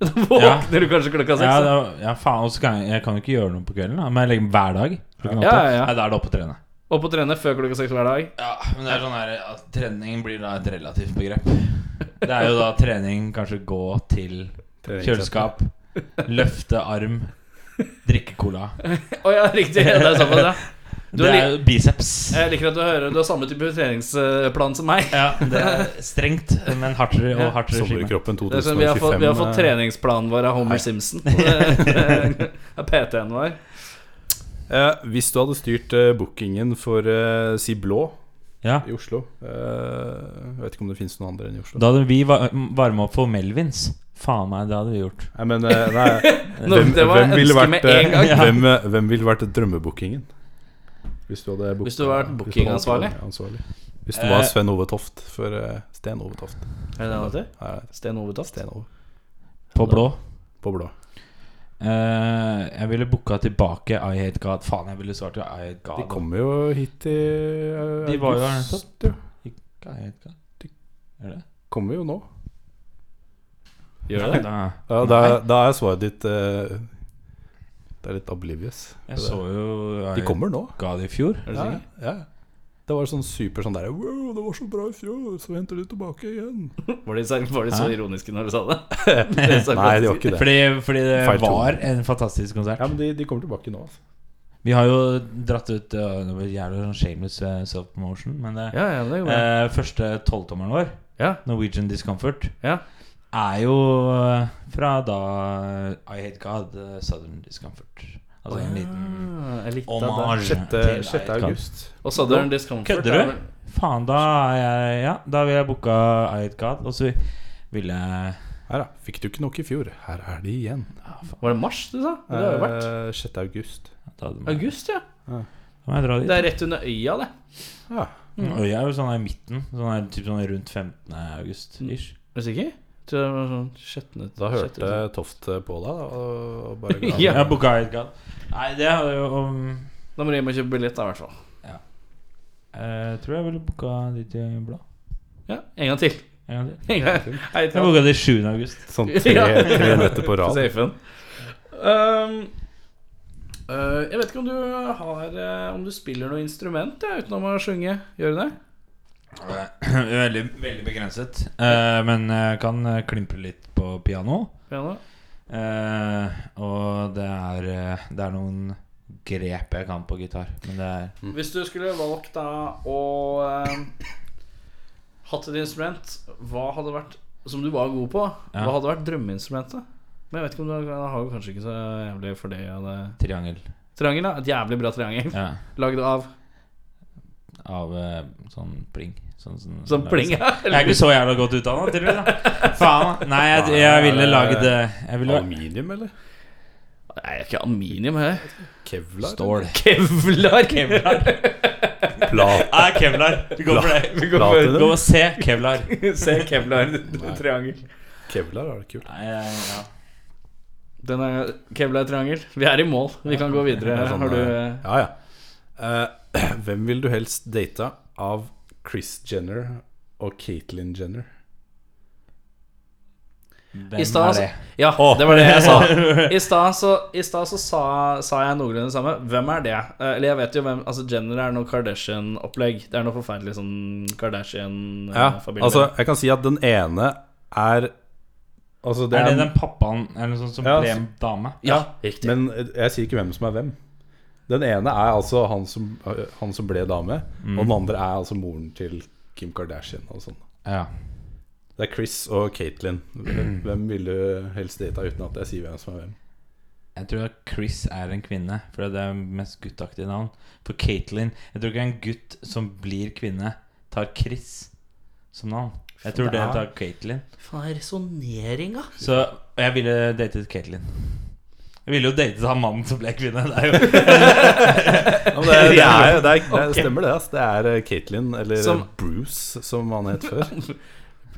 Speaker 2: Da våkner du kanskje klokka
Speaker 5: Ja,
Speaker 2: seks? da.
Speaker 5: da, ja faen, også kan jeg, jeg kan jo ikke gjøre noe på kvelden, da. Men jeg legger meg hver dag. Klokken
Speaker 2: Ja,
Speaker 5: åtte.
Speaker 2: ja, ja.
Speaker 5: Nei, da er det opp og trene.
Speaker 2: Opp og trene før klokka seks hver dag.
Speaker 5: Ja, men det er sånn her at trening blir da et relativt begrep. Det er jo da trening kanskje gå til kjøleskap, løfte arm, drikke cola.
Speaker 2: Å ja, riktig. Det er såpass, ja. Du
Speaker 5: Det
Speaker 2: har Eh.
Speaker 5: er jo biceps.
Speaker 2: Jeg liker at du hører Du har samme type treningsplan som meg.
Speaker 5: Ja, det er strengt, men hardere og hardere regime.
Speaker 4: Sommerkroppen
Speaker 2: Det er sånn, vi, har fått, vi har fått
Speaker 4: 2025.
Speaker 2: treningsplanen vår av Homer Simpson. Det er PT-en vår.
Speaker 4: Eh, hvis du hadde styrt eh, bookingen for eh, Si Blå
Speaker 5: Ja.
Speaker 4: i Oslo eh, Jeg vet ikke om det finnes noen andre enn i Oslo.
Speaker 5: Da hadde vi varma opp for Melvins. Faen meg, det hadde vi gjort.
Speaker 4: Nei, men eh, nei,
Speaker 2: Nå,
Speaker 4: hvem,
Speaker 2: det var
Speaker 4: hvem ville
Speaker 2: ønsket
Speaker 4: vært,
Speaker 2: med en gang.
Speaker 4: eh, hvem, eh, hvem ville vært drømmebookingen? Hvis du hadde
Speaker 2: Hvis du hadde vært bookingansvarlig.
Speaker 4: ansvarlig. Hvis du var
Speaker 5: Eh.
Speaker 4: Sven Ove Toft for eh, Sten Ove Toft.
Speaker 2: Er det det han heter?
Speaker 4: Her er det.
Speaker 2: Sten Ove Toft?
Speaker 4: Sten Ove
Speaker 5: På blå.
Speaker 4: på blå.
Speaker 5: Eh, jeg ville booka tilbake I Hate God. Faen, jeg ville svart jo I Hate God.
Speaker 4: De kommer jo hit i eh,
Speaker 5: De var jo her
Speaker 4: august,
Speaker 5: nettopp.
Speaker 4: jo.
Speaker 5: Ikke I Hate God. Er det?
Speaker 4: Kommer jo nå.
Speaker 5: Gjør det? Da.
Speaker 4: Ja, da, da er svaret ditt eh, Det er litt oblivious.
Speaker 5: Jeg så jo
Speaker 4: De kommer nå.
Speaker 5: Ga det i fjor. Er
Speaker 4: Ja, ja. Det var sånn super sånn der Wow, det var så bra i fjor, så henter de tilbake igjen.
Speaker 2: Var de, så- var de så ironiske når du sa det?
Speaker 4: Nei, de var ikke det.
Speaker 5: Fordi, fordi det
Speaker 4: Feil tone.
Speaker 5: var en fantastisk konsert.
Speaker 4: Ja, men de, de kommer tilbake nå. Altså.
Speaker 5: Vi har jo dratt ut øh, Det var jævlig sånn shameless øh, self-promotion, men det,
Speaker 2: Ja, ja, det gjorde jeg.
Speaker 5: eh, første tolvtommeren vår,
Speaker 2: Ja,
Speaker 5: Norwegian Discomfort,
Speaker 2: ja.
Speaker 5: er jo øh, fra da I Hate God, øh, Southern Discomfort. Altså en liten
Speaker 2: Ah, jeg likte det.
Speaker 5: hommage.
Speaker 4: 6.
Speaker 5: til I Hate God.
Speaker 4: august.
Speaker 2: Og Southern Discomfort
Speaker 5: Kødder
Speaker 2: er
Speaker 5: du?
Speaker 2: vel-
Speaker 5: Faen, da er jeg Ja, da ville jeg booka I Hate God, og så ville jeg
Speaker 4: Her, da. Fikk du ikke nok i fjor? Her er de igjen.
Speaker 2: Var det mars du sa? Det har jo vært
Speaker 4: Eh, 6. august.
Speaker 5: da hadde man-
Speaker 2: august, ja.
Speaker 5: Da må jeg dra dit.
Speaker 2: Det er rett under øya, det.
Speaker 4: Ja.
Speaker 5: Mm. Og jeg er jo sånn her i midten, sånn her, typ sånn rundt 15. august.
Speaker 2: Mm.
Speaker 5: Ish.
Speaker 2: Er du sikker? Tror jeg det var sånn sjettende
Speaker 4: Da hørte
Speaker 2: sjette-
Speaker 4: Toft eh, på deg, da, og bare ga
Speaker 5: Ja,
Speaker 4: deg-
Speaker 5: booka Hate God. Nei, det hadde jo um,
Speaker 2: Da må du hjem og kjøpe billett, da, i hvert fall.
Speaker 5: Jeg eh, tror jeg ville booka dit i blå.
Speaker 2: Ja, En gang til.
Speaker 5: En gang til.
Speaker 2: En gang. Hei,
Speaker 5: Jeg booka det 7. august.
Speaker 4: Sånn tre,
Speaker 2: Ja.
Speaker 4: tre netter på rad.
Speaker 2: Safe en. Ehm, eh, jeg vet ikke om du har eh, Om du spiller noe instrument ja, utenom å synge. Gjør du det?
Speaker 5: Veldig, veldig begrenset. Eh, men jeg kan eh, klimpre litt på piano.
Speaker 2: Piano?
Speaker 5: Eh, og det er, eh, det er noen grep jeg kan på gitar. Men det er
Speaker 2: Hvis du skulle valgt da å eh, hatt et instrument Hva hadde vært som du var god på,
Speaker 5: Ja.
Speaker 2: hva hadde vært drømmeinstrumentet? Men jeg vet ikke om du jeg har jo kanskje ikke så jævlig for det av det
Speaker 5: triangel.
Speaker 2: Triangel, da. Et jævlig bra triangel.
Speaker 5: Ja,
Speaker 2: Lagd av
Speaker 5: av eh, sånn pling. Sånn, sånn,
Speaker 2: sånn pling. ja.
Speaker 5: Jeg er ikke så jævla godt utdanna, tydeligvis. Faen. Nei, jeg, jeg ville lagd eh, Jeg ville
Speaker 4: Aluminium, eller?
Speaker 2: Nei, jeg er ikke aluminium, jeg.
Speaker 4: Kevlar?
Speaker 5: Stål.
Speaker 2: Kevlar.
Speaker 4: Plat.
Speaker 5: Nei, kevlar. Vi går for det.
Speaker 2: Vi går for-
Speaker 5: Gå
Speaker 4: Platinum?
Speaker 5: og se kevlar.
Speaker 2: Se Kevlar triangel.
Speaker 4: Kevlar er det kult.
Speaker 5: Nei, ja.
Speaker 2: Den er Kevlar triangel. Vi er i mål. Vi kan gå videre.
Speaker 4: Det er sånn,
Speaker 2: Har du
Speaker 4: eh, Ja, ja. Eh, hvem vil du helst date av Chris Jenner og Caitlyn Jenner?
Speaker 5: Hvem
Speaker 2: I stad
Speaker 5: er
Speaker 2: så-
Speaker 5: det?
Speaker 2: Ja, det var det jeg sa. I stad så, i stad så sa, sa jeg noenlunde det samme. Hvem er det? Eh, Eller jeg vet jo hvem Altså Jenner er noe Kardashian-opplegg. Det er noe forferdelig sånn
Speaker 4: Ja,
Speaker 2: Kardashian-familie.
Speaker 4: altså, jeg kan si at den ene er Altså, det
Speaker 5: Er
Speaker 4: er,
Speaker 5: det den pappaen eller noe sånt som
Speaker 4: Ja,
Speaker 5: ble dame?
Speaker 2: ja, riktig.
Speaker 4: Men jeg sier ikke hvem som er hvem. Den ene er altså han som, han som ble dame, og den andre er altså moren til Kim Kardashian og sånn.
Speaker 5: Ja.
Speaker 4: Det er Chris og Caitlyn. Hvem hvem vil du helst date uten at jeg sier hvem som er hvem?
Speaker 5: Jeg tror at Chris er en kvinne, for det er det mest guttaktige navn. For Caitlyn Jeg tror ikke en gutt som blir kvinne, tar Chris som navn. Jeg tror det tar Caitlyn.
Speaker 2: Faen, resonneringa.
Speaker 5: Så og jeg ville datet Caitlyn. Jeg ville jo datet han mannen som ble kvinne. Det er jo
Speaker 4: Ja, men det, er- det, er, det, er, det stemmer det. ass. Det er eh, Caitlyn, eller
Speaker 2: Som-
Speaker 4: Bruce, som han het før.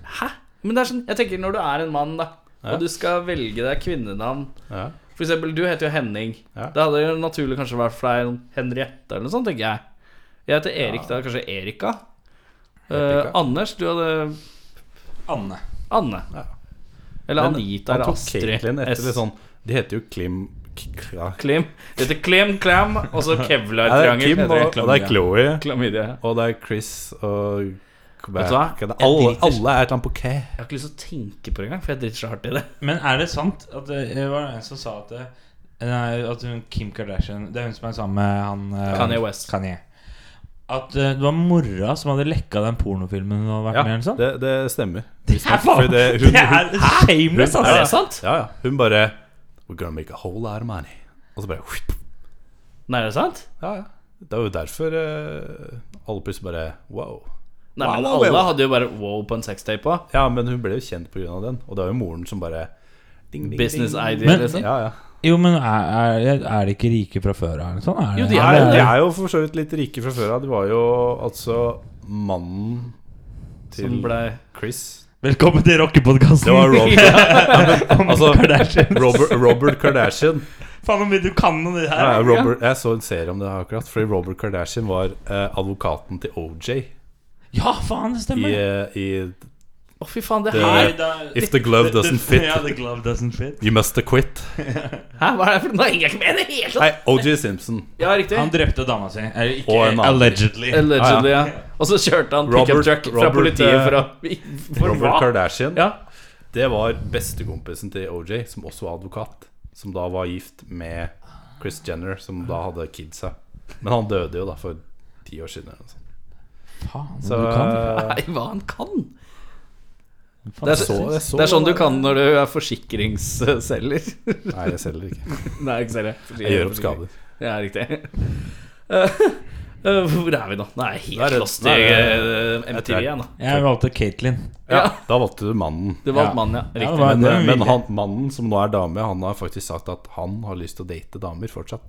Speaker 2: Hæ? Men det er sånn Jeg tenker når du er en mann, da,
Speaker 4: Ja.
Speaker 2: og du skal velge deg kvinnenavn
Speaker 4: Ja.
Speaker 2: For eksempel, du heter jo Henning.
Speaker 4: Ja.
Speaker 2: Det hadde jo naturlig kanskje vært for deg Henriette eller noe sånt, tenker jeg. Jeg heter Erik, da kanskje Erika. Eh,
Speaker 4: Erika.
Speaker 2: Anders, du hadde
Speaker 5: Anne.
Speaker 2: Anne.
Speaker 4: Ja.
Speaker 2: Eller
Speaker 4: Men
Speaker 2: Anita
Speaker 4: han
Speaker 2: eller
Speaker 4: tok
Speaker 2: Astrid.
Speaker 4: Caitlyn
Speaker 2: S.
Speaker 4: etter litt sånn De heter jo Klim K- Kla-
Speaker 2: Klim. Det heter Klim Klam, og så
Speaker 4: Ja, det er
Speaker 2: Kevlar-triangel.
Speaker 4: Kim, og,
Speaker 2: heter det.
Speaker 4: og det er Chloe,
Speaker 2: Klamydia.
Speaker 4: og det er Chris og
Speaker 2: Vet du hva?
Speaker 4: Alle,
Speaker 2: Jeg
Speaker 4: alle er
Speaker 2: driter.
Speaker 4: et eller annet på K.
Speaker 2: Jeg har ikke lyst til å tenke på det engang, for jeg driter så hardt i det.
Speaker 5: Men er det sant at det det var en som sa at, det, nei, at hun, Kim Kardashian Det er hun som er sammen med han eh,
Speaker 2: Kanye West.
Speaker 5: Kanye. At eh, det var mora som hadde lekka den pornofilmen hun hadde vært
Speaker 4: Ja,
Speaker 5: med i? eller sånn?
Speaker 4: det, det stemmer.
Speaker 5: er faen-
Speaker 4: Fordi det- hun-
Speaker 5: det er shameless,
Speaker 2: Er det
Speaker 5: altså!
Speaker 2: sant?
Speaker 4: Ja, ja. Hun bare We're gonna make a whole lot of money. Og så bare whip.
Speaker 2: Nei, er det sant?
Speaker 4: Ja, ja. Det er jo derfor eh, alle plutselig bare wow.
Speaker 2: Nei, men
Speaker 4: Wow, wow, wow.
Speaker 2: alle hadde jo bare wow på en sextape òg.
Speaker 4: Ja, men hun ble jo kjent pga. den, og det er jo moren som bare ding, ding,
Speaker 2: Business
Speaker 4: ding.
Speaker 2: idea,
Speaker 5: Men-
Speaker 2: liksom.
Speaker 4: Ja, ja.
Speaker 5: Jo, men er, er, er de ikke rike fra før av? eller Sånn? Er
Speaker 2: Jo,
Speaker 5: det-
Speaker 2: de
Speaker 4: Nei,
Speaker 2: er
Speaker 4: de
Speaker 2: jo
Speaker 4: er jo for så vidt litt rike fra før av. De var jo altså mannen til
Speaker 2: Som ble
Speaker 4: Chris.
Speaker 5: Velkommen til rockepodkasten!
Speaker 4: Det var Robert, altså,
Speaker 5: Kardashian.
Speaker 4: Robert, Robert Kardashian.
Speaker 5: Faen, hvor mye du kan om det her!
Speaker 4: Ja, Robert, jeg så en serie om det her akkurat. Fordi Robert Kardashian var eh, advokaten til OJ i,
Speaker 5: Ja, faen, det stemmer!
Speaker 4: eh, i
Speaker 2: Å, fy faen, det
Speaker 4: Det-
Speaker 2: her
Speaker 4: If the glove doesn't fit,
Speaker 5: Yeah, the glove doesn't fit.
Speaker 4: you must acquit.
Speaker 2: Hæ, hva er det for noe? Jeg henger ikke med i det hele tatt!
Speaker 4: Nei, OJ Simpson.
Speaker 2: Ja, riktig.
Speaker 5: Han drepte dama si. Eller ikke
Speaker 4: Og en annen.
Speaker 5: allegedly.
Speaker 2: Allegedly, ja. Og så kjørte han pickup
Speaker 4: Robert-
Speaker 2: truck fra
Speaker 4: Robert,
Speaker 2: politiet
Speaker 4: eh,
Speaker 2: for å For
Speaker 4: Robert
Speaker 2: hva?
Speaker 4: Kardashian.
Speaker 2: Ja.
Speaker 4: Det var bestekompisen til OJ, som også var advokat. Som da var gift med Chris Jenner, som da hadde kidsa. Men han døde jo da for ti år siden. Eller noe sånt.
Speaker 5: Faen,
Speaker 4: Så, eh,
Speaker 5: du kan.
Speaker 2: Nei, hva han kan?
Speaker 5: Faen,
Speaker 2: eh, Det er,
Speaker 4: så- jeg så-
Speaker 2: det er sånn du kan når du er forsikringsselger.
Speaker 4: Nei, jeg selger ikke.
Speaker 2: Nei, ikke ser det.
Speaker 4: Jeg gjør opp skader.
Speaker 2: Ja, riktig. Eh, eh, hvor er vi nå? Nei, helt
Speaker 4: Der er-
Speaker 2: lost i
Speaker 4: der
Speaker 2: eh,
Speaker 4: er- jeg
Speaker 2: MTV
Speaker 4: tror jeg-
Speaker 2: igjen, da.
Speaker 5: Jeg valgte Katelyn.
Speaker 4: Ja,
Speaker 2: Ja.
Speaker 4: da valgte du mannen.
Speaker 2: Det var
Speaker 5: Ja.
Speaker 2: mannen, ja.
Speaker 5: Ja, det
Speaker 2: Riktig.
Speaker 5: var-
Speaker 4: Men, eh,
Speaker 5: det var
Speaker 4: men
Speaker 5: villig.
Speaker 4: han, mannen som nå er dame, han har faktisk sagt at han har lyst til å date damer fortsatt.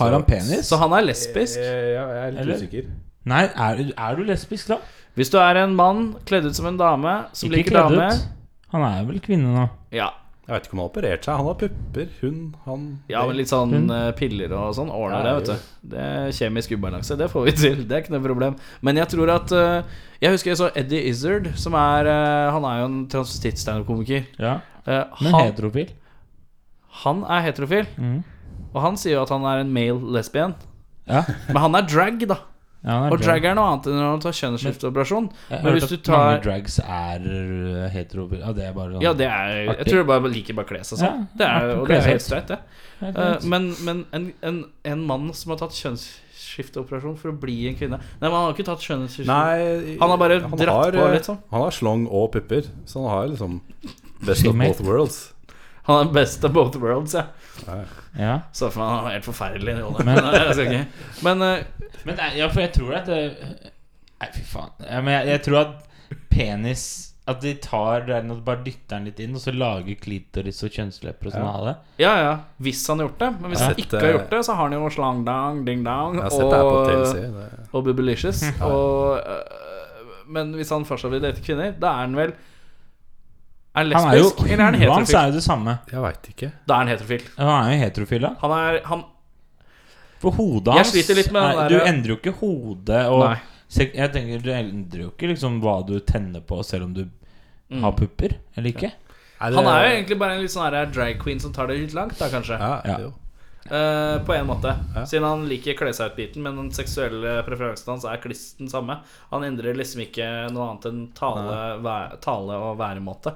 Speaker 5: Har han penis?
Speaker 2: Så han er lesbisk.
Speaker 4: Ja, jeg er
Speaker 5: Eller?
Speaker 4: usikker.
Speaker 5: Nei, er, du- er du lesbisk, da?
Speaker 2: Hvis du er en mann kledd ut som en dame som
Speaker 5: Ikke
Speaker 2: liker
Speaker 5: kledd
Speaker 2: dame
Speaker 5: ut. Han er vel kvinne nå.
Speaker 2: ja.
Speaker 4: Jeg vet ikke om han har operert seg. Han har pupper, hun, han
Speaker 2: ja, men litt sånn eh, piller og sånn ordner det,
Speaker 4: Ja, jo.
Speaker 2: vet du. Det er kjemisk ubalanse. Det får vi til. Det er ikke noe problem. Men jeg tror at eh, Jeg husker jeg så Eddie Izzard, som er eh, Han er jo en transvestitt-standup-komiker.
Speaker 5: Ja,
Speaker 2: Eh,
Speaker 5: Men
Speaker 2: han,
Speaker 5: heterofil.
Speaker 2: han er heterofil,
Speaker 5: Mhm.
Speaker 2: og han sier jo at han er en male lesbian.
Speaker 5: Ja.
Speaker 2: Men han er drag, da.
Speaker 5: Ja, han er
Speaker 2: Og drag er noe annet enn når du tar kjønnsskifteoperasjon.
Speaker 5: Jeg har
Speaker 2: Men
Speaker 5: hørt
Speaker 2: hvis du
Speaker 5: at
Speaker 2: tar
Speaker 5: mange drags er uh, heterofil. Ja, det er bare sånn-
Speaker 2: Ja, det er Jeg
Speaker 5: Artig.
Speaker 2: tror jeg bare liker bare å kle seg sånn.
Speaker 5: Ja,
Speaker 2: Det er,
Speaker 5: artig å
Speaker 2: og det
Speaker 5: kle
Speaker 2: er
Speaker 5: seg
Speaker 2: helt streit, det.
Speaker 5: Helt
Speaker 2: Eh,
Speaker 5: greit.
Speaker 2: Men, men en, en, en mann som har tatt kjønnsskifteoperasjon for å bli en kvinne Nei, men han har ikke tatt kjønnsskifte...
Speaker 4: Nei,
Speaker 2: Han har bare dratt på
Speaker 4: eh,
Speaker 2: litt sånn.
Speaker 4: Han har slong og pupper, så han har liksom best of
Speaker 5: Skimmet.
Speaker 4: both worlds.
Speaker 2: Han er best of both worlds, ja.
Speaker 5: ja.
Speaker 2: Så for han er helt forferdelig. i rollen. Nei, jeg skal ikke. Men eh,
Speaker 5: Men det er- ja, for jeg tror at det, Nei, fy faen. Ja, men jeg, jeg tror at penis At de tar den og bare dytter den litt inn, og så lager klitoris og kjønnslepper og sånn
Speaker 4: Ja.
Speaker 5: av det.
Speaker 2: ja, ja. Hvis han har gjort det. Men hvis
Speaker 4: Jeg har
Speaker 2: han
Speaker 4: sett,
Speaker 2: ikke har
Speaker 4: eh,
Speaker 2: gjort det, så har han jo slangdang, dingdang
Speaker 4: Jeg har sett det her på
Speaker 2: og,
Speaker 4: TLC. Det.
Speaker 2: og Boobylicious. Og, eh, men hvis han fortsatt vil date kvinner, da er han vel Er han
Speaker 5: Han er jo
Speaker 2: lesbisk, eller er han
Speaker 5: Hans
Speaker 2: heterofil?
Speaker 5: er jo det samme.
Speaker 4: Jeg veit ikke.
Speaker 2: Da er han heterofil.
Speaker 5: Han er jo heterofil, da.
Speaker 2: Han er, han,
Speaker 5: For hodet
Speaker 2: Jeg
Speaker 5: hans
Speaker 2: sliter litt med den
Speaker 5: er-
Speaker 2: der-
Speaker 5: Du endrer jo ikke hodet og
Speaker 2: Nei.
Speaker 5: sek- Jeg tenker Du endrer jo ikke liksom hva du tenner på, selv om du
Speaker 2: Mm.
Speaker 5: har pupper eller ikke.
Speaker 2: han er jo egentlig bare en litt sånn her drag queen som tar det litt langt, da kanskje.
Speaker 4: ja,
Speaker 5: Ja.
Speaker 4: jo.
Speaker 2: Eh, på en måte. Siden han liker kle seg ut-biten, men den seksuelle preferansen hans er kliss den samme. Han endrer liksom ikke noe annet enn tale, væ- tale og væremåte.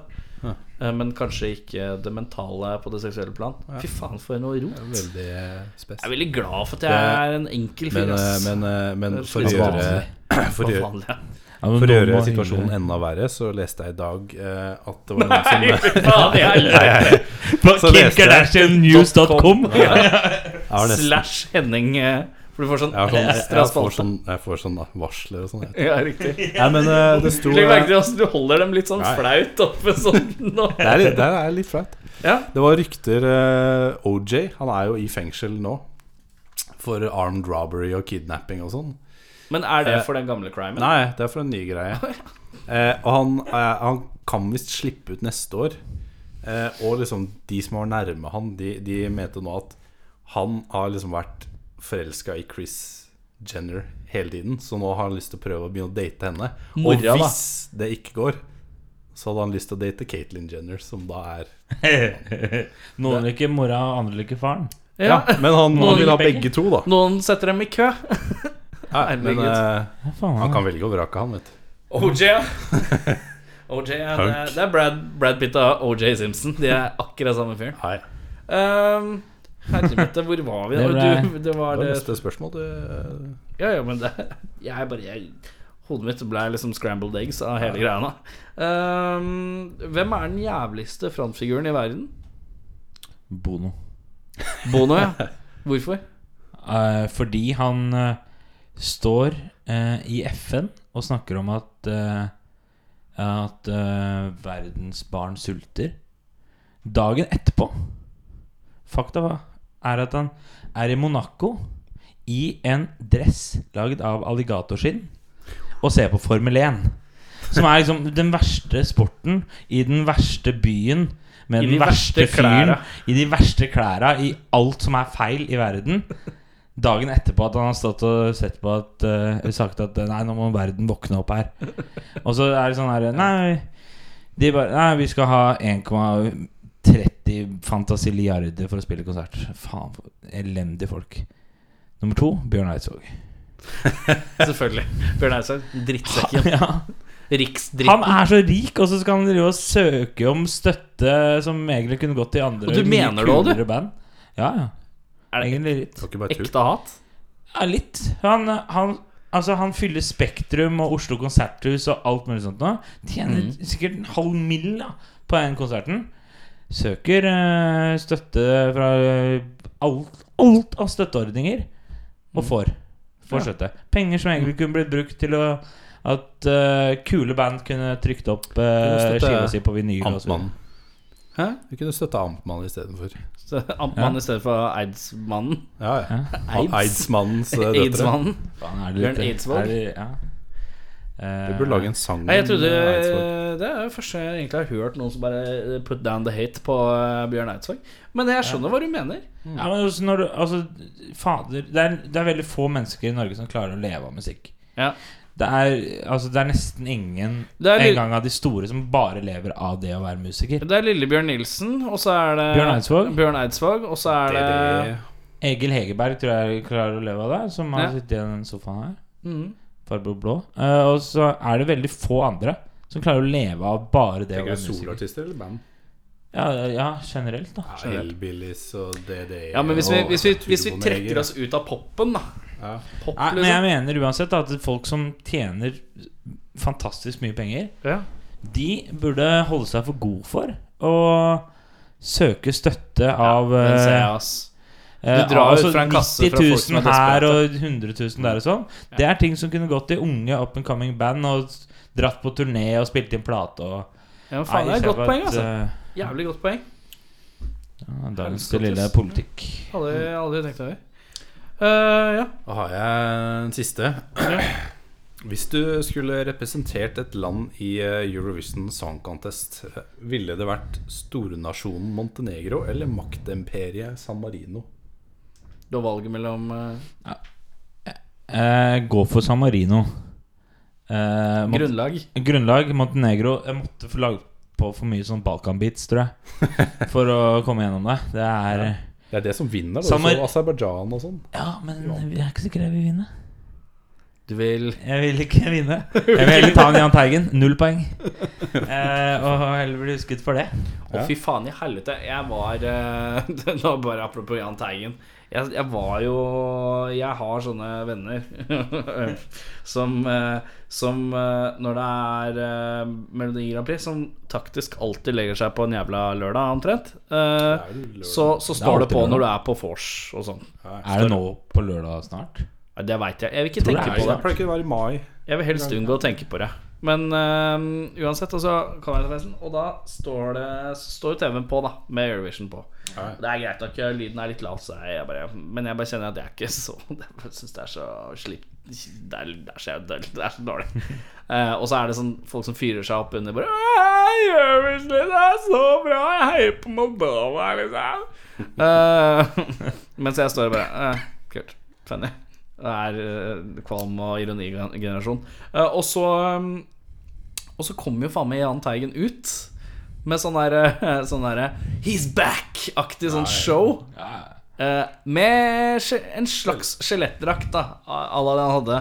Speaker 2: Eh, men kanskje ikke det mentale på det seksuelle plan. Fy faen, for noe rot. Jeg
Speaker 4: Veldig eh, spes.
Speaker 2: er veldig glad for at jeg
Speaker 4: Det-
Speaker 2: er en enkel fyr,
Speaker 4: Men, eh,
Speaker 2: ass.
Speaker 4: men, eh, men
Speaker 2: Det er
Speaker 4: for å
Speaker 2: litt
Speaker 4: gjøre for å
Speaker 2: Hva
Speaker 4: gjøre
Speaker 2: faen, ja.
Speaker 5: Ja, men
Speaker 4: for å
Speaker 5: noen
Speaker 4: gjøre
Speaker 5: må
Speaker 4: situasjonen
Speaker 5: hylle.
Speaker 4: enda verre, så leste jeg i dag eh, at det var noen som
Speaker 2: Ja, det er
Speaker 5: På
Speaker 4: Så leste jeg-
Speaker 5: kimkardashiannews.com.
Speaker 4: Jeg har nesten-
Speaker 2: Slash Henning. eh, For du får sånn
Speaker 4: jeg har sånn,
Speaker 2: ekstra
Speaker 4: jeg får
Speaker 2: spalte.
Speaker 4: sånn, jeg får sånn varsler og sånn. jeg.
Speaker 2: Ja, riktig.
Speaker 4: Nei, men eh, det sto
Speaker 2: Legg
Speaker 4: eh,
Speaker 2: merke til hvordan du holder dem litt sånn
Speaker 4: Nei.
Speaker 2: flaut oppe sånn nå.
Speaker 4: Det er litt, det er litt flaut.
Speaker 2: Ja.
Speaker 4: Det var rykter eh, OJ, han er jo i fengsel nå for armed robbery og kidnapping og sånn.
Speaker 2: Men er det
Speaker 4: Eh,
Speaker 2: for den gamle crimen?
Speaker 4: Nei, det er for en ny greie. Eh, og han, eh, han kan visst slippe ut neste år. Eh, og liksom de som var nærme han, de, de mente nå at han har liksom vært forelska i Chris Jenner hele tiden. Så nå har han lyst til å prøve å begynne å date henne.
Speaker 2: Mora, da.
Speaker 4: og hvis det ikke går, så hadde han lyst til å date Caitlyn Jenner, som da er
Speaker 5: Noen liker mora, og andre liker faren.
Speaker 2: Ja.
Speaker 4: Men han,
Speaker 5: Noen
Speaker 4: han vil ha
Speaker 5: begge.
Speaker 4: begge to, da.
Speaker 2: Noen setter dem i kø.
Speaker 4: Nei, men
Speaker 2: Herregud.
Speaker 4: eh,
Speaker 5: Ja, faen,
Speaker 4: han kan velge å vrake, han, vet du.
Speaker 2: OJ, ja. OJ, ja, det, er-
Speaker 4: Hunk.
Speaker 2: det er Brad, Brad Pitt og OJ Simpson. De er akkurat samme fyren.
Speaker 4: Nei,
Speaker 2: Um, Helvete, hvor var vi?
Speaker 5: Det
Speaker 2: da?
Speaker 5: ble-
Speaker 2: Du, det var
Speaker 4: det var
Speaker 2: det
Speaker 4: neste spørsmål, du.
Speaker 2: Ja, ja, men det Jeg er bare jeg, Hodet mitt ble liksom scrambled eggs av hele greia nå. Um, hvem er den jævligste frontfiguren i verden?
Speaker 5: Bono.
Speaker 2: Bono, ja. Hvorfor?
Speaker 5: Eh, fordi han eh, står eh, i FN og snakker om at eh, At eh, verdens barn sulter. Dagen etterpå Fakta var er at han er i Monaco i en dress lagd av alligatorskinn og ser på Formel 1. Som er liksom den verste sporten i den verste byen
Speaker 2: I
Speaker 5: med
Speaker 2: de
Speaker 5: den verste,
Speaker 2: verste
Speaker 5: fyren
Speaker 2: klæra.
Speaker 5: i de verste klæra i alt som er feil i verden. Dagen etterpå at han har stått og sett på at eh, sagt at eh, nei, nå må verden våkne opp her. Og så er det sånn her Nei, De bare Nei, vi skal ha 1,30 fantasiliarder for å spille konsert. Faen, for elendige folk. Nummer to Bjørn Eidsvåg.
Speaker 2: Selvfølgelig. Bjørn Eidsvåg. Drittsekken.
Speaker 5: Ja. Han
Speaker 2: Riksdritten.
Speaker 5: er så rik, og så skal han drive og søke om støtte som egentlig kunne gått til andre
Speaker 2: Og du
Speaker 5: mye
Speaker 2: mener det også, du?
Speaker 5: kulere band. Ja, ja.
Speaker 2: Er det
Speaker 5: Egentlig litt.
Speaker 4: var ikke bare tull.
Speaker 2: Ekte hat.
Speaker 5: Ja, litt. Han, han, altså, han fyller Spektrum og Oslo Konserthus og alt mulig sånt nå. Tjener
Speaker 2: Mhm.
Speaker 5: sikkert en halv mill. da, på den konserten. Søker eh, støtte fra eh, alt, alt av støtteordninger, og
Speaker 2: Mhm.
Speaker 5: får. Får støtte. Penger som egentlig kunne blitt brukt til å at eh, kule band kunne trykt opp uh,
Speaker 2: Kunne støtte
Speaker 5: skiva si på vinyl. og så videre.
Speaker 4: Amtmannen.
Speaker 2: Hæ?
Speaker 4: Vi kunne støtta Amtmannen istedenfor.
Speaker 2: Så Amtmann i stedet for Eidsmannen.
Speaker 4: Ja, ja. Han
Speaker 2: Eids.
Speaker 4: Eidsmannens eh, døtre.
Speaker 2: Aidsmannen.
Speaker 5: Faen, er det
Speaker 2: Bjørn
Speaker 5: litt-
Speaker 2: Eidsvåg?
Speaker 5: er det- Ja. Eh,
Speaker 4: Vi burde lage en sang
Speaker 2: Nei, jeg trodde
Speaker 5: Mm,
Speaker 4: om Eidsvåg.
Speaker 2: Det er jo første jeg egentlig har hørt noen som bare eh, put down the hate på eh, Bjørn Eidsvåg. Men jeg skjønner hva du mener.
Speaker 5: Ja, men også når du, altså, fader, det, er, det er veldig få mennesker i Norge som klarer å leve av musikk.
Speaker 2: Ja.
Speaker 5: Det er, altså, det er nesten ingen
Speaker 2: Det er litt-
Speaker 5: engang av de store som bare lever av det å være musiker.
Speaker 2: Det er Lillebjørn Nilsen, og så er det
Speaker 5: Bjørn Eidsvåg.
Speaker 2: Bjørn Eidsvåg, og så er
Speaker 4: Det
Speaker 2: det,
Speaker 4: er det-
Speaker 5: Egil Hegerberg tror jeg klarer å leve av det, som har
Speaker 2: Ja.
Speaker 5: sittet i den sofaen her.
Speaker 2: Mhm.
Speaker 5: Farbror blå. Eh, og så er det veldig få andre som klarer å leve av bare det å
Speaker 4: Tenker
Speaker 5: være
Speaker 4: du
Speaker 5: musiker.
Speaker 4: soloartister eller band?
Speaker 5: Ja, ja, generelt, da.
Speaker 4: Hellbillies og DDE
Speaker 2: Ja, men hvis vi,
Speaker 4: og
Speaker 2: hvis, vi, hvis vi
Speaker 4: Turboneger.
Speaker 2: trekker oss ut av poppen, da
Speaker 4: ja.
Speaker 2: Pop,
Speaker 5: Nei, men jeg
Speaker 2: liksom.
Speaker 5: mener uansett at folk som tjener fantastisk mye penger,
Speaker 2: Ja.
Speaker 5: de burde holde seg for god for å søke støtte av
Speaker 2: Den ser
Speaker 5: eh,
Speaker 2: jeg, ass.
Speaker 5: eh,
Speaker 2: Du drar
Speaker 5: altså
Speaker 2: ut fra en kasse fra
Speaker 5: 90
Speaker 2: folk som
Speaker 5: 000
Speaker 2: er
Speaker 5: her
Speaker 2: desperate.
Speaker 5: og 100 000 der og sånn. Det er ting som kunne gått til unge up and coming band og s- dratt på turné og spilt inn plate og
Speaker 2: Ja, men faen, det er
Speaker 5: Nei,
Speaker 2: et godt
Speaker 5: kjempe-
Speaker 2: poeng, altså.
Speaker 5: eh,
Speaker 2: Jævlig godt poeng.
Speaker 5: ja, Dagens
Speaker 2: Helskottes.
Speaker 5: lille politikk.
Speaker 2: Hadde jeg
Speaker 5: Mm.
Speaker 2: aldri tenkt over. Eh, ja.
Speaker 4: Da har jeg en siste. Hvis du skulle representert et land i eh, Eurovision Song Contest, eh, ville det vært stornasjonen Montenegro eller maktimperiet San Marino?
Speaker 2: Du har valget mellom eh,
Speaker 5: Eh, gå for San Marino. Eh, Mont-
Speaker 2: grunnlag.
Speaker 5: Grunnlag, Montenegro Jeg måtte få lage på for mye sånn Balkan-beats, tror jeg. For å komme gjennom det. Det er
Speaker 4: Det
Speaker 5: Ja,
Speaker 4: er det som vinner, da.
Speaker 5: San Mar-
Speaker 4: Som Aserbajdsjan og sånn.
Speaker 5: men jeg er ikke sikker jeg vil vinne.
Speaker 2: Du vil
Speaker 5: Jeg vil ikke vinne. Jeg vil heller ta en Jahn Teigen. Null poeng. Eh, og heller bli husket for det.
Speaker 2: Å, fy faen i helvete. Jeg var eh, Nå bare apropos Jahn Teigen. Jeg, jeg var jo Jeg har sånne venner som, eh, som eh, når det er eh, Melodi Grand Prix, som taktisk alltid legger seg på en jævla lørdag, omtrent. Eh,
Speaker 4: Det er jo lørdag.
Speaker 2: så, så står det,
Speaker 5: alltid
Speaker 2: på
Speaker 5: lørdag.
Speaker 2: når du er på vors og sånn.
Speaker 5: Er det nå på lørdag snart?
Speaker 2: Nei, Det veit jeg. Jeg vil ikke
Speaker 5: Tror
Speaker 2: tenke
Speaker 5: det
Speaker 2: på
Speaker 5: er
Speaker 4: Det
Speaker 2: det.
Speaker 4: pleier ikke å være i mai.
Speaker 2: Jeg vil helst unngå å tenke på det. Men eh, uansett, altså, kan jeg ta festen, og da står, det, så står jo TV-en på, da, med Eurovision på.
Speaker 4: Ja.
Speaker 2: Det er greit nok, lyden er litt lav, så jeg bare, men jeg bare kjenner at jeg er ikke så Jeg syns det er så slipp... Det er, det er, så, det er, det er så dårlig. Eh, og så er det sånn folk som fyrer seg opp under bare «Åh, Eurovision, det er så bra! Jeg heier på Moldova, liksom. Eh, mens jeg står og bare eh, Kult. Funny. Det er eh, kvalm- og ironigenerasjon. Eh, og så um, Og så kommer jo faen meg Jahn Teigen ut med sånn derre sånn der, He's back-aktig sånn show. Eh, med skje- en slags skjelettdrakt, da, à la det han hadde.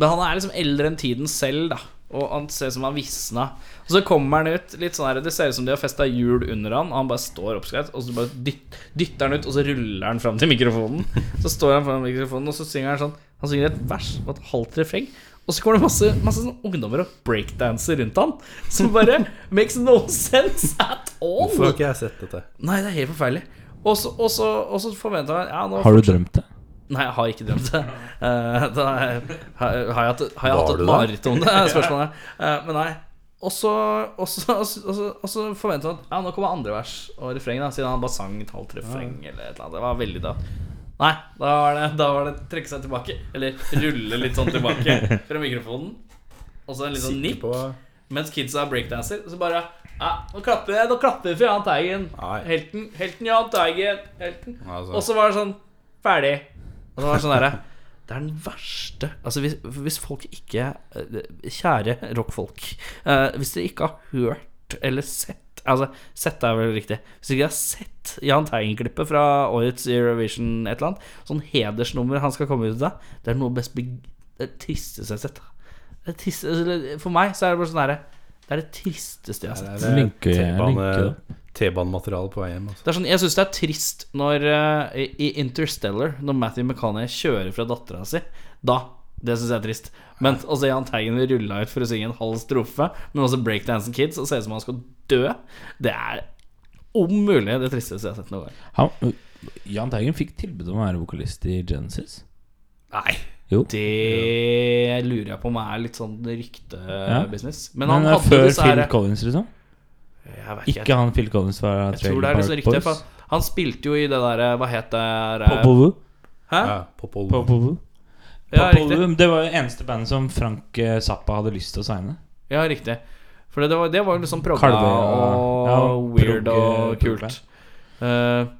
Speaker 2: Men han er liksom eldre enn tiden selv, da. Og han ser ut som han visna. Og så kommer han ut litt sånn her Det ser ut som de har festa hjul under han, og han bare står oppskrevet. Og så bare dytt, dytter han ut, og så ruller han fram til mikrofonen. Så står han foran mikrofonen, og så synger han sånn Han synger et vers og et halvt refreng. Og så kommer det masse, masse sånn ungdommer og breakdanser rundt han, som bare makes no sense at all.
Speaker 4: Hvorfor har ikke jeg sett dette?
Speaker 2: Nei, det er helt forferdelig. Og så- og så og så forventa jeg ja, nå
Speaker 5: Har du drømt det?
Speaker 2: Nei, jeg har ikke drømt det. Eh, da er- har, har jeg hatt, har jeg
Speaker 4: Var
Speaker 2: hatt
Speaker 4: du
Speaker 2: et
Speaker 4: det?
Speaker 2: mareritt om det? er Spørsmålet. Eh, men nei. Og så, og så, og så, og så forventa han at ja, nå kommer andre vers og refreng, da, siden han bare sang et halvt refreng eller et eller annet. Det var veldig da Nei, da var det, da var det trekke seg tilbake. Eller rulle litt sånn tilbake fra mikrofonen. Og så en litt sånn nikk.
Speaker 4: På
Speaker 2: Mens kidsa er breakdanser, så bare ja, Nå klapper jeg, nå klapper vi for Jahn Teigen.
Speaker 4: Nei.
Speaker 2: Helten, helten Jahn Teigen. Helten.
Speaker 4: Altså.
Speaker 2: Og så var det sånn Ferdig. Og så var det sånn derre Det er den verste Altså, hvis, hvis folk ikke eh, Kjære rockfolk. eh, hvis dere ikke har hørt hørt eller sett Altså, sett er vel riktig. Hvis ikke jeg har sett Jahn Teigen-klippet fra årets Eurovision et eller annet, sånn hedersnummer han skal komme ut av, det er noe best be det er det tristeste jeg har sett. Det triste, altså, for meg så er det bare sånn herre Det er det tristeste jeg har sett.
Speaker 4: Det er
Speaker 5: Linker jeg-
Speaker 4: T-bane-
Speaker 5: linker
Speaker 4: T-banemateriale på vei hjem. Altså.
Speaker 2: Det er sånn, jeg syns det er trist når eh, i i Interstellar, når Matthew McCanny kjører fra dattera si. Da. Det syns jeg er trist. Men å se Jahn Teigen rulla ut for å synge en halv strofe, men også Breakdancing Kids, og se ut som han skal dø, det er om mulig det tristeste jeg har sett noen gang.
Speaker 5: Han, Jahn Teigen fikk tilbud om å være vokalist i Genesis.
Speaker 2: Nei.
Speaker 5: Jo.
Speaker 2: Det lurer jeg på om er litt sånn ryktebusiness. Men han
Speaker 5: Men, eh,
Speaker 2: hadde
Speaker 5: før
Speaker 2: disse her
Speaker 5: Phil Collins, liksom?
Speaker 2: Jeg vet
Speaker 5: Ikke han Phil Collins fra
Speaker 2: Jeg tror det er liksom
Speaker 5: Trailer
Speaker 2: rykte.
Speaker 5: Park
Speaker 2: For
Speaker 5: Boys?
Speaker 2: han- han spilte jo i det derre Hva het det? eh,
Speaker 5: Popovu?
Speaker 2: Hæ?
Speaker 4: Ja, på Pol-
Speaker 5: Popovu?
Speaker 2: Ja, riktig.
Speaker 5: Popovu, Det var jo eneste bandet som Frank eh, Zappa hadde lyst til å signe.
Speaker 2: Ja, riktig. For det var, det var jo liksom progga
Speaker 5: Kalve, ja.
Speaker 2: og
Speaker 5: Ja,
Speaker 2: weird
Speaker 5: prog-
Speaker 2: og
Speaker 5: progga.
Speaker 2: kult. Eh,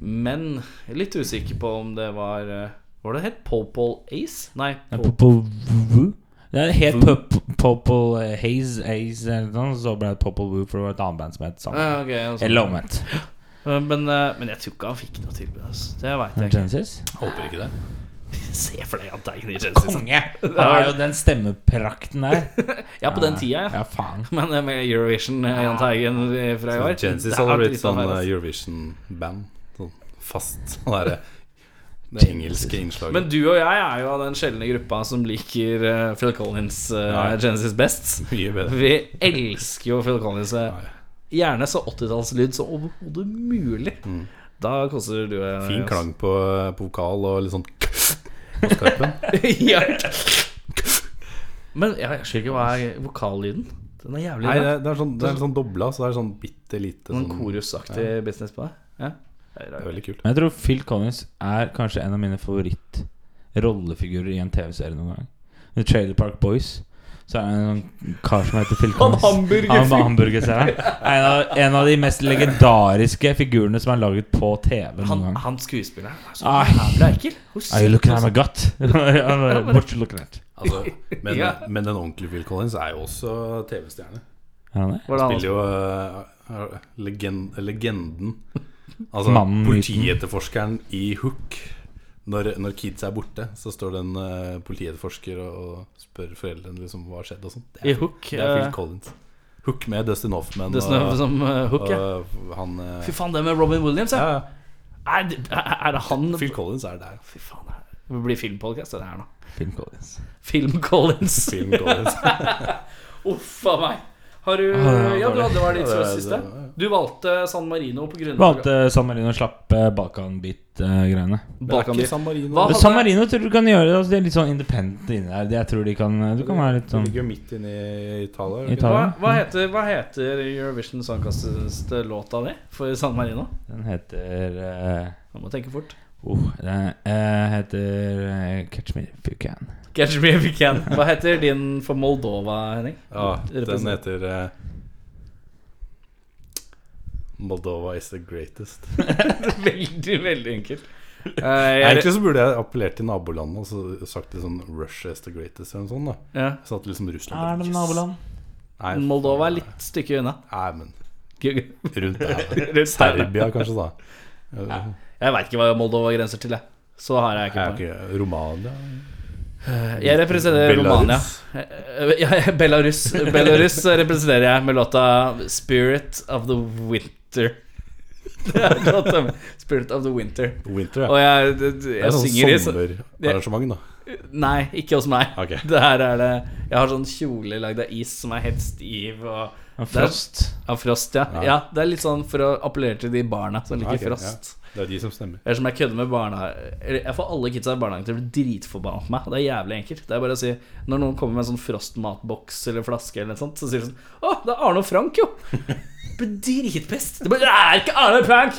Speaker 2: men jeg er litt usikker på om det var eh, Var det helt Popol Ace? Nei.
Speaker 5: Nei,
Speaker 2: Pol
Speaker 5: Popovu? Det er helt Pop- Popol eh, Haze Ace eller noe sånt, så ble det Popovu for det var et annet band som het Zappa.
Speaker 2: Eh, ok, altså.
Speaker 5: Eller omvendt.
Speaker 2: Eh, men, eh, men jeg tror ikke han fikk noe tilbud. Altså. Det veit jeg ikke.
Speaker 5: Genesis?
Speaker 4: Håper ikke det.
Speaker 2: Se for deg at det er ikke Genesis.
Speaker 5: Konge! Det er jo den stemmeprakten der.
Speaker 2: Ja, på den tida, ja.
Speaker 5: Ja, faen.
Speaker 2: Men eh, med Eurovision, eh, Jahn Teigen eh, fra i år
Speaker 4: Genesis
Speaker 2: det er
Speaker 4: hadde blitt
Speaker 2: liksom
Speaker 4: sånn
Speaker 2: her,
Speaker 4: eh,
Speaker 2: altså.
Speaker 4: Eurovision-band. Sånn fast. Sånn derre det engelske innslaget.
Speaker 2: Men du og jeg er jo av den sjeldne gruppa som liker eh, Phil Collins eh,
Speaker 4: Ja.
Speaker 2: Genesis best.
Speaker 4: Mye bedre.
Speaker 2: Vi elsker jo Phil Collins. eh, Gjerne så 80-tallslyd som overhodet mulig. Da koser du deg.
Speaker 4: Mm. Fin klang på, på vokal og litt sånn på skarpen.
Speaker 2: ja. Men jeg husker ikke hva er vokallyden. Den er jævlig
Speaker 4: Nei, det
Speaker 2: rar.
Speaker 4: er, det er sånn, det er sånn dobla, så det er sånn bitte lite
Speaker 2: Sånn
Speaker 4: sånn
Speaker 2: korusaktig business på det. Ja. Det er
Speaker 4: Det er
Speaker 2: rart.
Speaker 4: veldig kult.
Speaker 5: Men jeg tror Phil Collins er kanskje en av mine favorittrollefigurer i en TV-serie noen gang. I Trailer Park Boys så er det en sånn kar som heter Phil Collins.
Speaker 2: hamburgerfyr.
Speaker 5: Han var hamburgerselgeren. En, av- en av de mest legendariske figurene som er laget på TV noen
Speaker 2: Han,
Speaker 5: gang.
Speaker 2: han skuespilleren er så
Speaker 5: Ah.
Speaker 2: jævlig ekkel. Hvor
Speaker 5: Are you looking
Speaker 2: sykt-
Speaker 5: at my gut? What you looking at?
Speaker 4: Altså, men,
Speaker 2: Ja.
Speaker 4: men den ordentlige Phil Collins er jo også TV-stjerne.
Speaker 5: Er han det?
Speaker 2: Var det han
Speaker 4: Spiller jo eh, legen, legenden. Altså
Speaker 5: Mannen uten-
Speaker 4: politietterforskeren i Hook. Når, når kids er borte, så står det en eh, politietterforsker og, og spør foreldrene liksom, hva har skjedd. og sånt.
Speaker 2: I Hook,
Speaker 4: Det er
Speaker 2: eh,
Speaker 4: Phil Collins. Hook med Dustin Hoffman.
Speaker 2: Det snø
Speaker 4: og,
Speaker 2: som eh, hook, ja.
Speaker 4: og han eh,
Speaker 2: Fy faen, det med Robin Williams,
Speaker 4: ja,
Speaker 2: ja.
Speaker 4: ja.
Speaker 2: Er, det- er det han
Speaker 4: Phil Collins er der.
Speaker 2: Fy faen, det blir filmpodkast, det her nå.
Speaker 5: Phil Collins.
Speaker 2: Film Collins.
Speaker 4: Phil Collins.
Speaker 2: Uff a meg. Har du
Speaker 5: det var
Speaker 2: Ja, du hadde vært ditt
Speaker 4: Ja, det-
Speaker 2: siste.
Speaker 4: det- ja.
Speaker 2: Du valgte San Marino på grunnlag
Speaker 5: Valgte eh, San Marino eh, å slappe Balkan-beat-greiene.
Speaker 4: Det er
Speaker 2: Balkan
Speaker 4: ikke
Speaker 2: Beef.
Speaker 4: San Marino.
Speaker 2: Hva?
Speaker 4: det.
Speaker 5: eh, San Marino tror du kan gjøre det. Altså, de er litt sånn independent inni der. Jeg tror de kan Du kan være litt
Speaker 4: Det
Speaker 5: sånn
Speaker 4: ligger jo midt inne i Italia. gjør det ikke
Speaker 5: Italia.
Speaker 2: Hva, hva, heter, hva heter Eurovision Sangkasteste låta di for San Marino?
Speaker 5: Den heter eh,
Speaker 2: Du må tenke fort.
Speaker 5: oh, Den eh, heter eh, Catch Me If You Can.
Speaker 2: Catch me if you can. Hva heter din for Moldova, Henning?
Speaker 4: det? Ja, den
Speaker 2: Represent-
Speaker 4: heter eh, Moldova is the greatest.
Speaker 2: Veldig, veldig enkelt. Eh, jeg,
Speaker 4: Egentlig så burde jeg appellert til nabolandet og så sagt det sånn Russia is the greatest eller noe sånt. da
Speaker 2: ja.
Speaker 4: Så at liksom Russland
Speaker 5: Er det
Speaker 4: yes.
Speaker 5: naboland?
Speaker 4: Nei,
Speaker 2: Moldova er litt stykke unna.
Speaker 4: Nei, men
Speaker 2: Gugge.
Speaker 4: rundt der.
Speaker 2: Rundt der.
Speaker 4: Serbia, kanskje, da. Eh,
Speaker 2: Jeg veit ikke hva Moldova grenser til, jeg. Så har jeg ikke
Speaker 4: ja,
Speaker 2: på.
Speaker 4: ok, Romania
Speaker 2: Jeg representerer Romania.
Speaker 4: Belarus.
Speaker 2: Eh, Ja, Belarus. Belarus representerer jeg med låta 'Spirit of the Winter'. Det er låta med 'Spirit of the Winter'.
Speaker 4: Winter, ja.
Speaker 2: Og jeg, det- det-
Speaker 4: Det
Speaker 2: jeg
Speaker 4: er
Speaker 2: synger i
Speaker 4: sånn
Speaker 2: så-
Speaker 4: sommerarrangement, da.
Speaker 2: Nei, ikke hos meg.
Speaker 4: Ok.
Speaker 2: Det her er det Jeg har sånn kjole lagd av is som er helt stiv og
Speaker 5: Og Frost.
Speaker 2: Av frost, ja. ja.
Speaker 4: Ja.
Speaker 2: Det er litt sånn for å appellere til de barna som liker
Speaker 4: Ok, ja.
Speaker 2: frost.
Speaker 4: Det er de som stemmer.
Speaker 2: Eller som jeg kødder med barna eller Jeg får alle kidsa i barnehagen til å bli dritforbanna på meg. Det er jævlig enkelt. Det er bare å si Når noen kommer med en sånn frostmatboks eller flaske eller noe sånt, så sier de sånn Å, det er Arne og Frank, jo! Det blir Dritpest! Det, blir, det er ikke Arne og Frank!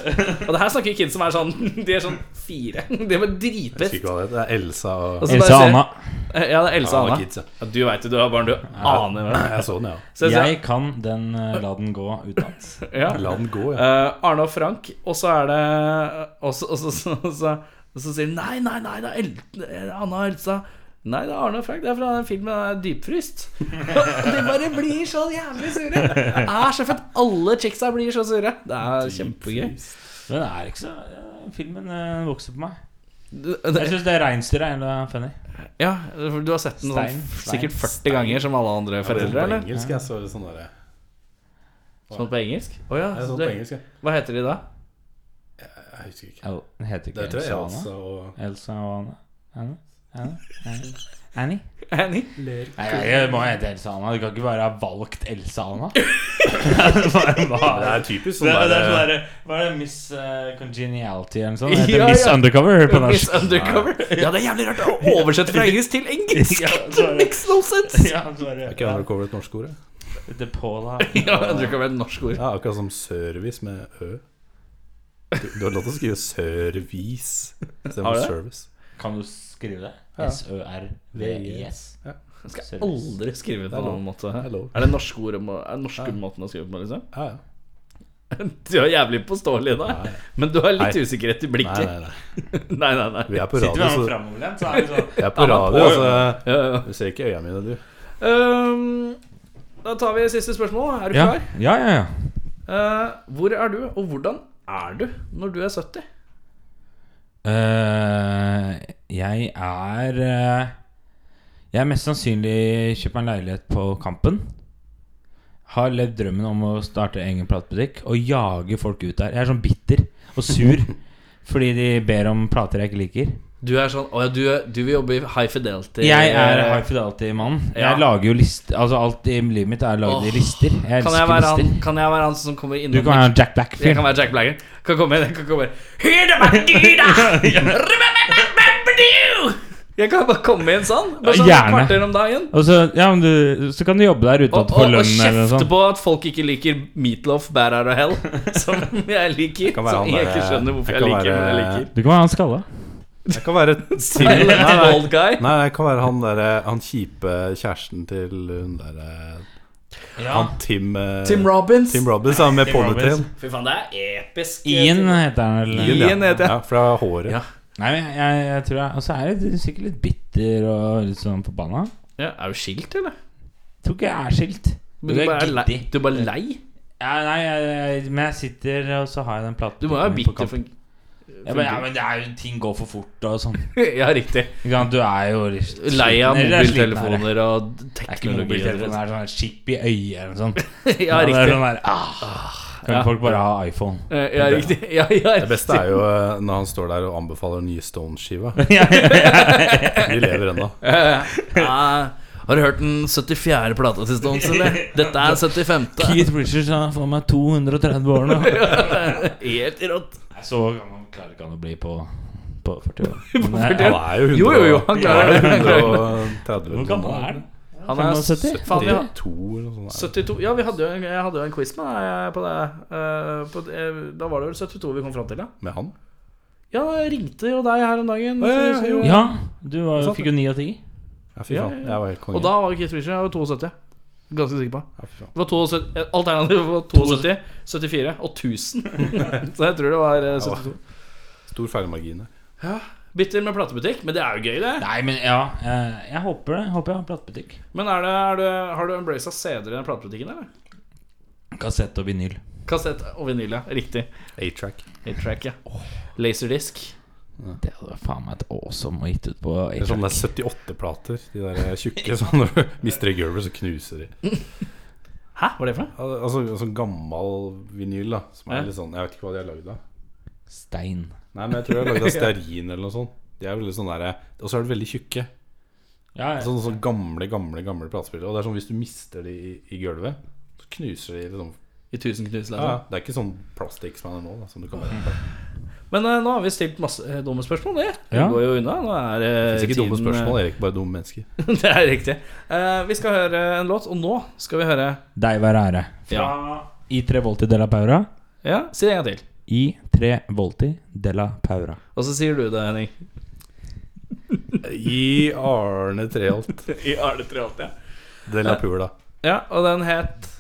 Speaker 2: Og det her snakker jo kids som er sånn De er sånn fire. De er
Speaker 4: Jeg husker
Speaker 2: dritpest.
Speaker 4: ikke hva det heter. Det er Elsa og
Speaker 2: Altså, bare
Speaker 5: Else
Speaker 2: se-
Speaker 5: Anna.
Speaker 2: Ja, det er Else og
Speaker 4: Anna
Speaker 2: Anna.
Speaker 4: Kids, ja.
Speaker 2: Ja, du veit jo, du har barn, du aner hva det er.
Speaker 4: Jeg så den, ja.
Speaker 2: Så jeg-
Speaker 5: Jeg kan den eh, La den gå utenat.
Speaker 2: ja.
Speaker 4: La den gå, ja.
Speaker 2: Eh, Arne og Frank, og så er det Og så, og så, og så, og så, og så sier de nei, nei, nei, det er El eh, Anna og Elsa. Nei, det er Arne og Frank. Det er fra den filmen der Dypfryst. Og de bare blir så jævlig sure. Det er så fett. Alle chicksa blir så sure. Det er kjempegøy.
Speaker 5: Men det er ikke så ja, Filmen eh, vokser på meg.
Speaker 2: Du-
Speaker 5: Jeg
Speaker 2: det-
Speaker 5: syns det reinsdyret er jævla funny.
Speaker 2: Ja, for du har sett den sånn,
Speaker 5: Stein, stein,
Speaker 2: sikkert 40 ganger som alle andre foreldre,
Speaker 4: på
Speaker 2: eller?
Speaker 4: engelsk, jeg så det sånn der.
Speaker 2: Sånn på engelsk? Å ja.
Speaker 4: Jeg
Speaker 2: så
Speaker 4: så det sånn på
Speaker 2: det-
Speaker 4: engelsk, jeg.
Speaker 2: Hva heter de da?
Speaker 4: Jeg husker ikke.
Speaker 5: El, den heter ikke
Speaker 4: Det tror jeg
Speaker 5: Elsa og
Speaker 4: Elsa
Speaker 5: Anna.
Speaker 4: og
Speaker 5: Elsa og Anna. Anna? Anna? Anna? Annie?
Speaker 2: Annie?
Speaker 5: Nei, jeg må hete Elsa Anna. Du kan ikke bare ha valgt Elsa Anna. Bare- bare-
Speaker 4: Det er typisk sånn
Speaker 5: Det er, det er sånn
Speaker 4: der
Speaker 5: derre Hva er det? Miss eh, Congeniality eller noe sånt?
Speaker 2: Ja,
Speaker 5: Det heter Miss
Speaker 2: ja.
Speaker 5: Undercover på
Speaker 2: Miss
Speaker 5: norsk.
Speaker 2: Undercover? Ja, det er jævlig rart å oversette fra engelsk til engelsk!
Speaker 5: Ja,
Speaker 2: Det
Speaker 5: sorry.
Speaker 2: makes no sense!
Speaker 5: Ja, sorry.
Speaker 4: Er eh, ikke undercover et norsk ord? ja?
Speaker 5: The Paula.
Speaker 2: Ja, Undercover er et norsk ord.
Speaker 4: Ja, akkurat som service med ø. Du, du har lov til å skrive service
Speaker 2: Har du
Speaker 4: istedenfor
Speaker 2: det?
Speaker 4: service.
Speaker 5: Kan du skrive det?
Speaker 4: Ja.
Speaker 5: S-ø-r-v-i-s.
Speaker 2: Jeg skal aldri skrive på
Speaker 4: Det er
Speaker 2: en
Speaker 4: lov.
Speaker 2: annen måte.
Speaker 4: Det er lov.
Speaker 2: Er det norske ord om å- er det norske måten å skrive på, liksom?
Speaker 4: Ja, ja.
Speaker 2: Du er jævlig påståelig da, men du har litt
Speaker 4: Nei.
Speaker 2: usikkerhet i
Speaker 4: Nei, nei,
Speaker 2: blikket.
Speaker 4: nei.
Speaker 2: Nei, nei, nei.
Speaker 4: Vi er på
Speaker 5: Sitter vi
Speaker 4: radio,
Speaker 5: her
Speaker 4: så
Speaker 5: framoverlent, så er det sånn
Speaker 4: Vi er på radio,
Speaker 2: på,
Speaker 4: altså.
Speaker 2: Ja, ja.
Speaker 4: Du ser ikke øya mine, du.
Speaker 2: Øhm, Ehm, da tar vi siste spørsmål. Er du
Speaker 5: Ja,
Speaker 2: klar?
Speaker 5: ja, ja. ja.
Speaker 2: Eh, hvor er du, og hvordan er du når du er 70?
Speaker 5: Eh, jeg er eh, Jeg er mest sannsynlig kjøper en leilighet på Kampen. Har levd drømmen om å starte egen platebutikk og jage folk ut der. Jeg er sånn bitter og sur fordi de ber om plater jeg ikke liker.
Speaker 2: Du er sånn Å ja, du, er- du vil jobbe i High Fidelity.
Speaker 5: Jeg er high fidelity-mannen.
Speaker 2: Ja.
Speaker 5: Jeg lager jo lister. Altså Alt i livet mitt er laget i
Speaker 2: Åh,
Speaker 5: lister. Jeg
Speaker 2: kan
Speaker 5: elsker
Speaker 2: jeg, være
Speaker 5: lister.
Speaker 2: han, kan jeg være han som kommer innom
Speaker 5: Du kan være
Speaker 2: Jeg
Speaker 5: Jack
Speaker 2: kan
Speaker 5: Black-fyren.
Speaker 2: være Jack Blagger. Kan komme inn, jeg kan komme inn. Hear the bandida! Remember you! Jeg kan bare komme inn sånn. Bare
Speaker 5: Ja,
Speaker 2: sånn
Speaker 5: gjerne.
Speaker 2: et kvarter om dagen.
Speaker 5: Og så, ja, men du, så kan du jobbe der uten
Speaker 2: Og,
Speaker 5: at du får
Speaker 2: og, og
Speaker 5: lønn eller noe
Speaker 2: kjefte
Speaker 5: sånt.
Speaker 2: på at folk ikke liker Meatloaf, Bad Out of Hell, som jeg liker.
Speaker 4: kan være
Speaker 2: Som
Speaker 4: han
Speaker 2: jeg
Speaker 4: der-
Speaker 2: ikke skjønner hvorfor
Speaker 4: jeg
Speaker 2: jeg
Speaker 4: kan
Speaker 2: liker, men jeg
Speaker 4: være-
Speaker 2: liker.
Speaker 5: Du kan være han skalla.
Speaker 4: Jeg kan være til
Speaker 2: Silent
Speaker 4: Nei, nei.
Speaker 2: old guy.
Speaker 4: Nei, jeg kan være han derre Han kjipe kjæresten til hun eh, derre Han Tim eh,
Speaker 2: Tim Robbins.
Speaker 4: Tim Robbins, han med
Speaker 5: Tim Robbins.
Speaker 4: ponytail.
Speaker 2: Fy faen, det er episk.
Speaker 5: Ian eh, heter han vel.
Speaker 2: Ian,
Speaker 4: ja.
Speaker 2: Ian heter jeg.
Speaker 4: Ja, fra håret.
Speaker 2: Ja.
Speaker 5: Nei, men jeg, jeg, jeg tror jeg Og så er jeg litt- sikkert litt bitter og litt sånn forbanna.
Speaker 2: Ja, er du skilt, eller?
Speaker 5: Jeg tror ikke jeg er skilt.
Speaker 2: Men du, bare er lei.
Speaker 5: giddig.
Speaker 2: du er bare lei?
Speaker 5: Ja, nei, jeg, jeg, men jeg sitter, og så har jeg den platen.
Speaker 2: Du må jo være
Speaker 5: på
Speaker 2: bitter
Speaker 5: kamp.
Speaker 2: for
Speaker 5: ja, men, ja, men det er jo ting går for fort og sånn.
Speaker 2: Ja, riktig.
Speaker 5: Ikke sant, Du er jo litt sliten,
Speaker 2: Lei av
Speaker 5: eller er sliten, er det.
Speaker 2: mobiltelefoner og
Speaker 5: Det er ikke
Speaker 2: teknologi.
Speaker 5: mobiltelefon, det er sånn chip i øyet eller noe sånt.
Speaker 2: Ja,
Speaker 5: Det er
Speaker 2: riktig.
Speaker 5: sånn der, ah, kan
Speaker 2: Ja.
Speaker 5: folk bare ha iPhone?
Speaker 2: Ja, riktig. Ja, ja,
Speaker 4: Det beste er jo eh, når han står der og anbefaler nye Stone-skiva. De lever ennå.
Speaker 2: Ja. Ah, Har du hørt den 74. plata til Stones, eller? Dette er 75.
Speaker 5: Keith Richards han er faen meg 230 år nå.
Speaker 2: Helt rått.
Speaker 5: Så gammel klarer ikke han å bli på, på 40 år. Men eh, jeg-
Speaker 4: Han er jo 100
Speaker 2: Jo, jo, jo, han klarer det. Han klarer det.
Speaker 4: 130
Speaker 5: Hvor gammel er han?
Speaker 2: Han er
Speaker 5: 75?
Speaker 2: Faen, vi har
Speaker 4: 72 eller noe sånt.
Speaker 2: 72 Ja, vi hadde jo en, jeg hadde jo en quiz med deg på det. Eh, på, eh, da var det vel 72 vi kom fram til, ja.
Speaker 4: Med han?
Speaker 2: Ja, jeg ringte jo deg her om dagen.
Speaker 4: ja,
Speaker 2: så-
Speaker 4: ja, jo.
Speaker 5: Ja, du var, fikk jo 9 av 10.
Speaker 4: Ja, fy
Speaker 2: Ja,
Speaker 4: faen.
Speaker 2: ja.
Speaker 4: Jeg var helt
Speaker 2: Og
Speaker 4: konge.
Speaker 2: da var Keith Richards jeg var 72. Ganske sikker på.
Speaker 4: Ja, fy faen.
Speaker 2: Det var 72, eh, alternativet var 72, 74 og 1000. så jeg tror det var eh, 72.
Speaker 4: Stor feilmargin. der.
Speaker 2: Bitter med platebutikk, men det er jo gøy, det.
Speaker 5: Nei, men ja. eh, Jeg håper det. Håper jeg har platebutikk.
Speaker 2: Men er det, er det, har du embraced CD-er i den platebutikken, eller?
Speaker 5: Kassett og vinyl.
Speaker 2: Kassett og vinyl, ja. Riktig.
Speaker 4: A-track.
Speaker 2: Hit-track, ja. Laserdisk.
Speaker 5: Det hadde vært faen meg et awesome å gitt ut på
Speaker 4: Det er sånn det er 78-plater. De der tjukke. Sånn når du mister en gulver, så knuser de.
Speaker 2: Hæ, hva er det for noe?
Speaker 4: Al- Altså sånn gammel vinyl, da. Som
Speaker 2: Ja.
Speaker 4: er litt sånn Jeg vet ikke hva de har lagd av.
Speaker 5: Stein.
Speaker 4: Nei, men jeg tror de har lagd av stearin eller noe sånt. De er veldig sånn der Og så er de veldig tjukke.
Speaker 5: Ja, ja.
Speaker 4: Sånn, sånn gamle, gamle gamle platespillere. Og det er sånn hvis du mister de i, i gulvet, så knuser de liksom.
Speaker 2: I tusen knus,
Speaker 4: Ja,
Speaker 2: liksom.
Speaker 4: ja. Det er ikke sånn plastikk som er nå, da, som du kan være.
Speaker 2: Men eh, nå har vi stilt masse eh, dumme spørsmål, det. Det
Speaker 5: Ja.
Speaker 2: går jo unna. Nå er eh,
Speaker 4: Det er ikke dumme
Speaker 2: tiden,
Speaker 4: spørsmål, Erik. Bare dumme mennesker.
Speaker 2: eh, det er riktig. Eh, vi skal høre en låt, og nå skal vi høre
Speaker 5: Deg være ære.
Speaker 2: Ja,
Speaker 5: I tre volti della paura.
Speaker 2: ja si det en gang til.
Speaker 5: I tre volti della paura.
Speaker 2: Og så sier du det, Henning.
Speaker 4: Gi Arne Treholt
Speaker 2: I Arne Treholt, ja.
Speaker 4: de la pula.
Speaker 2: Ja, og den het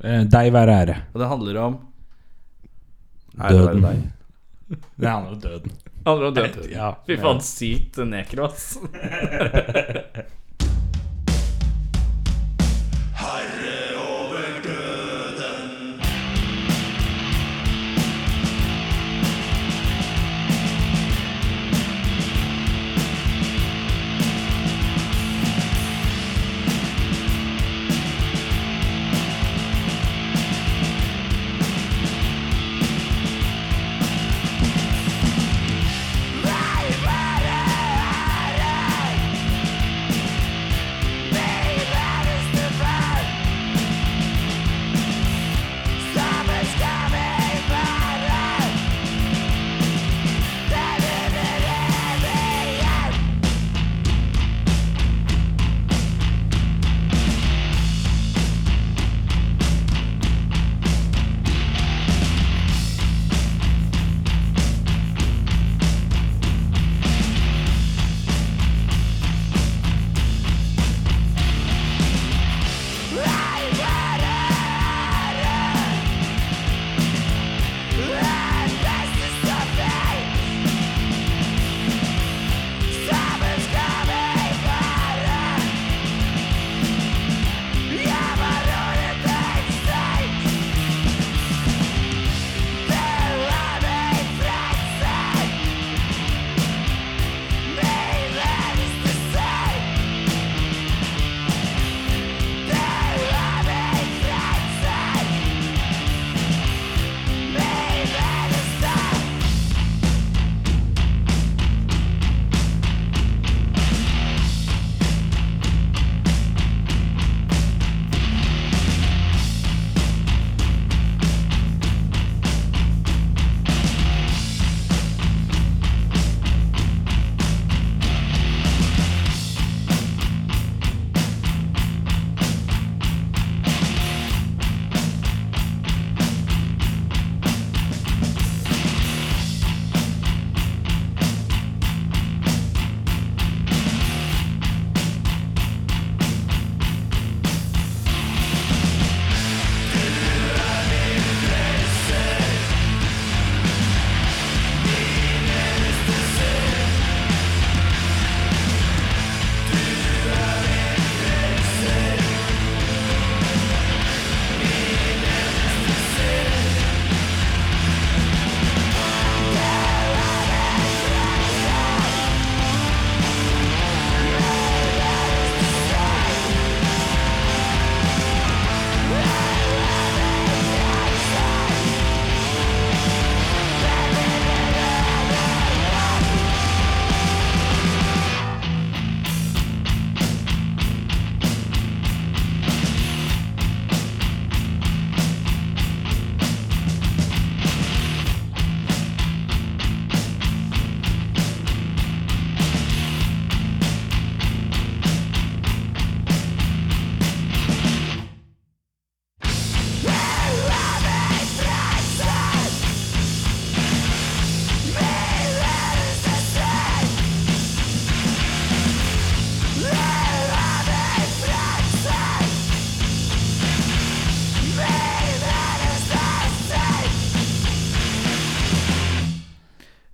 Speaker 5: Eh, Deg være ære.
Speaker 2: Og det handler om
Speaker 4: Nei, det var
Speaker 5: Døden.
Speaker 4: deg.
Speaker 5: Det handler om døden.
Speaker 2: Å handler om dødtid.
Speaker 5: Ja.
Speaker 2: Fy faen, sykt nekro, ass.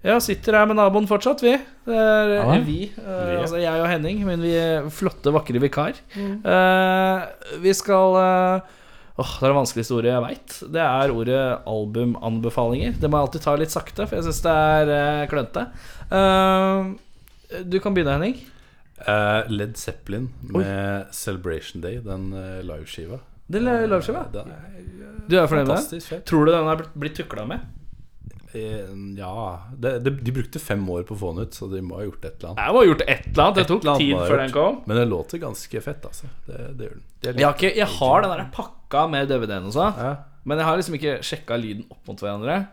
Speaker 2: Ja, sitter her med naboen fortsatt, vi. Det er
Speaker 5: Ja da.
Speaker 2: vi. eh, altså jeg og Henning, min vi flotte, vakre vikar. Eh, vi skal eh, Åh, det er det vanskeligste ordet jeg veit. Det er ordet albumanbefalinger. Det må jeg alltid ta litt sakte, for jeg syns det er eh, klønete. Eh, du kan begynne, Henning.
Speaker 4: Eh, Led Zeppelin med Celebration Day, den eh, liveskiva. Eh,
Speaker 2: Det er liveskiva.
Speaker 4: Den er
Speaker 2: Du er fornøyd med den?
Speaker 4: fantastisk fett.
Speaker 2: Tror du den er blitt- blitt tukla med?
Speaker 4: Eh, Ja det, det, De brukte fem år på å få den ut, så de må ha gjort et eller annet.
Speaker 2: Jeg må ha gjort et eller annet. Det
Speaker 4: Et
Speaker 2: tok
Speaker 4: eller annet
Speaker 2: tid
Speaker 4: må ha
Speaker 2: før
Speaker 4: gjort.
Speaker 2: den kom.
Speaker 4: Men den låter ganske fett, altså. Det, det gjør den. Det er
Speaker 2: Jeg har, ikke, jeg har den der pakka med DVD-en og sånn,
Speaker 4: Ja.
Speaker 2: men jeg har liksom ikke sjekka lyden opp mot hverandre.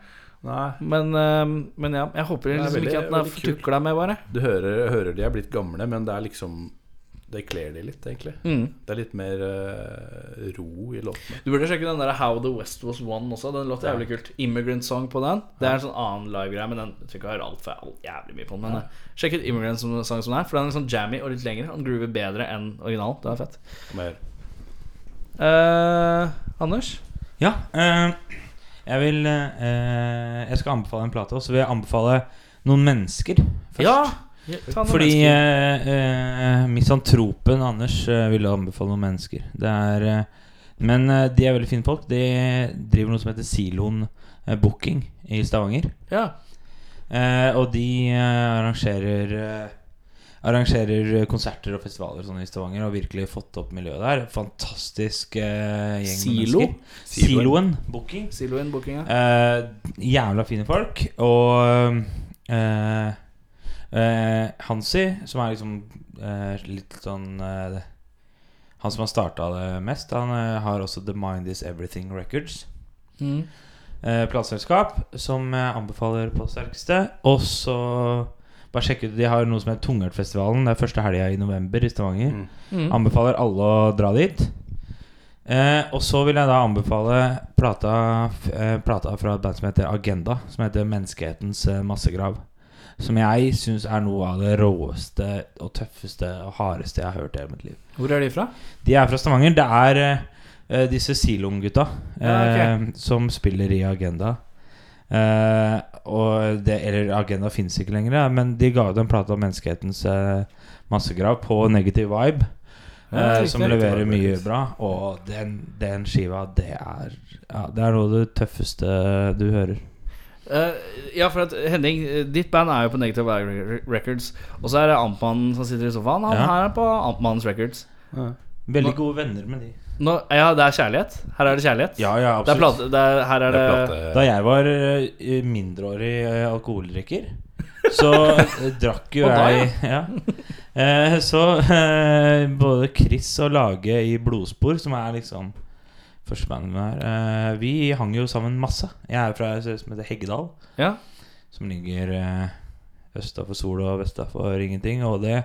Speaker 4: Nei,
Speaker 2: Men, eh, men ja, jeg håper
Speaker 4: er
Speaker 2: liksom
Speaker 4: veldig-
Speaker 2: ikke at den er
Speaker 4: veldig kul.
Speaker 2: fortukla med, bare.
Speaker 4: du hører, hører de er blitt gamle, men det er liksom Det kler de litt, egentlig.
Speaker 2: Mm.
Speaker 4: Det er litt mer eh, ro i låtene.
Speaker 2: Du burde sjekke den der How the West Was Won også. Den låter jævlig kult. Immigrant Song på den. Det er en sånn annen livegreie, men den jeg tror ikke jeg hører altfor all, jævlig mye på den. Men eh, sjekk ut Immigrant som- Song som den er, for den er sånn jammy og litt lengre. Og den groover bedre enn originalen. Den er fett.
Speaker 4: Mer.
Speaker 2: Eh, Anders?
Speaker 5: Ja. eh, jeg vil eh, Jeg skal anbefale en plate, og så vil jeg anbefale noen mennesker først.
Speaker 2: Ja! ta noen
Speaker 5: Fordi
Speaker 2: mennesker.
Speaker 5: eh, eh, misantropen Anders eh, ville anbefale noen mennesker. Det er, eh, men eh, de er veldig fine folk. De driver noe som heter Siloen eh, Booking i Stavanger.
Speaker 2: Ja.
Speaker 5: Eh, og de eh, arrangerer eh, Arrangerer konserter og festivaler og sånn i Stavanger og har virkelig fått opp miljøet der. Fantastisk eh, gjeng med
Speaker 2: Silo?
Speaker 5: mennesker. Siloen Booking.
Speaker 2: Siloen bookinga.
Speaker 5: Eh, jævla fine folk. Og eh, eh, Hansi, som er liksom eh, litt sånn eh, Han som har starta det mest, han eh, har også The Mind Is Everything Records.
Speaker 2: Mm.
Speaker 5: Uh, Plateselskap som jeg anbefaler på det sterkeste. Og så bare sjekke ut De har noe som heter Tungertfestivalen. Det er første helga i november i Stavanger.
Speaker 4: Mm.
Speaker 2: Mm.
Speaker 5: Anbefaler alle å dra dit. Eh, og så vil jeg da anbefale plata, f- eh, plata fra et band som heter Agenda, som heter 'Menneskehetens eh, massegrav'. Som jeg syns er noe av det råeste og tøffeste og hardeste jeg har hørt i hele mitt liv.
Speaker 2: Hvor er de fra?
Speaker 5: De er fra Stavanger. Det er eh, disse Silom-gutta eh,
Speaker 2: Ja,
Speaker 5: som spiller i Agenda. Eh, og det, eller Agenda fins ikke lenger, ja, men de ga ut en plate om menneskehetens eh, massegrav på Negative Vibe.
Speaker 2: Ja,
Speaker 5: eh,
Speaker 2: riktig.
Speaker 5: som leverer mye bra. Og den, den skiva, det er ja, Det er noe av det tøffeste du hører.
Speaker 2: Eh, ja, for at Henning, eh, ditt band er jo på Negative Vibe Records. Og så er det Amtmannen som sitter i sofaen. Han
Speaker 5: Ja.
Speaker 2: her er på Amtmannens Records.
Speaker 5: Veldig gode venner med de.
Speaker 2: Nå, ja, det er kjærlighet. Her er det kjærlighet.
Speaker 5: Ja, ja,
Speaker 2: det er
Speaker 5: absolutt.
Speaker 2: plate, det er, her er
Speaker 4: Det
Speaker 2: det,
Speaker 4: er plate-
Speaker 5: Da jeg var eh, mindreårig eh, alkoholdrikker, så eh, drakk jo
Speaker 2: Og da,
Speaker 5: jeg ja. Eh, Så eh, både Chris og Lage i Blodspor, som er liksom første bandet her, eh, vi hang jo sammen masse. Jeg er fra et sted som heter Heggedal,
Speaker 2: ja.
Speaker 5: som ligger eh, østa for sol og vesta for ingenting. Og det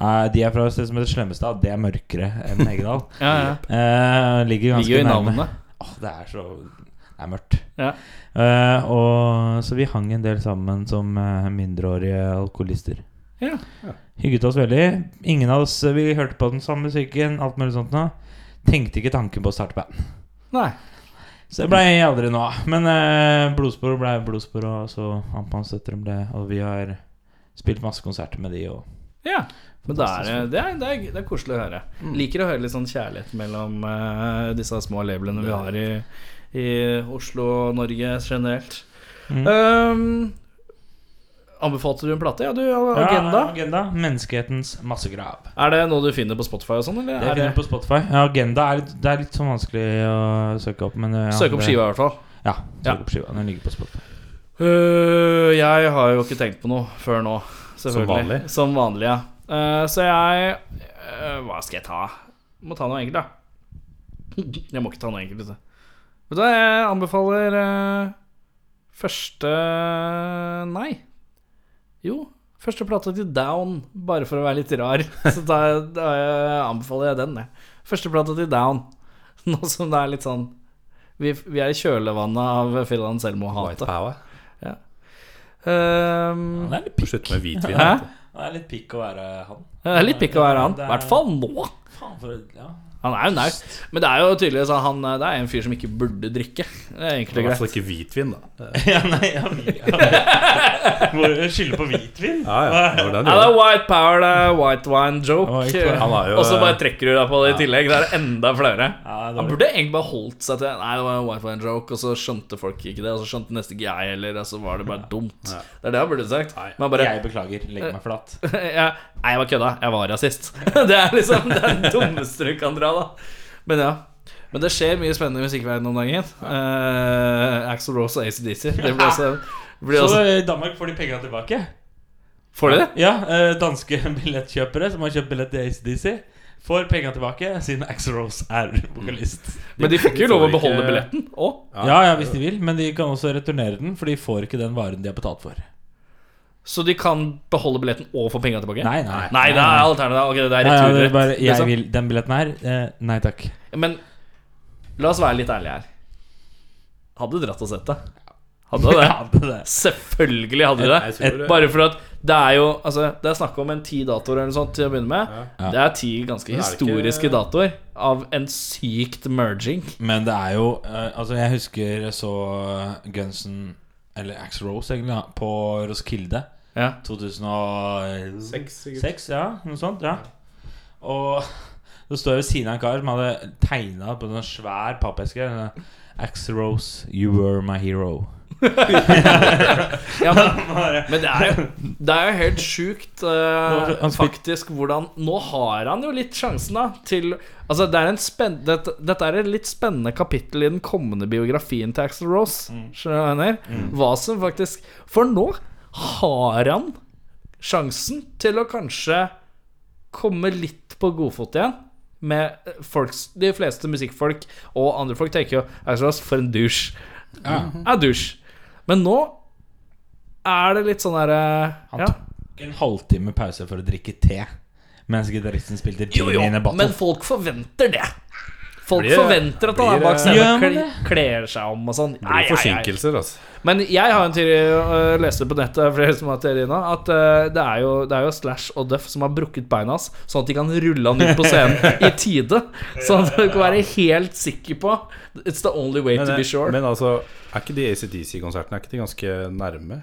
Speaker 5: er, de er fra et sted som heter Slemmestad. Det er mørkere enn Heggedal.
Speaker 2: Ja, ja.
Speaker 5: Eh, ligger ganske
Speaker 2: Ligger jo i
Speaker 5: nærme.
Speaker 2: navnet.
Speaker 5: Åh, det er så Det er mørkt.
Speaker 2: Ja.
Speaker 5: Eh, og, så vi hang en del sammen som eh, mindreårige alkoholister.
Speaker 2: Ja.
Speaker 5: Hygget oss veldig. Ingen av oss eh, Vi hørte på den samme musikken, alt mulig sånt nå. Tenkte ikke tanken på å starte band.
Speaker 2: Nei.
Speaker 5: Så det blei aldri noe av. Men eh, blodspor blei blodspor, og så Ampan-søsteren ble Og vi har spilt masse konserter med de, og
Speaker 2: Ja. Men det er, det, er, det, er, det er koselig å høre. Liker å høre litt sånn kjærlighet mellom eh, disse små labelene vi har i, i Oslo og Norge generelt.
Speaker 5: Mm.
Speaker 2: Ehm, anbefalte du en plate? Ja, du, Agenda.
Speaker 5: Ja, agenda. Menneskehetens massegrav.
Speaker 2: Er det noe du finner på Spotify og sånn, eller?
Speaker 5: Det
Speaker 2: er
Speaker 5: finner du på Spotify. Ja, Agenda er, litt- det er litt sånn vanskelig å søke opp. Men, eh, ja,
Speaker 2: Søk opp
Speaker 5: det-
Speaker 2: skiva, i hvert fall.
Speaker 5: Ja. søk
Speaker 2: Ja.
Speaker 5: opp skiva Den ligger på Spotify.
Speaker 2: Øh, jeg har jo ikke tenkt på noe før nå, selvfølgelig.
Speaker 4: vanlig?
Speaker 2: Som vanlig. ja. Eh, så jeg eh, Hva skal jeg ta? Må ta noe enkelt, da. Jeg må ikke ta noe enkelt. Vet du, vet du hva, jeg anbefaler eh, første Nei. Jo, første plata til Down, bare for å være litt rar. Så da, da anbefaler jeg den, jeg. Første plata til Down. Nå som det er litt sånn Vi, vi er i kjølvannet av Filan
Speaker 4: White
Speaker 2: Selmo-hatet.
Speaker 4: Power.
Speaker 2: Ehm,
Speaker 5: Det er litt pikk,
Speaker 4: Slutt med hvitvin.
Speaker 2: Hæ?
Speaker 5: det er litt pikk å være han.
Speaker 2: Det er litt pikk å være han.
Speaker 5: Det
Speaker 2: I
Speaker 5: er-
Speaker 2: hvert fall nå.
Speaker 5: Faen for ja.
Speaker 2: Han er jo naut. Men det er jo tydeligvis at han eh, Det er en fyr som ikke burde drikke. Det er
Speaker 4: I
Speaker 2: egentlig
Speaker 4: hvert
Speaker 2: greit.
Speaker 4: fall ikke hvitvin, da.
Speaker 5: ja, nei, ja, vi- ja. Må jo skylde på hvitvin.
Speaker 4: Ja, ja, det var det han
Speaker 2: Ja, det er
Speaker 4: gjorde.
Speaker 2: white power, det er white wine
Speaker 5: White wine.
Speaker 2: joke.
Speaker 4: Han er jo eh,
Speaker 2: Og så bare trekker du deg på det i tillegg. Det er enda flauere.
Speaker 5: Ja, det er
Speaker 2: Han
Speaker 5: dårlig.
Speaker 2: burde egentlig bare holdt seg til Nei, det var en white wine joke, og så skjønte folk ikke det. Og så skjønte nesten ikke jeg heller, og så altså, var det bare dumt. Det er det han burde sagt. Men han bare
Speaker 5: Jeg beklager. Legg meg flat.
Speaker 2: ja, Nei, jeg var kødda. Jeg var rasist. Det er liksom det er det dummeste du kan dra, da. Men ja. Men det skjer mye spennende i musikkverdenen om dagen. Uh, Axel Rose og ACDC. Det blir også, blir
Speaker 5: Så
Speaker 2: også
Speaker 5: eh, i Danmark får de penga tilbake.
Speaker 2: Får de det?
Speaker 5: Ja, eh, danske billettkjøpere som har kjøpt billett til ACDC, får penga tilbake siden Axl Rose er vokalist.
Speaker 2: Men de fikk jo lov å
Speaker 4: får ikke-
Speaker 2: beholde billetten òg.
Speaker 5: Ja, ja, hvis de vil, men de kan også returnere den, for de får ikke den varen de har betalt for.
Speaker 2: Så de kan beholde billetten og få penga tilbake?
Speaker 5: Nei, nei.
Speaker 2: Nei, det er alternativet. Ok, det er
Speaker 5: Nei, ja, det er
Speaker 2: returrett.
Speaker 5: bare, jeg
Speaker 2: liksom.
Speaker 5: vil den billetten her. Eh, nei takk.
Speaker 2: Men la oss være litt ærlige her. Hadde dratt og sett det. Hadde det.
Speaker 5: Ja, det er det.
Speaker 2: Selvfølgelig hadde de det.
Speaker 4: Jeg tror det.
Speaker 2: Bare for at det er jo altså, Det er snakk om en ti datoer eller noe sånt til å begynne med.
Speaker 5: Ja.
Speaker 2: Det er ti ganske
Speaker 4: Men er det ikke-
Speaker 2: historiske datoer av en sykt merging.
Speaker 5: Men det er jo eh, Altså, eh, jeg husker jeg så Gunsen, eller Axl Rose, egentlig, da, på Roskilde.
Speaker 2: Ja.
Speaker 5: 2006,
Speaker 4: Seks, sikkert.
Speaker 5: Seks, ja, noe sånt, ja Og så står jeg ved siden av en kar som hadde tegnet på en sånn svær pappeske eh, Axe Rose, you were my hero
Speaker 2: ja men, men det er jo, det er jo helt sjukt, eh,
Speaker 5: Nå, han spil-
Speaker 2: faktisk, hvordan Nå har han jo litt sjansen, da, til Altså, det er en spenn, dette, dette er et litt spennende kapittel i den kommende biografien til Axel Rose. Skjønner du? Hva som faktisk For nå har han sjansen til å kanskje komme litt på godfot igjen. Med folks, de fleste musikkfolk og andre folk tenker jo Axel Rose, for en dusj. Er dusj. Men nå er det litt sånn herre ja.
Speaker 5: En halvtime pause for å drikke te Mens gitaristen spilte
Speaker 2: Jo,
Speaker 5: Genie
Speaker 2: jo,
Speaker 5: in a Bottle
Speaker 2: men folk forventer det. Folk
Speaker 4: Blir det-
Speaker 2: forventer at han
Speaker 4: blir
Speaker 2: er bak
Speaker 4: det-
Speaker 2: scenen og
Speaker 5: Gjør man
Speaker 2: kl- kler seg om og sånn. Nei,
Speaker 4: Blir
Speaker 2: nei, nei.
Speaker 4: forsinkelser, altså.
Speaker 2: Men jeg har en teori, øh, leste på nettet, flere som har teori nå, at øh, det er, jo, det er jo Slash og Duff som har brukket beina hans, sånn at de kan rulle han ut på scenen i tide. Sånn at du kan være helt sikker på It's the only way to
Speaker 4: Men,
Speaker 2: be sure.
Speaker 4: men altså, er ikke de ACDC-konsertene Er ikke de ganske nærme?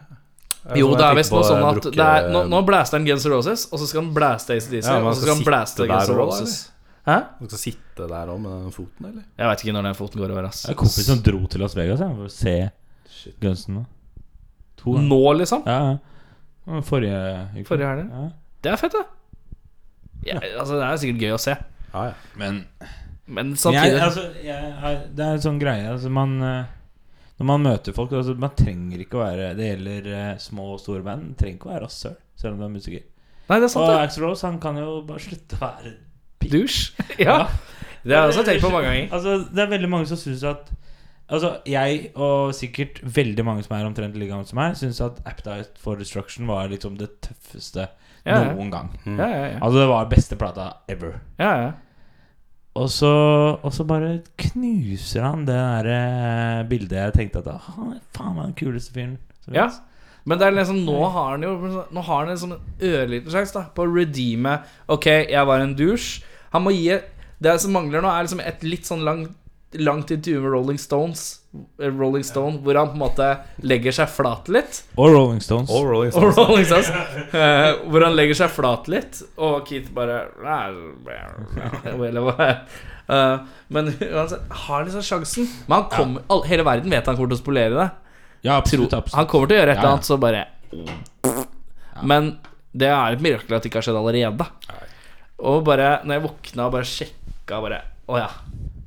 Speaker 4: Er
Speaker 2: jo, det er
Speaker 4: sånn jeg tenker
Speaker 2: visst
Speaker 4: på
Speaker 2: noe sånn at
Speaker 4: bruker-
Speaker 2: det er, nå, nå blaster han Guns N' Roses, og så skal han blaste ACDC,
Speaker 4: Ja, men
Speaker 2: og
Speaker 4: han
Speaker 2: så
Speaker 4: skal
Speaker 2: skal han
Speaker 4: sitte
Speaker 2: blaste
Speaker 4: der
Speaker 2: Guns N'
Speaker 4: også,
Speaker 2: Roses. Hæ?
Speaker 4: Du skal sitte der òg med den foten, eller?
Speaker 2: Jeg veit ikke når den foten går over, ass.
Speaker 5: Det er en kompis som dro til Las Vegas ja, for å se Gunsen. To ganger.
Speaker 2: Nå, liksom?
Speaker 5: Ja, ja. Det var Forrige uke.
Speaker 2: Forrige helg.
Speaker 5: Ja.
Speaker 2: Det er fett, da. Ja, altså, det er sikkert gøy å se,
Speaker 4: Ja, ja.
Speaker 5: Men
Speaker 2: men
Speaker 5: jeg,
Speaker 2: samtidig
Speaker 5: altså, jeg, er- Det er en sånn greie altså, man, eh, Når man møter folk altså, Man trenger ikke å være Det gjelder eh, små og store band. Man trenger ikke å være rasshøl, selv om du er musiker.
Speaker 2: Nei, det er sant,
Speaker 5: Og
Speaker 2: det.
Speaker 5: Axl Rose han kan jo bare slutte å være
Speaker 2: Dusj. Ja. Det har jeg også tenkt på mange ganger.
Speaker 5: Altså, det er veldig mange som syns at Altså, jeg, og sikkert veldig mange som er omtrent like gamle som meg, syns at Appetite for Destruction var liksom det tøffeste
Speaker 2: Ja, Mm. ja.
Speaker 5: noen gang.
Speaker 2: Ja, ja, ja.
Speaker 5: Altså, det var beste plata ever.
Speaker 2: ja, ja.
Speaker 5: Og så, og så bare knuser han det der eh, bildet jeg tenkte at Han er faen meg den kuleste fyren. som
Speaker 2: Ja.
Speaker 5: finnes.
Speaker 2: Men det er liksom, nå har han jo Nå har han liksom en ørliten sjanse da, på å redeeme Ok, jeg var en douche. Han må gi Det som mangler nå, er liksom et litt sånn langt, langt intervju med Rolling Stones, eh, Rolling Stone, hvor han på en måte legger seg flat litt.
Speaker 5: Og Rolling Stones.
Speaker 4: Og Rolling
Speaker 2: Og
Speaker 4: Stones.
Speaker 2: Rolling Stones eh, Hvor han legger seg flat litt Og Keith bare Eller hva Eh, Men uansett Har liksom sjansen Men han kommer all, Hele verden vet han kommer til å spolere det
Speaker 5: ja,
Speaker 2: Tro-
Speaker 5: absolutt. absolutt.
Speaker 2: Han kommer til å gjøre et
Speaker 5: Ja, ja.
Speaker 2: eller annet Så bare Men det er et mirakel At det ikke har skjedd allerede Og bare Når jeg våkna Og bare sjekka Bare Åja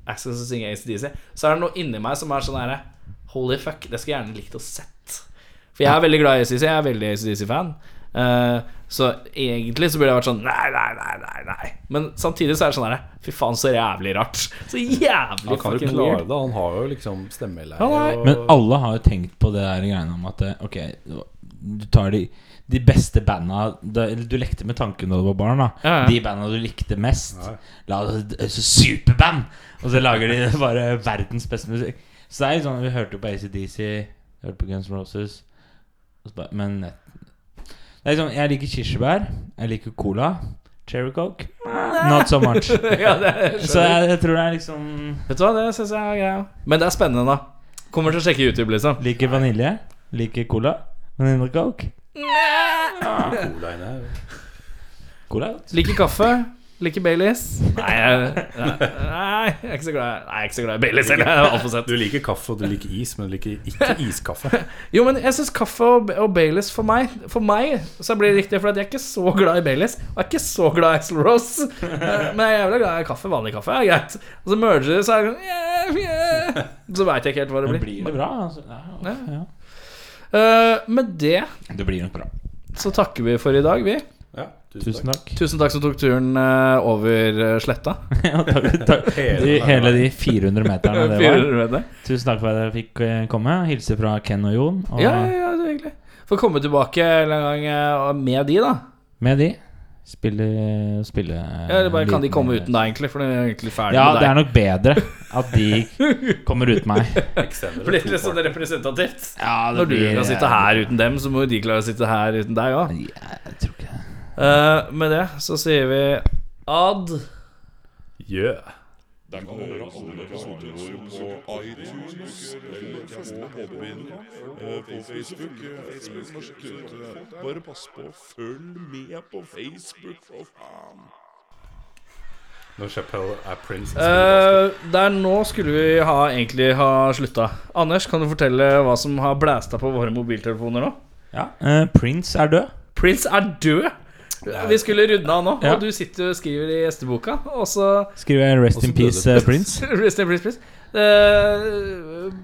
Speaker 2: Jeg skal synge ACDC Så er det noe inni meg Som er sånn her Holy fuck Det skulle jeg gjerne likt å sett For jeg er veldig glad i ACDC Jeg er veldig ACDC-fan Eh, så egentlig så burde jeg vært sånn Nei, nei, nei, nei, nei Men samtidig så er det sånn her Fy faen, så jævlig rart Så jævlig
Speaker 4: Han kan jo
Speaker 2: fucking
Speaker 4: klare
Speaker 2: weird
Speaker 4: det. Han har jo liksom stemmeleie.
Speaker 2: Han er-
Speaker 4: og-
Speaker 5: Men alle har jo tenkt på det der greiene om at eh, Ok, du tar de, de beste banda da- eller Du lekte med tanken da du var barn. da
Speaker 2: Ja, ja.
Speaker 5: De banda du likte mest. La oss eh, Superband! Og så lager de bare verdens beste musikk. Så det er jo sånn Vi hørte jo på ACDC, hørte på Guns N' Roses og så bare, Men eh, det er sånn, jeg liker kirsebær. Jeg liker cola. Cherry coke. Not so much.
Speaker 2: Ja, det er
Speaker 5: Så jeg, jeg tror det er liksom
Speaker 2: Vet du hva, det synes jeg er greia Men det er spennende da Kommer til å sjekke YouTube liksom
Speaker 5: Liker vanilje. Liker cola. Vanilla coke.
Speaker 4: Cola inne her.
Speaker 5: Cola er godt.
Speaker 2: Liker kaffe Liker Baileys Nei, jeg, nei, nei, jeg er ikke så glad i- Nei, jeg er ikke så glad i Baileys heller. Jeg er alt for søt.
Speaker 4: Du liker kaffe, og du liker is, men du liker ikke iskaffe.
Speaker 2: Jo, men jeg synes kaffe og, og Baileys for meg For meg så blir det riktig For at jeg er ikke så glad i Baileys Og jeg er ikke så glad i Axl Rose Eh, Men jeg er jævlig glad i kaffe Vanlig kaffe er greit Og så merger det Så er det sånn yeah, yeah. Så vet jeg ikke helt hva det
Speaker 5: Det
Speaker 2: blir,
Speaker 5: blir det bra. Altså. Ja,
Speaker 2: Ja.
Speaker 5: ja.
Speaker 2: Eh, Med det
Speaker 5: Det blir nok bra.
Speaker 2: så takker vi for i dag vi
Speaker 4: Ja,
Speaker 5: Tusen takk.
Speaker 2: Tusen takk som tok turen eh, over eh, sletta
Speaker 5: Ja, takk, takk. De, hele de 400 meterne det var.
Speaker 2: 400 meter
Speaker 5: Tusen takk for at dere fikk eh, komme. Hilse fra Ken og Jon. Og
Speaker 2: Ja, ja, ja, det er hyggelig. Får komme tilbake en eller annen gang eh, og med de, da.
Speaker 5: med de spille, spille eh,
Speaker 2: Eller bare kan de
Speaker 5: liten-
Speaker 2: komme uten deg, egentlig? For de er egentlig ferdig
Speaker 5: Ja,
Speaker 2: med
Speaker 5: det er
Speaker 2: deg.
Speaker 5: nok bedre at de kommer uten meg.
Speaker 2: Det blir litt
Speaker 4: liksom
Speaker 2: sånn representativt.
Speaker 5: Ja, det
Speaker 2: Når du
Speaker 5: blir-
Speaker 2: kan sitte her uten dem, så må jo de klare å sitte her uten deg Eh, òg.
Speaker 5: Ja, Jeg tror ikke det.
Speaker 2: med det så sier vi ad.
Speaker 4: Yeah.
Speaker 1: Der kan du høre alle episodene våre på iTunes eller på Podbean, eh, på Facebook. eh, Facebook norsk Tune. Bare pass på, følg med på Facebook, for faen!
Speaker 4: Når Chappelle er prins
Speaker 2: Eh, der nå skulle vi ha, egentlig ha slutta. Anders, kan du fortelle hva som har blæsta på våre mobiltelefoner nå?
Speaker 5: Ja, eh, Prince er død.
Speaker 2: Prince er død! Vi skulle runde av nå,
Speaker 5: Ja.
Speaker 2: og du sitter og skriver i gjesteboka, og så
Speaker 5: Skriver jeg 'Rest
Speaker 4: Også
Speaker 5: in peace',
Speaker 4: døde
Speaker 5: eh, Prince.
Speaker 2: Rest in peace, please. Eh,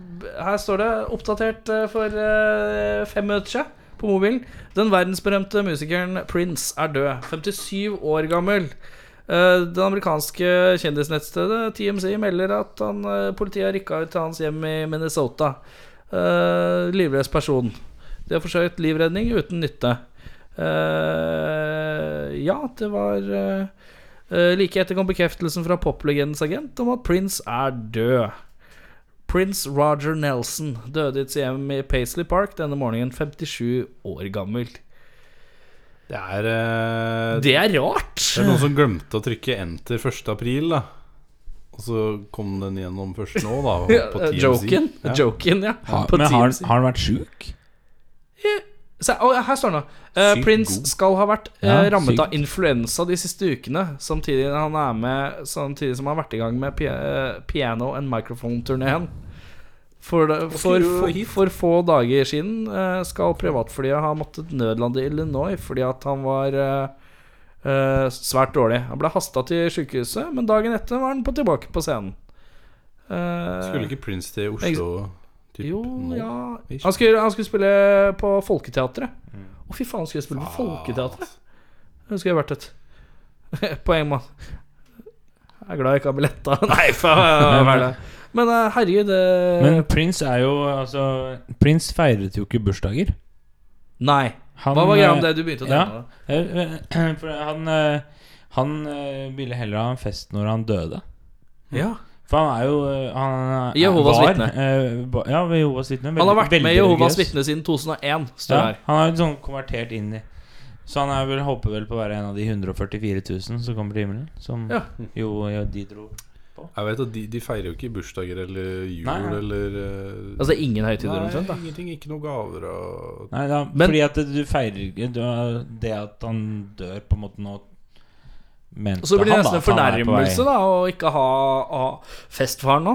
Speaker 2: her står det oppdatert eh, for eh, fem minutter siden på mobilen. Den verdensberømte musikeren Prince er død. 57 år gammel. Eh, det amerikanske kjendisnettstedet TMC melder at han, eh, politiet har rykka ut til hans hjem i Minnesota. Eh, livløs person. De har forsøkt livredning uten nytte. Eh, ja, det var eh, Eh, like etter kom bekreftelsen fra poplegendens agent om at Prince er død. Prince Roger Nelson døde i et hjem i Paisley Park denne morgenen, 57 år gammel.
Speaker 4: Det er eh,
Speaker 2: Det er rart!
Speaker 4: Det er noen som glemte å trykke enter 1. april, da. Og så kom den gjennom først nå, da.
Speaker 2: Ja,
Speaker 4: På
Speaker 2: eh,
Speaker 4: TMZ.
Speaker 2: Joken,
Speaker 4: Ja.
Speaker 2: joken, ja.
Speaker 5: Ha,
Speaker 2: På
Speaker 5: men har,
Speaker 2: TMZ.
Speaker 5: han- har han vært sjuk?
Speaker 2: Se, å, her står det nå. Eh,
Speaker 5: Sykt
Speaker 2: Prince
Speaker 5: god.
Speaker 2: skal ha vært eh,
Speaker 5: Ja,
Speaker 2: rammet
Speaker 5: sykt.
Speaker 2: av influensa de siste ukene, samtidig, han er med, samtidig som han har vært i gang med pia eh, piano- and microphone-turneen. For, det- for,
Speaker 4: skulle
Speaker 2: for,
Speaker 4: hit.
Speaker 2: for få dager siden eh, skal privatflyet ha måttet nødlande i Illinois fordi at han var eh, eh, svært dårlig. Han ble hasta til sykehuset, men dagen etter var han på tilbake på scenen. Eh,
Speaker 4: Skulle ikke Prince til Oslo typ,
Speaker 2: jo,
Speaker 4: nå?
Speaker 2: ja
Speaker 4: Ish.
Speaker 2: han skulle, han skulle spille på Folketeatret. Å, fy faen, skulle jeg spille på Folketeatret? Det skulle jeg vært et Poeng, mann. Jeg er glad jeg ikke har billetter. Nei, faen. hva er det? Men eh, herregud det-
Speaker 5: Men Prince er jo altså Prince feiret jo ikke bursdager.
Speaker 2: Nei.
Speaker 5: Han,
Speaker 2: Hva var greia om
Speaker 5: eh,
Speaker 2: det du begynte å
Speaker 5: ja.
Speaker 2: nevne? da?
Speaker 5: eh, For han, eh, han eh, ville heller ha en fest når han døde.
Speaker 2: Ja.
Speaker 5: For han er jo eh, han, er-
Speaker 2: Jehovas
Speaker 5: var,
Speaker 2: vitne.
Speaker 5: eh, ba- Ja, Jehovas vitne.
Speaker 2: Han har vært
Speaker 5: veldig
Speaker 2: med Jehovas
Speaker 5: religiøs.
Speaker 2: vitne siden 2001, står det
Speaker 5: Ja,
Speaker 2: her.
Speaker 5: han har liksom konvertert inn i Så han er vel, håper vel på å være en av de 144 000 som kommer til himmelen. Som
Speaker 2: Ja.
Speaker 5: jo, ja, de dro.
Speaker 4: Jeg vet at de, de feirer jo ikke bursdager eller jul
Speaker 5: Nei, nei.
Speaker 4: eller eh,
Speaker 2: Altså ingen høytider, omtrent?
Speaker 4: Nei, ingenting. Ikke noe gaver og
Speaker 5: Nei, da,
Speaker 2: Men-
Speaker 5: fordi at du feirer ikke du, har- Det at han dør, på en måte nå Mente
Speaker 2: Og så blir det
Speaker 5: han
Speaker 2: nesten en
Speaker 5: da, at han er på vei.
Speaker 2: fornærmelse da å ikke ha, ha fest for han nå.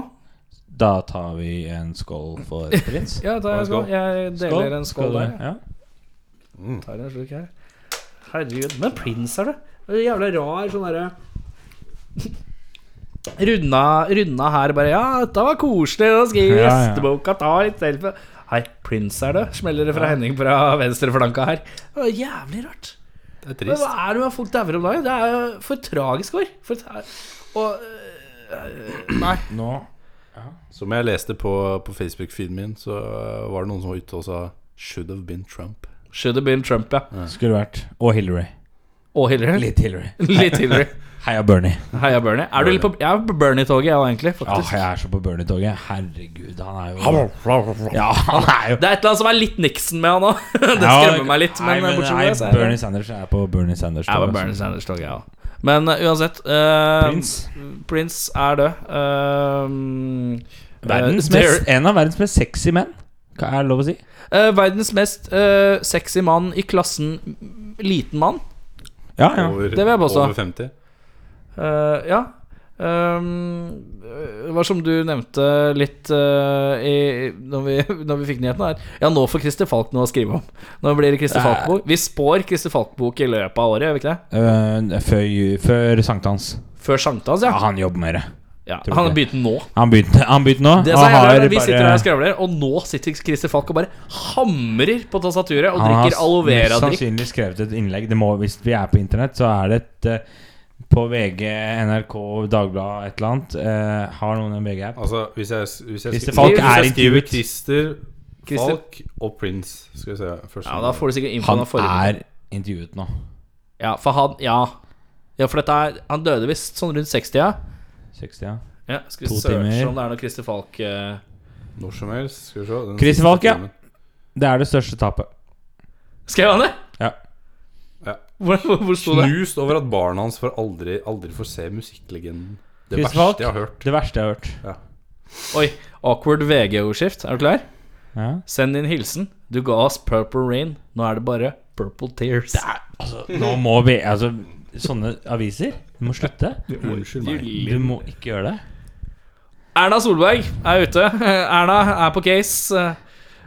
Speaker 5: Da tar vi en skål for prins.
Speaker 2: Ja, da,
Speaker 5: Og en skål.
Speaker 2: jeg deler en skål der. ja.
Speaker 5: Ja.
Speaker 2: Tar en slurk her. Herregud. Men Prince er det. det er jævla rar sånn derre runda, runda her bare Ja, dette var koselig. Da skriver
Speaker 5: Ja, ja.
Speaker 2: gjesteboka ta litt selfie. Hei, Prince er det. Smeller det fra Henning fra venstreflanka her. Det var jævlig rart.
Speaker 4: Det er
Speaker 2: Men
Speaker 4: trist.
Speaker 2: hva er det med at folk dauer om dagen? Det er jo for tragisk år. For tra og eh, øh, Nei.
Speaker 5: Nå
Speaker 4: Som jeg leste på, på Facebook-feeden min, så eh, var det noen som var ute og sa 'should have been Trump'.
Speaker 2: Should have been Trump, ja.
Speaker 5: skulle det vært Og Hillary.
Speaker 2: Og Hillary.
Speaker 5: Litt Hillary.
Speaker 2: Litt Hillary.
Speaker 5: Heia Bernie.
Speaker 2: Heia Bernie. Er du litt på, jeg er på Bernie-toget, jeg òg, egentlig.
Speaker 5: Åh,
Speaker 2: Faktisk.
Speaker 5: jeg er så på Bernie-toget. Herregud, han er jo Ja, han er jo
Speaker 2: Det er et eller annet som er litt Nixon med han òg. Det skremmer meg litt. Men, eh,
Speaker 5: nei,
Speaker 2: bortsett
Speaker 5: nei,
Speaker 2: fra det, så er
Speaker 5: Bernie
Speaker 2: det
Speaker 5: Sanders er på Bernie Sanders.
Speaker 2: Jeg var
Speaker 5: toget,
Speaker 2: Bernie
Speaker 5: så-
Speaker 2: Sanders-toget, jeg òg. Men uh, uansett eh,
Speaker 5: Prince.
Speaker 2: Prince er død. Um,
Speaker 5: Verdens
Speaker 2: eh,
Speaker 5: mest,
Speaker 2: dare-
Speaker 5: en av verdens mest sexy menn. Hva er det lov å si?
Speaker 2: eh, verdens mest eh, sexy mann i klassen mm, liten mann.
Speaker 5: Ja, ja.
Speaker 4: Over,
Speaker 2: det vil jeg påstå.
Speaker 4: over 50.
Speaker 2: Eh, ja. Um, det var som du nevnte litt eh, i, når, vi, når vi fikk nyheten her Ja, nå får Christer Falk noe å skrive om. Nå blir det Christer
Speaker 5: Eh.
Speaker 2: Falk-bok. Vi spår Christer Falk-bok i løpet av året, gjør vi ikke det?
Speaker 5: Øh, før, ju- før sankthans.
Speaker 2: Før sankthans, ja.
Speaker 5: Ja, han jobber mer.
Speaker 2: ja
Speaker 5: tror
Speaker 2: han
Speaker 5: jeg.
Speaker 2: har begynt nå.
Speaker 5: Han begynte, han begynte nå.
Speaker 2: Det
Speaker 5: han
Speaker 2: sa jeg
Speaker 5: har
Speaker 2: der, Vi sitter
Speaker 5: bare-
Speaker 2: her og skravler, og nå sitter Christer Falk og bare hamrer på tastaturet og
Speaker 5: han har
Speaker 2: drikker aloe
Speaker 5: mest
Speaker 2: vera-drikk.
Speaker 5: sannsynlig skrevet et innlegg. Det må, hvis vi er på internett, så er det et eh, på VG, NRK, Dagbladet, et eller annet. Eh, har noen en VG-app?
Speaker 4: Altså, hvis jeg, hvis jeg, hvis
Speaker 5: Christer Falk
Speaker 4: hvis
Speaker 5: er
Speaker 4: jeg skriver
Speaker 5: intervjuet.
Speaker 4: Christer,
Speaker 2: Christer-
Speaker 4: Falk og Prince Skal vi se først.
Speaker 2: Ja, da får du sikkert
Speaker 5: Han
Speaker 2: infoen av forrige.
Speaker 5: er intervjuet nå.
Speaker 2: Ja, for han Ja. Ja, for dette er Han døde visst sånn rundt 60-ja.
Speaker 5: 60, ja.
Speaker 2: Ja, skal vi
Speaker 5: To
Speaker 2: søke
Speaker 5: timer.
Speaker 2: om det er noe Christer Falk eh,
Speaker 4: Når som helst. Skal vi se. den siste
Speaker 5: Christer Falk, ja.
Speaker 4: filmen.
Speaker 5: Det er det største tapet.
Speaker 2: Skrev han det?
Speaker 5: Ja.
Speaker 4: Ja.
Speaker 2: Hvor, hvor, hvor sto det?
Speaker 4: Knust over at barna hans får aldri, aldri får se musikklegenden. Det
Speaker 5: Chris Falk.
Speaker 4: verste jeg har hørt.
Speaker 5: Det verste jeg har hørt.
Speaker 2: Oi, awkward VG-ordskift. Er du klar?
Speaker 5: Ja.
Speaker 2: Send inn hilsen. Du ga oss Purple Rain. Nå er det bare Purple Tears.
Speaker 5: Altså, nå må vi Altså, sånne aviser Du må slutte.
Speaker 4: Unnskyld meg.
Speaker 5: Du må ikke gjøre det.
Speaker 2: Erna Solberg er ute. Erna er på case.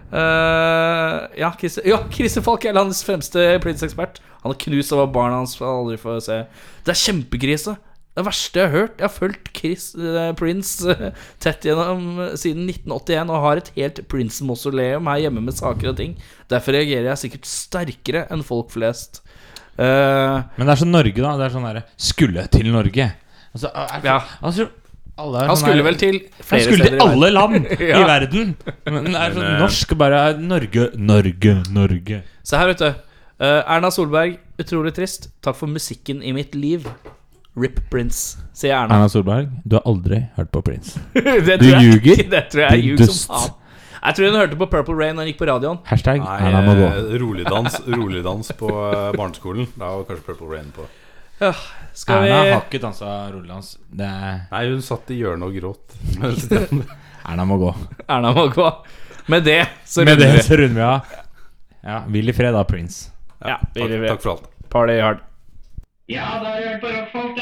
Speaker 2: Eh, ja, Christer, ja, Christer Falk er landets fremste politisk ekspert. Han er knust over barna hans. får Aldri få se Det er kjempekrise. Det verste jeg har hørt. Jeg har fulgt Chris, eh, Prince eh, tett gjennom eh, siden 1981 og har et helt Prince-mausoleum her hjemme med saker og ting. Derfor reagerer jeg sikkert sterkere enn folk flest. Eh,
Speaker 5: Men det er sånn Norge, da. Det er sånn derre Skulle til Norge. Altså, er,
Speaker 2: Ja.
Speaker 5: altså alle er
Speaker 2: han
Speaker 5: sånn
Speaker 2: skulle
Speaker 5: der-
Speaker 2: vel til
Speaker 5: Han
Speaker 2: flere
Speaker 5: skulle
Speaker 2: steder i
Speaker 5: til
Speaker 2: verden.
Speaker 5: alle land
Speaker 2: Ja.
Speaker 5: i verden. Men det er sånn
Speaker 4: Men, eh,
Speaker 5: norsk bare er Norge, Norge, Norge.
Speaker 2: Se her, vet du. Eh, Erna Solberg, utrolig trist. Takk for musikken i mitt liv. Rip Prince, sier Erna.
Speaker 5: Erna Solberg, du har aldri hørt på Prince.
Speaker 2: det
Speaker 5: Du
Speaker 2: tror jeg-
Speaker 5: ljuger.
Speaker 2: Det tror jeg
Speaker 5: Din
Speaker 2: ljuger
Speaker 5: dust.
Speaker 2: som faen. Jeg tror hun hørte på Purple Rain når hun gikk på radioen.
Speaker 5: Hashtag Erna må
Speaker 4: Nei,
Speaker 5: gå.
Speaker 4: eh, roligdans roligdans på eh, barneskolen. Da var kanskje Purple Rain på.
Speaker 2: Ja, skal
Speaker 5: Erna har
Speaker 2: vi
Speaker 5: ikke dansa rulledans. Det er
Speaker 4: Nei, hun satt i hjørnet og gråt.
Speaker 5: Erna må gå.
Speaker 2: Erna må gå. Med det så
Speaker 5: Med
Speaker 2: runder
Speaker 5: det
Speaker 2: vi.
Speaker 5: så runder vi av. Ja, Hvil i fred da, Prince.
Speaker 2: Ja,
Speaker 4: Takk, takk for alt.
Speaker 2: Party hard.
Speaker 6: Ja, da har jeg hørt på rockfolk,